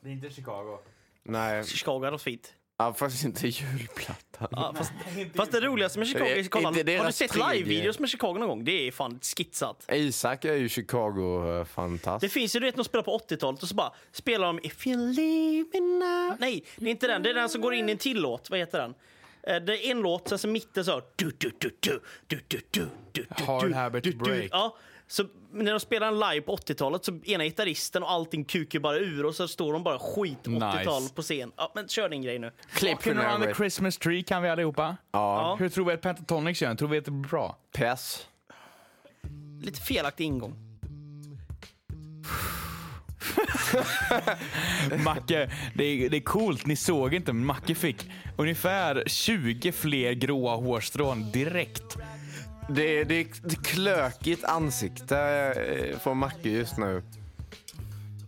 Det är inte Chicago.
Nej,
Chicago och fint.
ja, fast inte julplattan.
Ja, fast, fast det roligaste med Chicago,
Det är
är, kolla,
inte deras
har du sett
tredje.
live-videos med Chicago någon gång? Det är fan skitsat.
Isak är ju eh,
Det
Chicago-fantast.
finns ju du vet de spelar på 80-talet och så bara spelar de If you leave me now. Nej, det är inte den. Det är den som går in i en till låt. Vad heter den? Eh, Det är en låt, sen så mitten så här, du, du, du, du, du, du, du, du, du,
Hard
du,
Habit
du, du.
Break.
Ja, så när de spelar en live på 80-talet så ena gitarristen och allting kukar bara ur och så står de bara skit 80-tal
Nice.
på scen. Ja, men kör din grej nu.
Walking around the Christmas tree kan vi allihopa.
Ja.
Hur tror vi att Pentatonix gör? Tror vi att det blir bra?
Pess.
Lite felaktig ingång.
Macke, det är, det är coolt. Ni såg inte, men Macke fick ungefär 20 fler gråa hårstrån direkt. Äh,
Det, är- det är ett klökigt ansikte eh, från Macke just nu.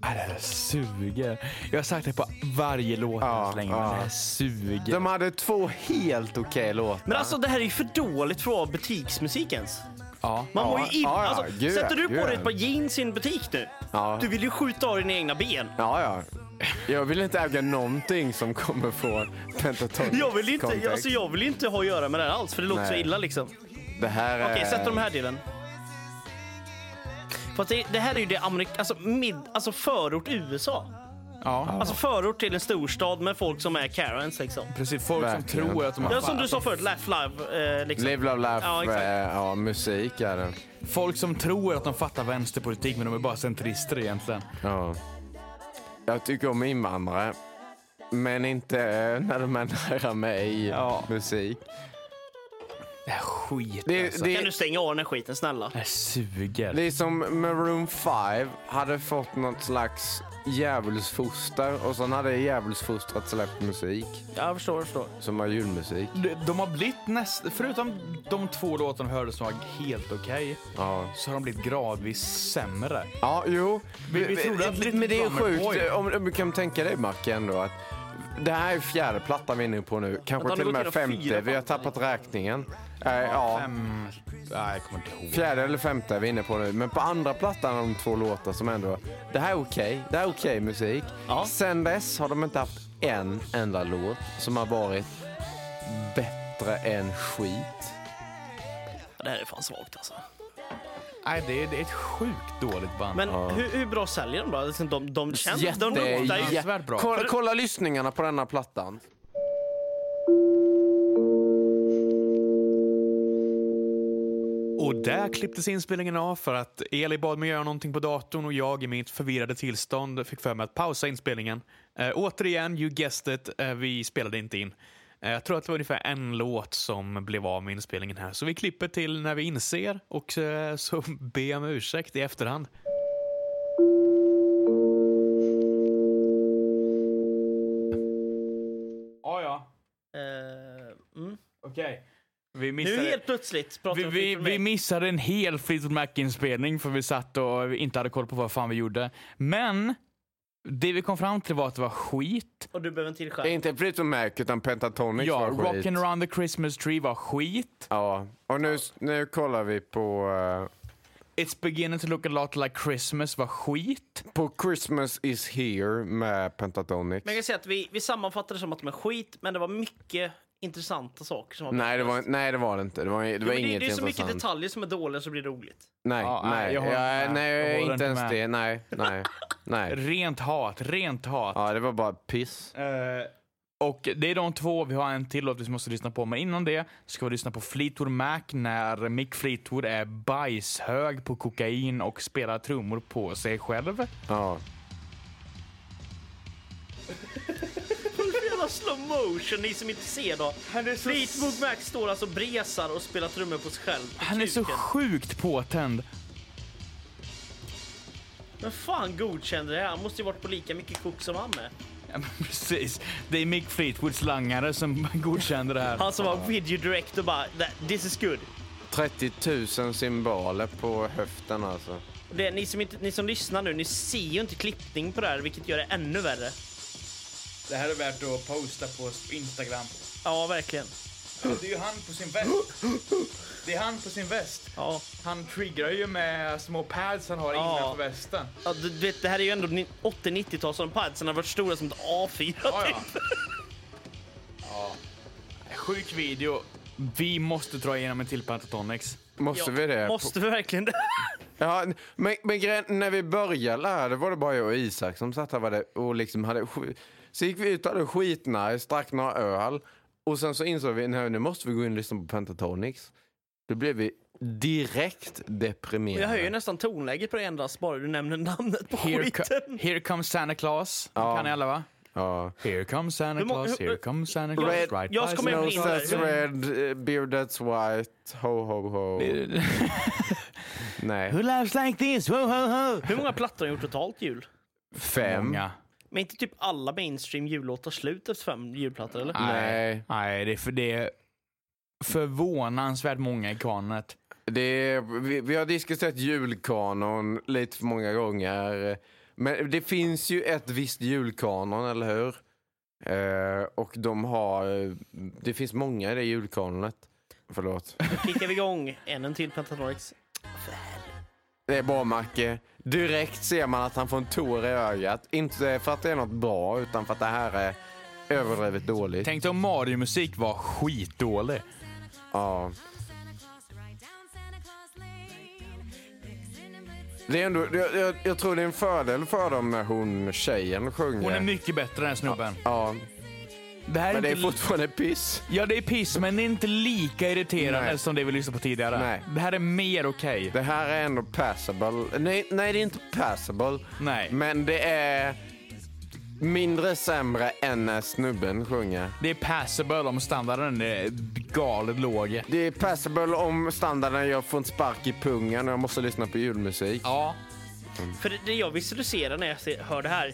Ah, Det här suger. Jag har sagt det på varje låt
Ja,
än så länge.
ja.
men Det här suger.
De hade två helt okej låtar.
Men alltså det här är ju för dåligt för att vara butiksmusik ens.
Ja.
Man
Ja,
mår ju illa.
ja, ja,
alltså,
gud,
sätter du
gud,
på dig
ja.
ett par jeans i en butik nu?
Ja.
Du vill ju skjuta av dina egna ben.
Ja, ja. Jag vill inte äga någonting som kommer från pentatonics
Jag vill inte,
kontext.
alltså, jag vill inte ha att göra med det här alls för det låter
Nej. Eh.
så illa liksom.
Det här är...
Okej, sätt den här delen. Fast det, det här är ju det amerikanska, alltså, mid, alltså förort USA.
Ja.
Alltså förort till en storstad med folk som är Karens liksom.
Precis, folk
Verkligen.
som tror att de
Det
har
är som du sa förut, Laugh Live. Eh, liksom.
Live, love, laugh.
Ja,
Ja,
exakt.
ja, musik är det.
Folk som tror att de fattar vänsterpolitik, men de är bara centrister egentligen.
Ja. Jag tycker om invandrare. Men inte eh, när de är nära mig
Ja.
musik.
Det här skit
Det,
alltså.
det,
Kan du stänga av den här skiten snälla?
Det här suger.
Det är som Maroon 5 hade fått något slags djävulsfoster och sen hade djävulsfostret släppt musik
Jag förstår, jag förstår.
som var julmusik.
De- De har blivit näst, förutom de två låtarna vi hörde som var helt okej,
Ja,
så har de blivit gradvis sämre.
ja jo.
Vi- vi trodde att
men det är
Drummer Boy-
sjukt. Om, om du kan tänka dig Macke ändå att det här är fjärde plattan vi är inne på nu.
Att
Kanske
han
till och
har
med
gått igenom fyra
femte. Vi har tappat räkningen. Eh, ja,
Fem... Nej, jag kommer inte ihåg.
fjärde eller femte är vi inne på nu. Men på andra plattan har de två låtar som ändå, det här är okej. Det här är okej musik. Sen dess har de inte haft en enda låt som har varit bättre än skit.
Det här är fan svagt alltså.
Nej, det är, det är ett sjukt dåligt band.
Men hur, hur bra säljer de då? Alltså, De, de känns...
Jätte-
de luktar ju...
jä-
Fruktansvärt bra.
Kolla, kolla lyssningarna på denna plattan.
Och där klipptes inspelningen av för att Eli bad mig göra någonting på datorn och jag i mitt förvirrade tillstånd fick för mig att pausa inspelningen. Eh, återigen, you guessed it, eh, vi spelade inte in. Eh, jag tror att det var ungefär en låt som blev av med inspelningen här. Så vi klipper till när vi inser och eh, så ber om ursäkt i efterhand. Ja, Ah, ja,
Eh, mm.
okej. Vi
Nu
missade...
helt plötsligt pratar
Vi,
de
vi,
fritt
vi missade en hel Fleetwood Mac-inspelning för vi satt och inte hade koll på vad fan vi gjorde. Men det vi kom fram till var att det var skit.
Och du behöver en till
Det är
skärm.
inte Fleetwood Mac utan Pentatonix
Ja,
var skit.
Rockin' around the Christmas tree var skit.
Ja, och nu, nu kollar vi på, eh,
It's beginning to look a lot like Christmas var skit.
på Christmas is here med Pentatonix.
Men jag kan säga att vi, vi sammanfattar det som att de är skit, men det var mycket intressanta saker som var
Nej det, var, nej, det var det inte. Det var, det var
Jo, men
inget
det, det är så mycket
intressant.
detaljer som är dåliga så blir det roligt.
Nej,
Ja, nej,
nej,
jag
jag,
håller inte med.
nej,
Jag håller
inte,
inte
ens
med.
det. Nej, nej, nej.
Rent hat, rent hat.
Ja, det var bara piss.
Eh, och det är de två, vi har en till låt vi måste lyssna på. Men innan det ska vi lyssna på Fleetwood Mac när Mick Fleetwood är bajshög på kokain och spelar trummor på sig själv.
Ja.
Jävla slow motion, ni som inte ser då. Fleetwood Mac står alltså och bresar och spelar trummor på sig själv.
Han är så
Kuken.
sjukt påtänd.
Men fan godkände det här? Han måste ju varit på lika mycket kok som han är.
Ja, men precis. Det är Mick Fleetwoods langare som godkände det här.
Han som var Alltså, video director bara, "That- this is good.
30 000 symboler på höften alltså.
Det, ni, som inte, ni som lyssnar nu, ni ser ju inte klippning på det här vilket gör det ännu värre.
Det här är värt att posta på Instagram.
Ja, verkligen.
Det är ju han på sin väst. Det är han på sin väst.
Ja.
Han triggar ju med små pads han har
Ja. innanför
västen.
Ja, du, du vet, det här är ju ändå ni- 80-90-tal som padsen har varit stora som ett A4 typ.
Sjuk video. Vi måste dra igenom en till Pentatonix.
Måste vi det?
Måste vi verkligen det?
Ja, men, men grejen, när vi började lära det var det bara jag och Isak som satt här var det, och liksom hade sk- Så gick vi ut och hade skitnice, drack några öl och sen så insåg vi nej, nu måste vi gå in och lyssna på Pentatonix. Då blev vi direkt deprimerade.
Jag höjer ju nästan tonläget på det endast bara du nämner namnet på
Here, co-
skiten.
here comes Santa Claus. Den
Ja.
kan ni alla va?
ja.
Here comes Santa
Hur må-
Claus,
hur-
here comes Santa Claus.
Red-
right
jag
by
ska med-
Nose that's
Ja.
red, eh, beard that's white, ho ho ho. Nej.
Who loves like this? Ho, ho, ho.
Hur många plattor har de gjort totalt jul?
Fem?
Många.
Men inte typ alla mainstream jullåtar slut efter fem julplattor eller?
Nej.
Nej, det är, för det är förvånansvärt många i kanet.
Det är, vi, vi har diskuterat julkanon lite för många gånger. Men det finns ju ett visst julkanon, eller hur? Eh, och de har... Det finns många i det julkanonet. Förlåt.
Kickar vi igång än en till Pentatonix.
Det är bra, Macke. Direkt ser man att han får en tår i ögat. Inte för att det är något bra, utan för att det här är överdrivet dåligt.
Tänk dig om Mario-musik var skitdålig.
Ja. Det är ändå, jag, jag, jag tror det är en fördel för dem när hon tjejen sjunger.
Hon är mycket bättre än snubben.
Ja,
Det här är
men det är
inte li-
fortfarande piss.
Ja, det är piss, men det är inte lika irriterande
Nej.
som det vi lyssnade på tidigare.
Nej.
Det här är mer okej.
Det här är ändå passable. Nej, nej det är inte passable.
Nej.
Men det är mindre sämre än när snubben sjunger.
Det är passable om standarden är galet låg.
Det är passable om standarden är jag får en spark i pungen och jag måste lyssna på julmusik.
Ja,
För det- det jag visualiserar när jag ser- hör det här.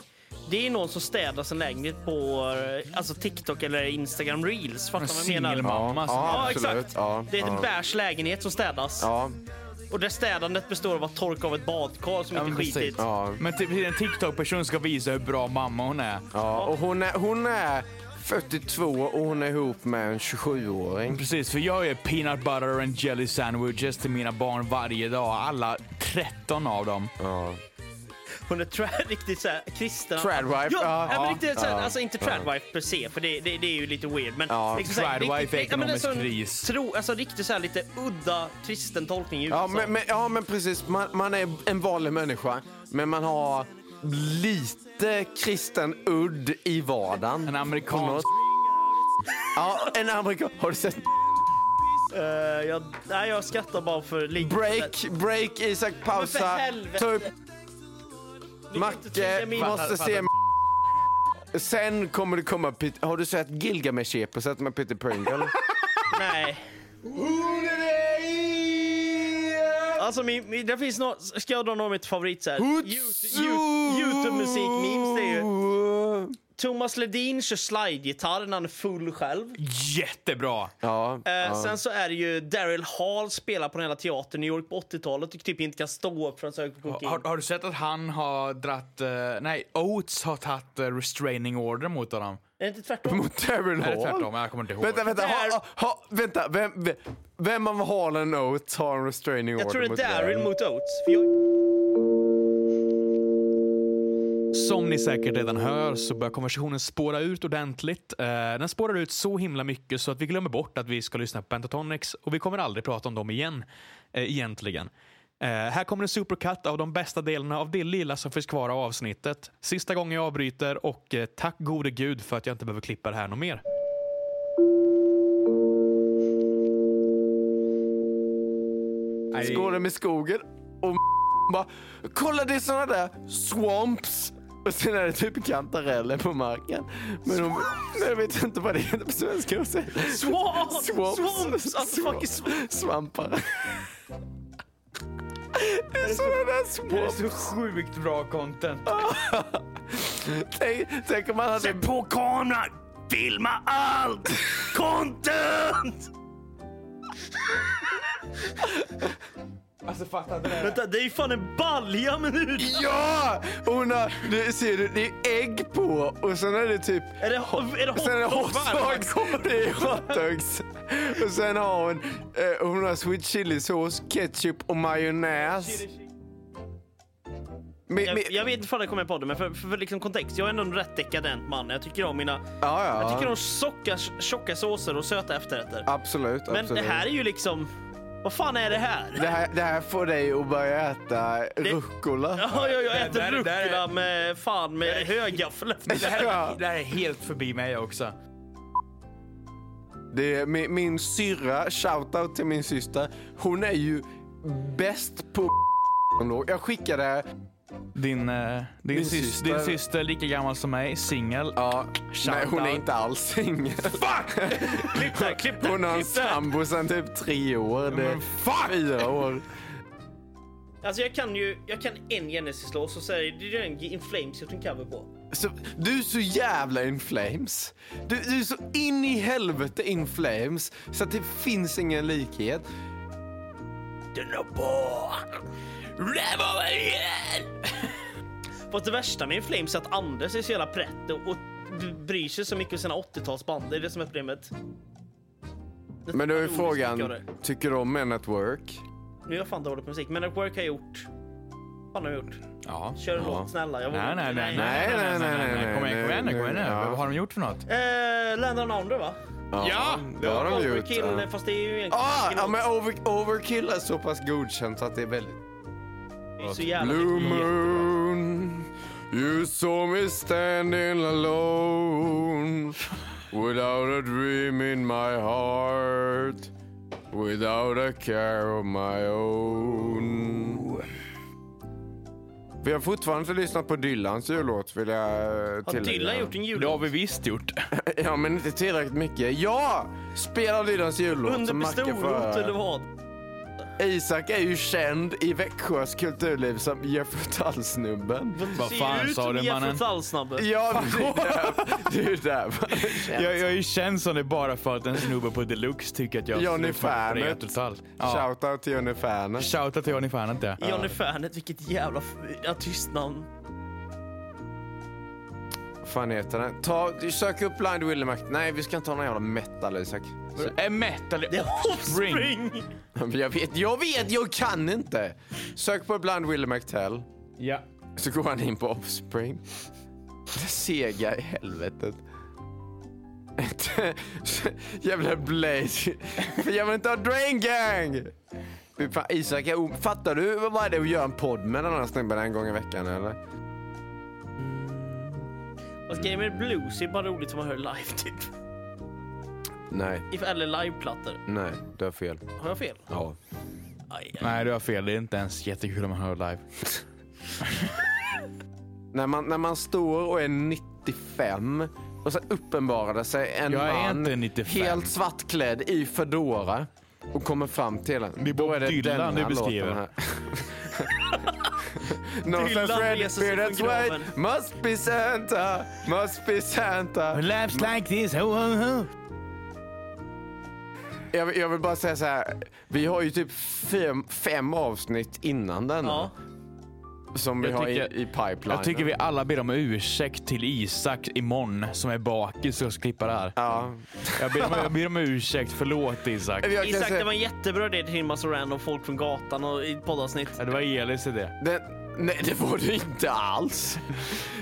Det är någon som städar sin lägenhet på eh, alltså TikTok eller Instagram Reels. Fattar vad jag menar?
singelmamma. som-
Ja,
Ja,
absolut.
exakt.
Ja,
det är en
ja.
bärs lägenhet som städas.
Ja,
Och det städandet består av att torka av ett badkar som
Ja, men
inte är
precis.
skitigt.
ja.
Men typ en TikTok-person ska visa hur bra mamma hon är.
ja. Och hon är, hon är 42 och hon är ihop med en 27-åring.
Precis, för jag gör peanut butter and jelly sandwiches till mina barn varje dag. Alla 13 av dem.
Ja.
Hon är tra- riktigt såhär kristen.
Tradwife,
Ja,
ja,
ja, men
ja,
riktigt såhär,
ja,
alltså inte tradwife per se, för det, det, det är ju lite weird. Men
Ja,
såhär,
tradwife
riktigt-
är
ja, men en
ekonomisk
sån
kris.
Tro, alltså riktigt såhär lite udda kristen tolkning i
Ja
USA.
men, men, ja, men precis. Man, man är en vanlig människa, men man har lite kristen udd i vardagen.
En amerikansk...
Ja, en amerikan. Har du sett
Eh, jag, nej, jag skrattar bara för lite.
break? Break, Isak,
Men för
pausa.
helvete.
Ta upp
Vi kan inte tvinga
Macke,
min-
måste se... Sen kommer det komma... Pit- Har du sett Gilgamesh-eposet med Peter Pringle?
Nej. Alltså, min, min, det finns något, ska jag dra några av mitt favorit såhär? Youtube-musik-memes, det är ju... Thomas Ledin kör slide-gitarr när han är full själv.
Jättebra!
Ja,
Eh,
ja.
Sen så är det ju Daryl Hall spelar på den hela teatern i New York på 80-talet och typ inte kan stå upp för att söka kokain.
Har, har du sett att han har dratt... eh, nej, Oates har tagit eh, restraining order mot honom.
Är det inte tvärtom?
Mot Daryl
Nej,
Hall.
det är tvärtom. Jag kommer inte ihåg.
Vänta, vänta. Ha, ha, ha, vänta. Vem, vem, vem av Hall and Oates har en restraining
Jag
order
tror det är
mot
Daryl mot Oates. För jag,
Som ni säkert redan hör så börjar konversationen spåra ut ordentligt. Eh, Den spårar ut så himla mycket så att vi glömmer bort att vi ska lyssna på Pentatonics och vi kommer aldrig prata om dem igen, eh, egentligen. Eh, Här kommer en supercut av de bästa delarna av det lilla som finns kvar av avsnittet. Sista gången jag avbryter och eh, tack gode gud för att jag inte behöver klippa det här något mer.
Skålar med skogen och bara kolla det är såna där swamps. Och sen är det typ kantareller på marken. Men de, men jag vet inte vad det heter på svenska. Och sen-
Swamps!
Swamps!
Swamps! Alltså, fucking
Swamp- Svampar. Det är såna där swamps.
så sjukt bra content.
Tänk, tänk om man hade...
Sätt på kameran! Filma allt! Content!
Alltså fatta det där.
vänta, det är ju fan en balja men nu!
Ja! Hon har, det, ser du, det är ägg på och sen är det typ
Är det, är det
Sen är det
hotdog?
hotdogs. Det är hotdogs. Och sen har hon, eh, hon har sweet chili sås, ketchup och majonnäs. Men, men,
Jag, jag vet inte fan det kommer på det, men för, för, för liksom kontext. Jag är ändå en rätt dekadent man. Jag tycker om mina...
ja, ja.
Jag tycker om sockars, tjocka såser och söta efterrätter.
Absolut,
Men
absolut.
det här är ju liksom... Vad fan är det här?
det, här, det här får dig att börja äta rucola.
Ja, jag, jag
där-
äter
där- där-
rucola med fan med högaffel efter det här.
Ja.
Det här är helt förbi mig också.
Det är min, min syrra, shoutout till min syster, hon är ju bäst på Jag skickade,
Din, eh, din,
Min
sys-
syster.
din syster, lika gammal som mig, singel.
ja, nej hon är
Shoutout.
inte alls singel.
Klipp där, klipp där,
Hon har en
klipp där.
sambo sedan typ tre år. Det är fyra år.
Alltså jag kan ju, jag kan en Genesis-låt så säger det är den In Flames jag tog cover på.
Så, du är så jävla in flames. Du, du är så in i helvete in flames så att det finns ingen likhet.
Fast det värsta med In Flames är att Anders är så jävla pretto och bryr sig så mycket om sina 80-talsband. Det är det som är problemet.
Men då är
Otroligt mycket av
frågan,
Oh, det.
tycker du om Men at Work?
Nu är jag fan dålig på musik, men At Work har jag gjort. Vad har jag gjort?
Ja.
Kör en låt snälla. Jag
Nej,
vågar
nej,
inte.
nej, nej, nej, nej, nej, nej, nej. Kom igen, kom igen, nu, kom igen. nu.
Ja.
Vad har de gjort för något?
Eh, Land on Under va?
Ja, det har de gjort.
Overkill,
ja.
fast det är ju egentligen
Ah,
vilken
ja,
låt
men over, Overkill är så pass godkänt så att det är väldigt...
Det är så jävla
Blue moon, you saw me standing alone Without a dream in my heart Without a care of my own Vi har fortfarande inte lyssnat på Dylans jullåt vill jag eh,
Har
tillägga.
Dylan gjort en
Det har
jullåt?
vi visst gjort.
Ja, men inte tillräckligt mycket. Ja! Spela Dylans jullåt
Under
som Macke
pistolhot eller vad?
Isak är ju känd i Växjös kulturliv som Jeffrey Tull-snubben.
Vad fan sa du, mannen?
mannen?
Ja, det är där. Det är där.
Jag, jag är ju känd som det bara för att en snubbe på Deluxe tycker att jag
Johnny Fernet.
Fernet. Ja.
Shoutout till Jonny Ferner.
Shoutout till Johnny Fernet det.
Johnny Fernet, vilket jävla f- artistnamn.
Vad fan heter den? Ta, sök upp Blind Willie Mac. Nej, vi ska inte ha någon jävla metal, Isak. Så-
Är metal
Det är Offspring!
Jag vet, jag vet, jag kan inte! Sök på Blind Willie McTell.
Ja.
Så går han in på Offspring. Det sega i helvetet. Ett- Jävla Blaze. För jag vill inte ha Drain Gang! Fy Fan, Isak, är o- fattar du vad det är att göra en podd med den här snubben en gång i veckan eller?
Fast grejen med blues är bara roligt om man hör live typ.
Nej,
If- Eller liveplattor.
nej, du har fel.
Har jag fel?
Ja.
Aj, aj.
Nej, du har fel. Det är inte ens jättekul om man hör live.
När man, när man står och är 95 och sen uppenbarade sig en
Jag är
man
inte 95.
helt svartklädd i fedora och kommer fram till en.
Det är
Då
Bob
är det
Dylan
denna
du beskriver.
låten här. North and Fred,
reser sig
beard and
från
white,
graven.
must be Santa, must be Santa.
Laps like this, ho, ho, ho.
Jag, vill- jag vill bara säga så här, vi har ju typ fem, fem avsnitt innan denna
Ja.
som vi
Jag
har
tycker-
i, i pipeline.
Jag tycker vi alla ber om ursäkt till Isak imorgon som är bakis och ska klippa det här.
Ja.
Jag ber om, jag ber om ursäkt. Förlåt Isak.
Jag kan
Isak,
säga-
det var en jättebra idé till en massa random folk från gatan och i ett poddavsnitt.
Ja, Det var Elis idé.
Den, nej, det var det inte alls.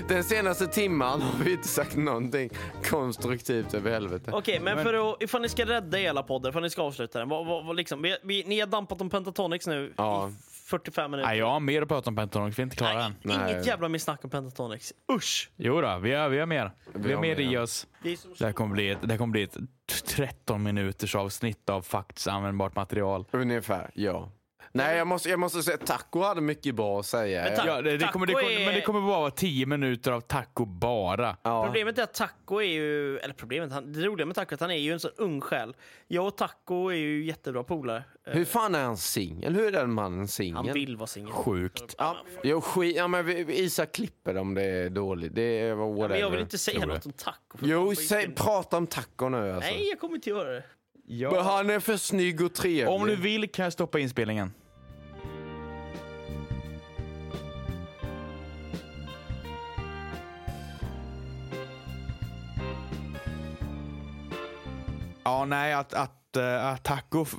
Den senaste timman har vi inte sagt någonting konstruktivt över helvete.
Okej, men för att, ifall ni ska rädda hela podden, ifall ni ska avsluta den. Vad, vad, vad liksom, vi, vi, ni har dampat om Pentatonix nu
Ja.
i 45 minuter.
Nej, jag har mer att prata om Pentatonix. Vi är inte klara än.
Inget
Nej.
jävla mer snack om Pentatonix. Usch!
Jo då, vi har, vi har mer. Vi har
har
mer
mer.
i oss.
Det är som
Det här kommer bli ett, det här kommer bli ett 13 minuters avsnitt av faktiskt användbart material.
Ungefär, ja. Nej, jag måste, jag måste säga taco hade mycket bra att säga.
Men ta-
Ja, det, det kommer, det
Taco
kommer,
är-
men det kommer bara vara 10 minuter av taco bara.
ja.
Problemet är att Taco är ju, eller problemet, han, det roliga med Taco är att han är ju en sån ung själ. Jag och Taco är ju jättebra polare. Eh,
Hur fan är han singel? Hur är den mannen
Han
singel?
vill vara singel.
Sjukt.
Ja, jo, skit. Ja, men vi, vi- Isak klipper om det är dåligt. Det är whatever.
Men jag vill inte säga
tror det.
något om Taco. för fan,
Jo,
vad
säg,
gick det?
prata om taco nu alltså.
Nej, jag kommer inte göra det.
Men han är för snygg och trevlig.
Om du vill kan jag stoppa inspelningen. Ja, nej, att, att, eh, att Taco f-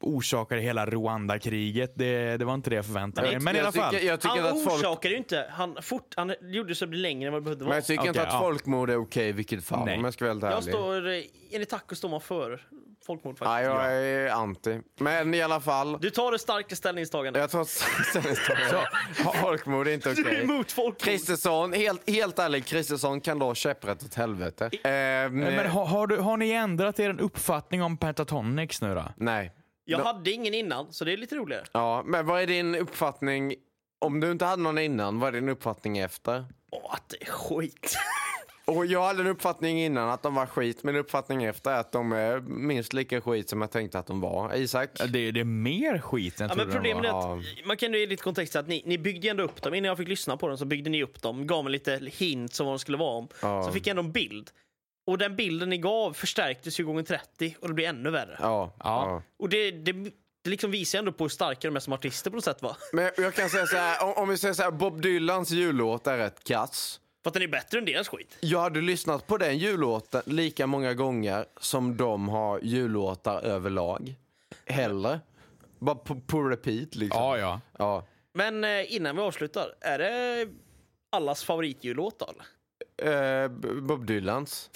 orsakade hela Rwanda-kriget, det, det var inte det jag förväntade mig. Men i alla
jag
fall.
tycker, jag tycker
Han
att folk
orsakade ju inte, han, fort, han gjorde så det blev längre än vad det behövde
Men
vara.
jag tycker inte
Okej,
att
ja.
folkmord är okej i vilket fall,
Nej.
om jag ska vara helt
Jag
ärlig.
står, eh, enligt Taco står man för folkmord faktiskt.
Ja, jag är anti. Men i alla fall.
Du tar det starka ställningstagandet.
Jag tror ställningstagandet. Folkmord är inte okej.
Du är emot folkmord.
Kristersson, helt, helt ärligt, Kristersson kan dra käpprätt åt helvete. Ehm,
Men har, har, du, har ni ändrat er uppfattning om Pentatonix nu då?
nej.
Jag hade ingen innan, så det är lite roligare.
Ja, men vad är din uppfattning, om du inte hade någon innan, vad är din uppfattning efter?
Åh, att det är skit.
Och jag hade en uppfattning innan att de var skit. Min uppfattning efter är att de är minst lika skit som jag tänkte att de var. Isak?
Det, det är mer skit än
Ja,
jag
men
trodde de
problemet
var.
är att man kan ju ge lite kontext till att ni, ni byggde ju ändå upp dem. Innan jag fick lyssna på dem så byggde ni upp dem, gav mig lite hint om vad de skulle vara om.
Ja.
Så fick jag ändå en bild. Och den bilden ni gav förstärktes ju gånger 30 och det blev ännu värre.
Ja. ja.
Och det, det, det liksom visar ju ändå på hur starka de är som artister på något sätt va?
Men jag kan säga så här, om, om vi säger så här, Bob Dylans jullåt är ett kass.
För att den är bättre än deras skit.
Jag hade lyssnat på den jullåten lika många gånger som de har jullåtar överlag. Hellre. Bara på, på repeat liksom.
Ja, ja.
Ja.
Men eh, innan vi avslutar, är det allas favoritjullåt då? eller?
Eh, B- Bob Dylans.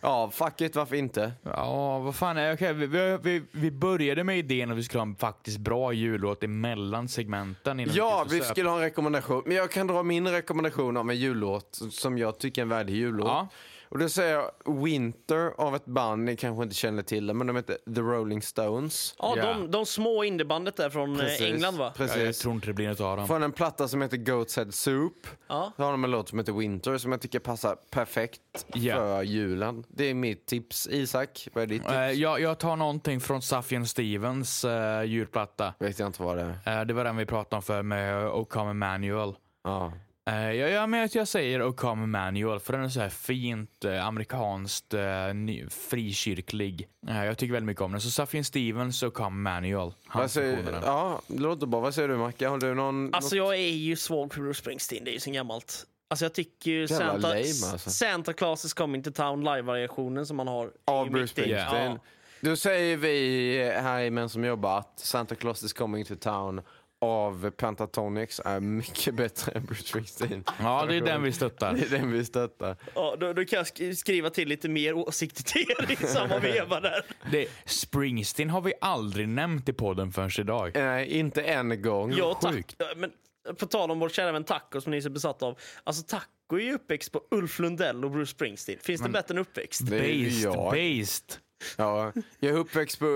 ja, fuck it, varför inte?
Ja, vad fan. Är, okej, vi- vi, vi, vi började med idén att vi skulle ha en faktiskt bra jullåt emellan segmenten. Innan
Ja,
gick ut
vi
och söp.
skulle ha en rekommendation. Men jag kan dra min rekommendation om en jullåt som jag tycker är en värdig jullåt.
Ja.
Och då säger jag Winter av ett band, ni kanske inte känner till det, men de heter The Rolling Stones.
Ja,
Ja.
de, de små indiebandet där från eh,
Precis.
England va?
Ja, jag
Precis.
tror inte det blir något av dem.
Från en platta som heter Goat's Head Soup.
Ja.
Så har de en låt som heter Winter som jag tycker passar perfekt
Ja.
för julen. Det är mitt tips. Isak, vad är ditt tips?
Eh, jag, jag tar någonting från Safian Stevens uh, julplatta.
Vet jag inte vad det är.
Eh, det var den vi pratade om för med O Come Manual.
Ja.
Uh, jag, jag, men att jag säger O Come Manual för den är så här fint eh, amerikanskt eh, ny, frikyrklig. Eh, jag tycker väldigt mycket om den. Så Safian Stevens O Come Manual. Han
Vad
säger
säger,
den.
Alltså, ja, det låter bra. Vad säger du Macke? Har du någon...
Alltså jag är ju svag för Bruce Springsteen, det är ju så gammalt. Alltså jag tycker ju
Jävla
Santa,
lame, alltså.
Santa Claus is coming to town live-variationen som man har. är
Av
ju
Bruce
mäktig.
Springsteen.
Ja.
Då säger vi här i Män som jobbar att Santa Claus is coming to town av Pentatonix är mycket bättre än Bruce Springsteen.
Ja, det är den vi stöttar.
Det är den vi stöttar.
Ja, då, då kan jag sk- skriva till lite mer åsikter till er i samma veva där.
Det, Springsteen har vi aldrig nämnt i podden förrän idag.
Nej, Eh, inte en gång.
Ja, tack.
sjukt.
Ja, Men på tal om vår kära vän Taco som ni är så besatta av. Alltså Taco är ju uppväxt på Ulf Lundell och Bruce Springsteen. Finns det bättre än uppväxt?
Det är ju
Based,
jag.
based.
Ja, jag är uppväxt på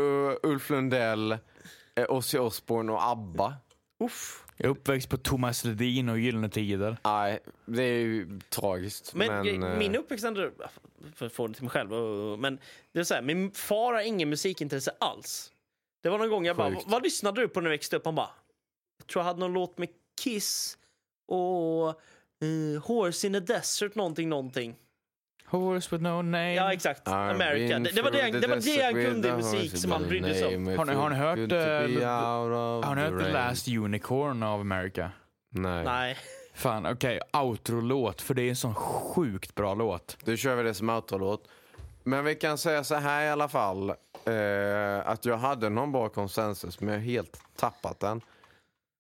Ulf Lundell, eh, Ozzy Osbourne och ABBA.
Uff.
Jag är uppväxt på Thomas Ledin och Gyllene Tider.
Nej, det är ju tragiskt.
Men,
Men,
gre-
eh,
min uppväxt ändå, för att få det till mig själv, och- men det är så här, min far har ingen musikintresse alls. Det var någon gång jag bara,
Sjukt.
"Vad- vad lyssnade du på när du växte upp? Han bara, jag tror jag hade någon låt med Kiss och eh, Horse in the Desert någonting någonting.
Horse with no name.
Ja exakt,
I've
America.
been
Det, det var det,
through
jag-
the
det var det jag
desert
kunde i
with the
musik som han
horses
brydde sig om.
by name.
Har ni- har ni hört,
Good to be
eh,
out of
Har ni hört The
rain.
Last Unicorn of America?
Nej.
Nej.
Fan, okej. Outro-låt, för det är en sån sjukt bra låt.
Då kör vi det som outro-låt. Men vi kan säga så här i alla fall. Eh, att jag hade någon bra konsensus, men jag har helt tappat den.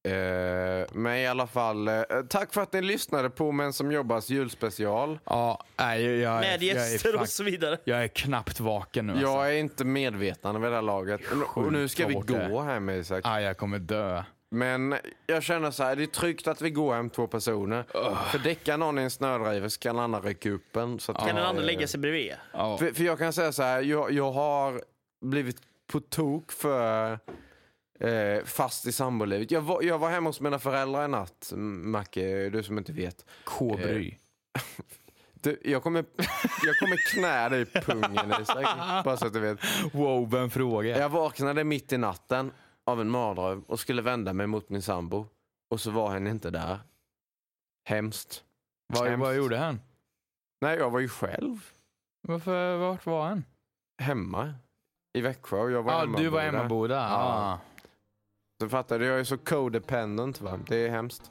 Eh, men i alla fall, eh, tack för att ni lyssnade på Män som jobbas julspecial.
Ja, nej, jag, jag,
Med
är- jag, är,
gäster och
fan,
så vidare.
jag är knappt vaken nu. Alltså.
Jag är inte medveten vid det här laget. Och nu ska vi
Sjukt vad hårt
gå hem Isak.
Ah, jag kommer dö.
Men jag känner så här, det är tryggt att vi går hem två personer. För däckar någon i en snödriver så kan den andra rycka upp en. Så att,
Kan den andra lägga sig bredvid er?
Ja.
För, för jag kan säga så här, jag, jag har blivit på tok för eh, fast i sambolivet. Jag var, jag var hemma hos mina föräldrar en natt, M- Macke, du som inte vet.
K-bry.
Du, jag, kommer, jag kommer knä dig i pungen Isak, bara så att du vet.
Wow, vem frågar?
Jag vaknade mitt i natten av en mardröm och skulle vända mig mot min sambo. Och så var han inte där. Hemskt.
Vad, vad gjorde han?
Nej, jag var ju själv
Varför, vart var han?
hemma i Växjö. och Jag var
Ja, ah,
hemmaboende.
du var hemmaboda. Ah.
Ja. Så fattar du, jag är så codependent va. Det är hemskt.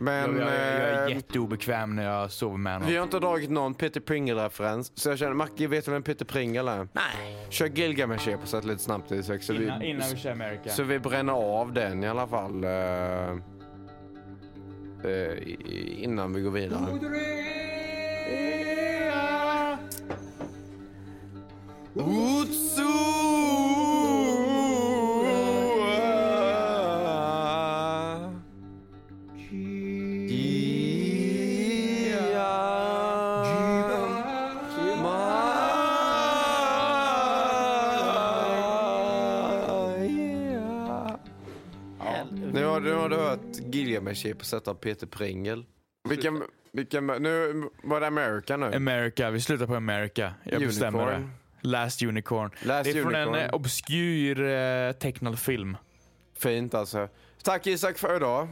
Men...
jag, jag, jag är
eh,
jätteobekväm när jag sover med honom.
vi har inte dragit någon Peter Pringle-referens, så jag känner, Macke vet du vem Peter Pringle är?
Nej.
Kör Gilgamesh-eposet lite snabbt Isak, så,
Innan,
vi,
innan vi kör America.
så vi bränner av den i alla fall. eh, eh, i- innan vi går vidare. Nu har, nu har du hört Gilgamesh på sätt av Peter Pringel. Vilken, vilken, nu var det America nu.
America, vi slutar på America. Jag bestämmer det.
Unicorn.
Last Unicorn.
Last
det är från en
Unicorn.
eh, obskyr eh, tecknad film.
Fint alltså. Tack Isak för idag.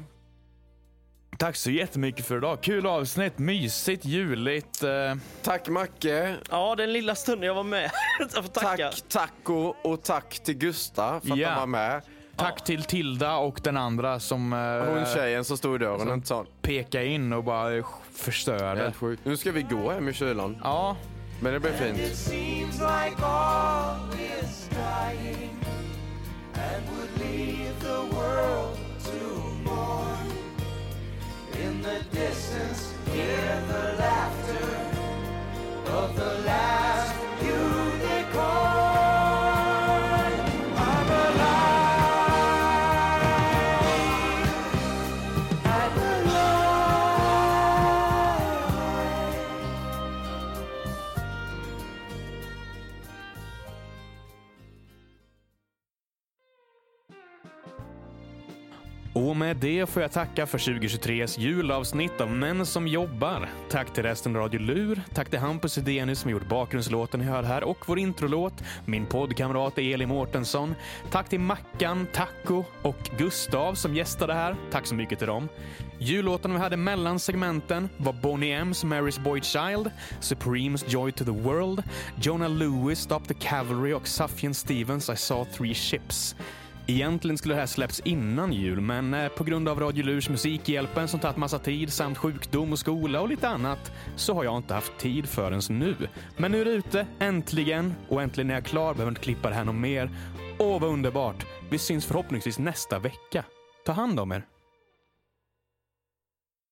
Tack så jättemycket för idag. Kul avsnitt, mysigt, juligt. Eh,
Tack Macke.
Ja, den lilla stunden jag var med. jag får tacka.
Tack Taco och tack till Gusta för att
Ja.
han var med.
tack till Tilda och den andra som eh,
Hon tjejen som stod i dörren. Inte sån.
pekade in och bara eh, förstörde.
Helt sjukt. Nu ska vi gå hem i kylan.
Ja,
Men det blir fint.
It seems like all is dying and would leave the world to mourn. In the distance, hear the laughter of the last unicorn. I'm alive. I'm alive.
Och med det får jag tacka för 2023s julavsnitt av Män som jobbar. Tack till resten Radio Lur, tack till Hampus Hedenius som gjort bakgrundslåten ni hör här och vår introlåt, min poddkamrat Elin Mårtensson, tack till Mackan, Taco och Gustav som gästade här. Tack så mycket till dem. Jullåten vi hade mellan segmenten var Bonnie M's Mary's Boy Child, Supremes Joy to the World, Jonah Lewis Stop the Cavalry och Sufjan Stevens I saw three ships. Egentligen skulle det här släppts innan jul, men eh, på grund av Radio Lurs Musikhjälpen som tagit massa tid samt sjukdom och skola och lite annat så har jag inte haft tid förrän nu. Men nu är det ute, äntligen. Och äntligen är jag klar, behöver inte klippa det här något mer. Åh, vad underbart! Vi syns förhoppningsvis nästa vecka. Ta hand om er.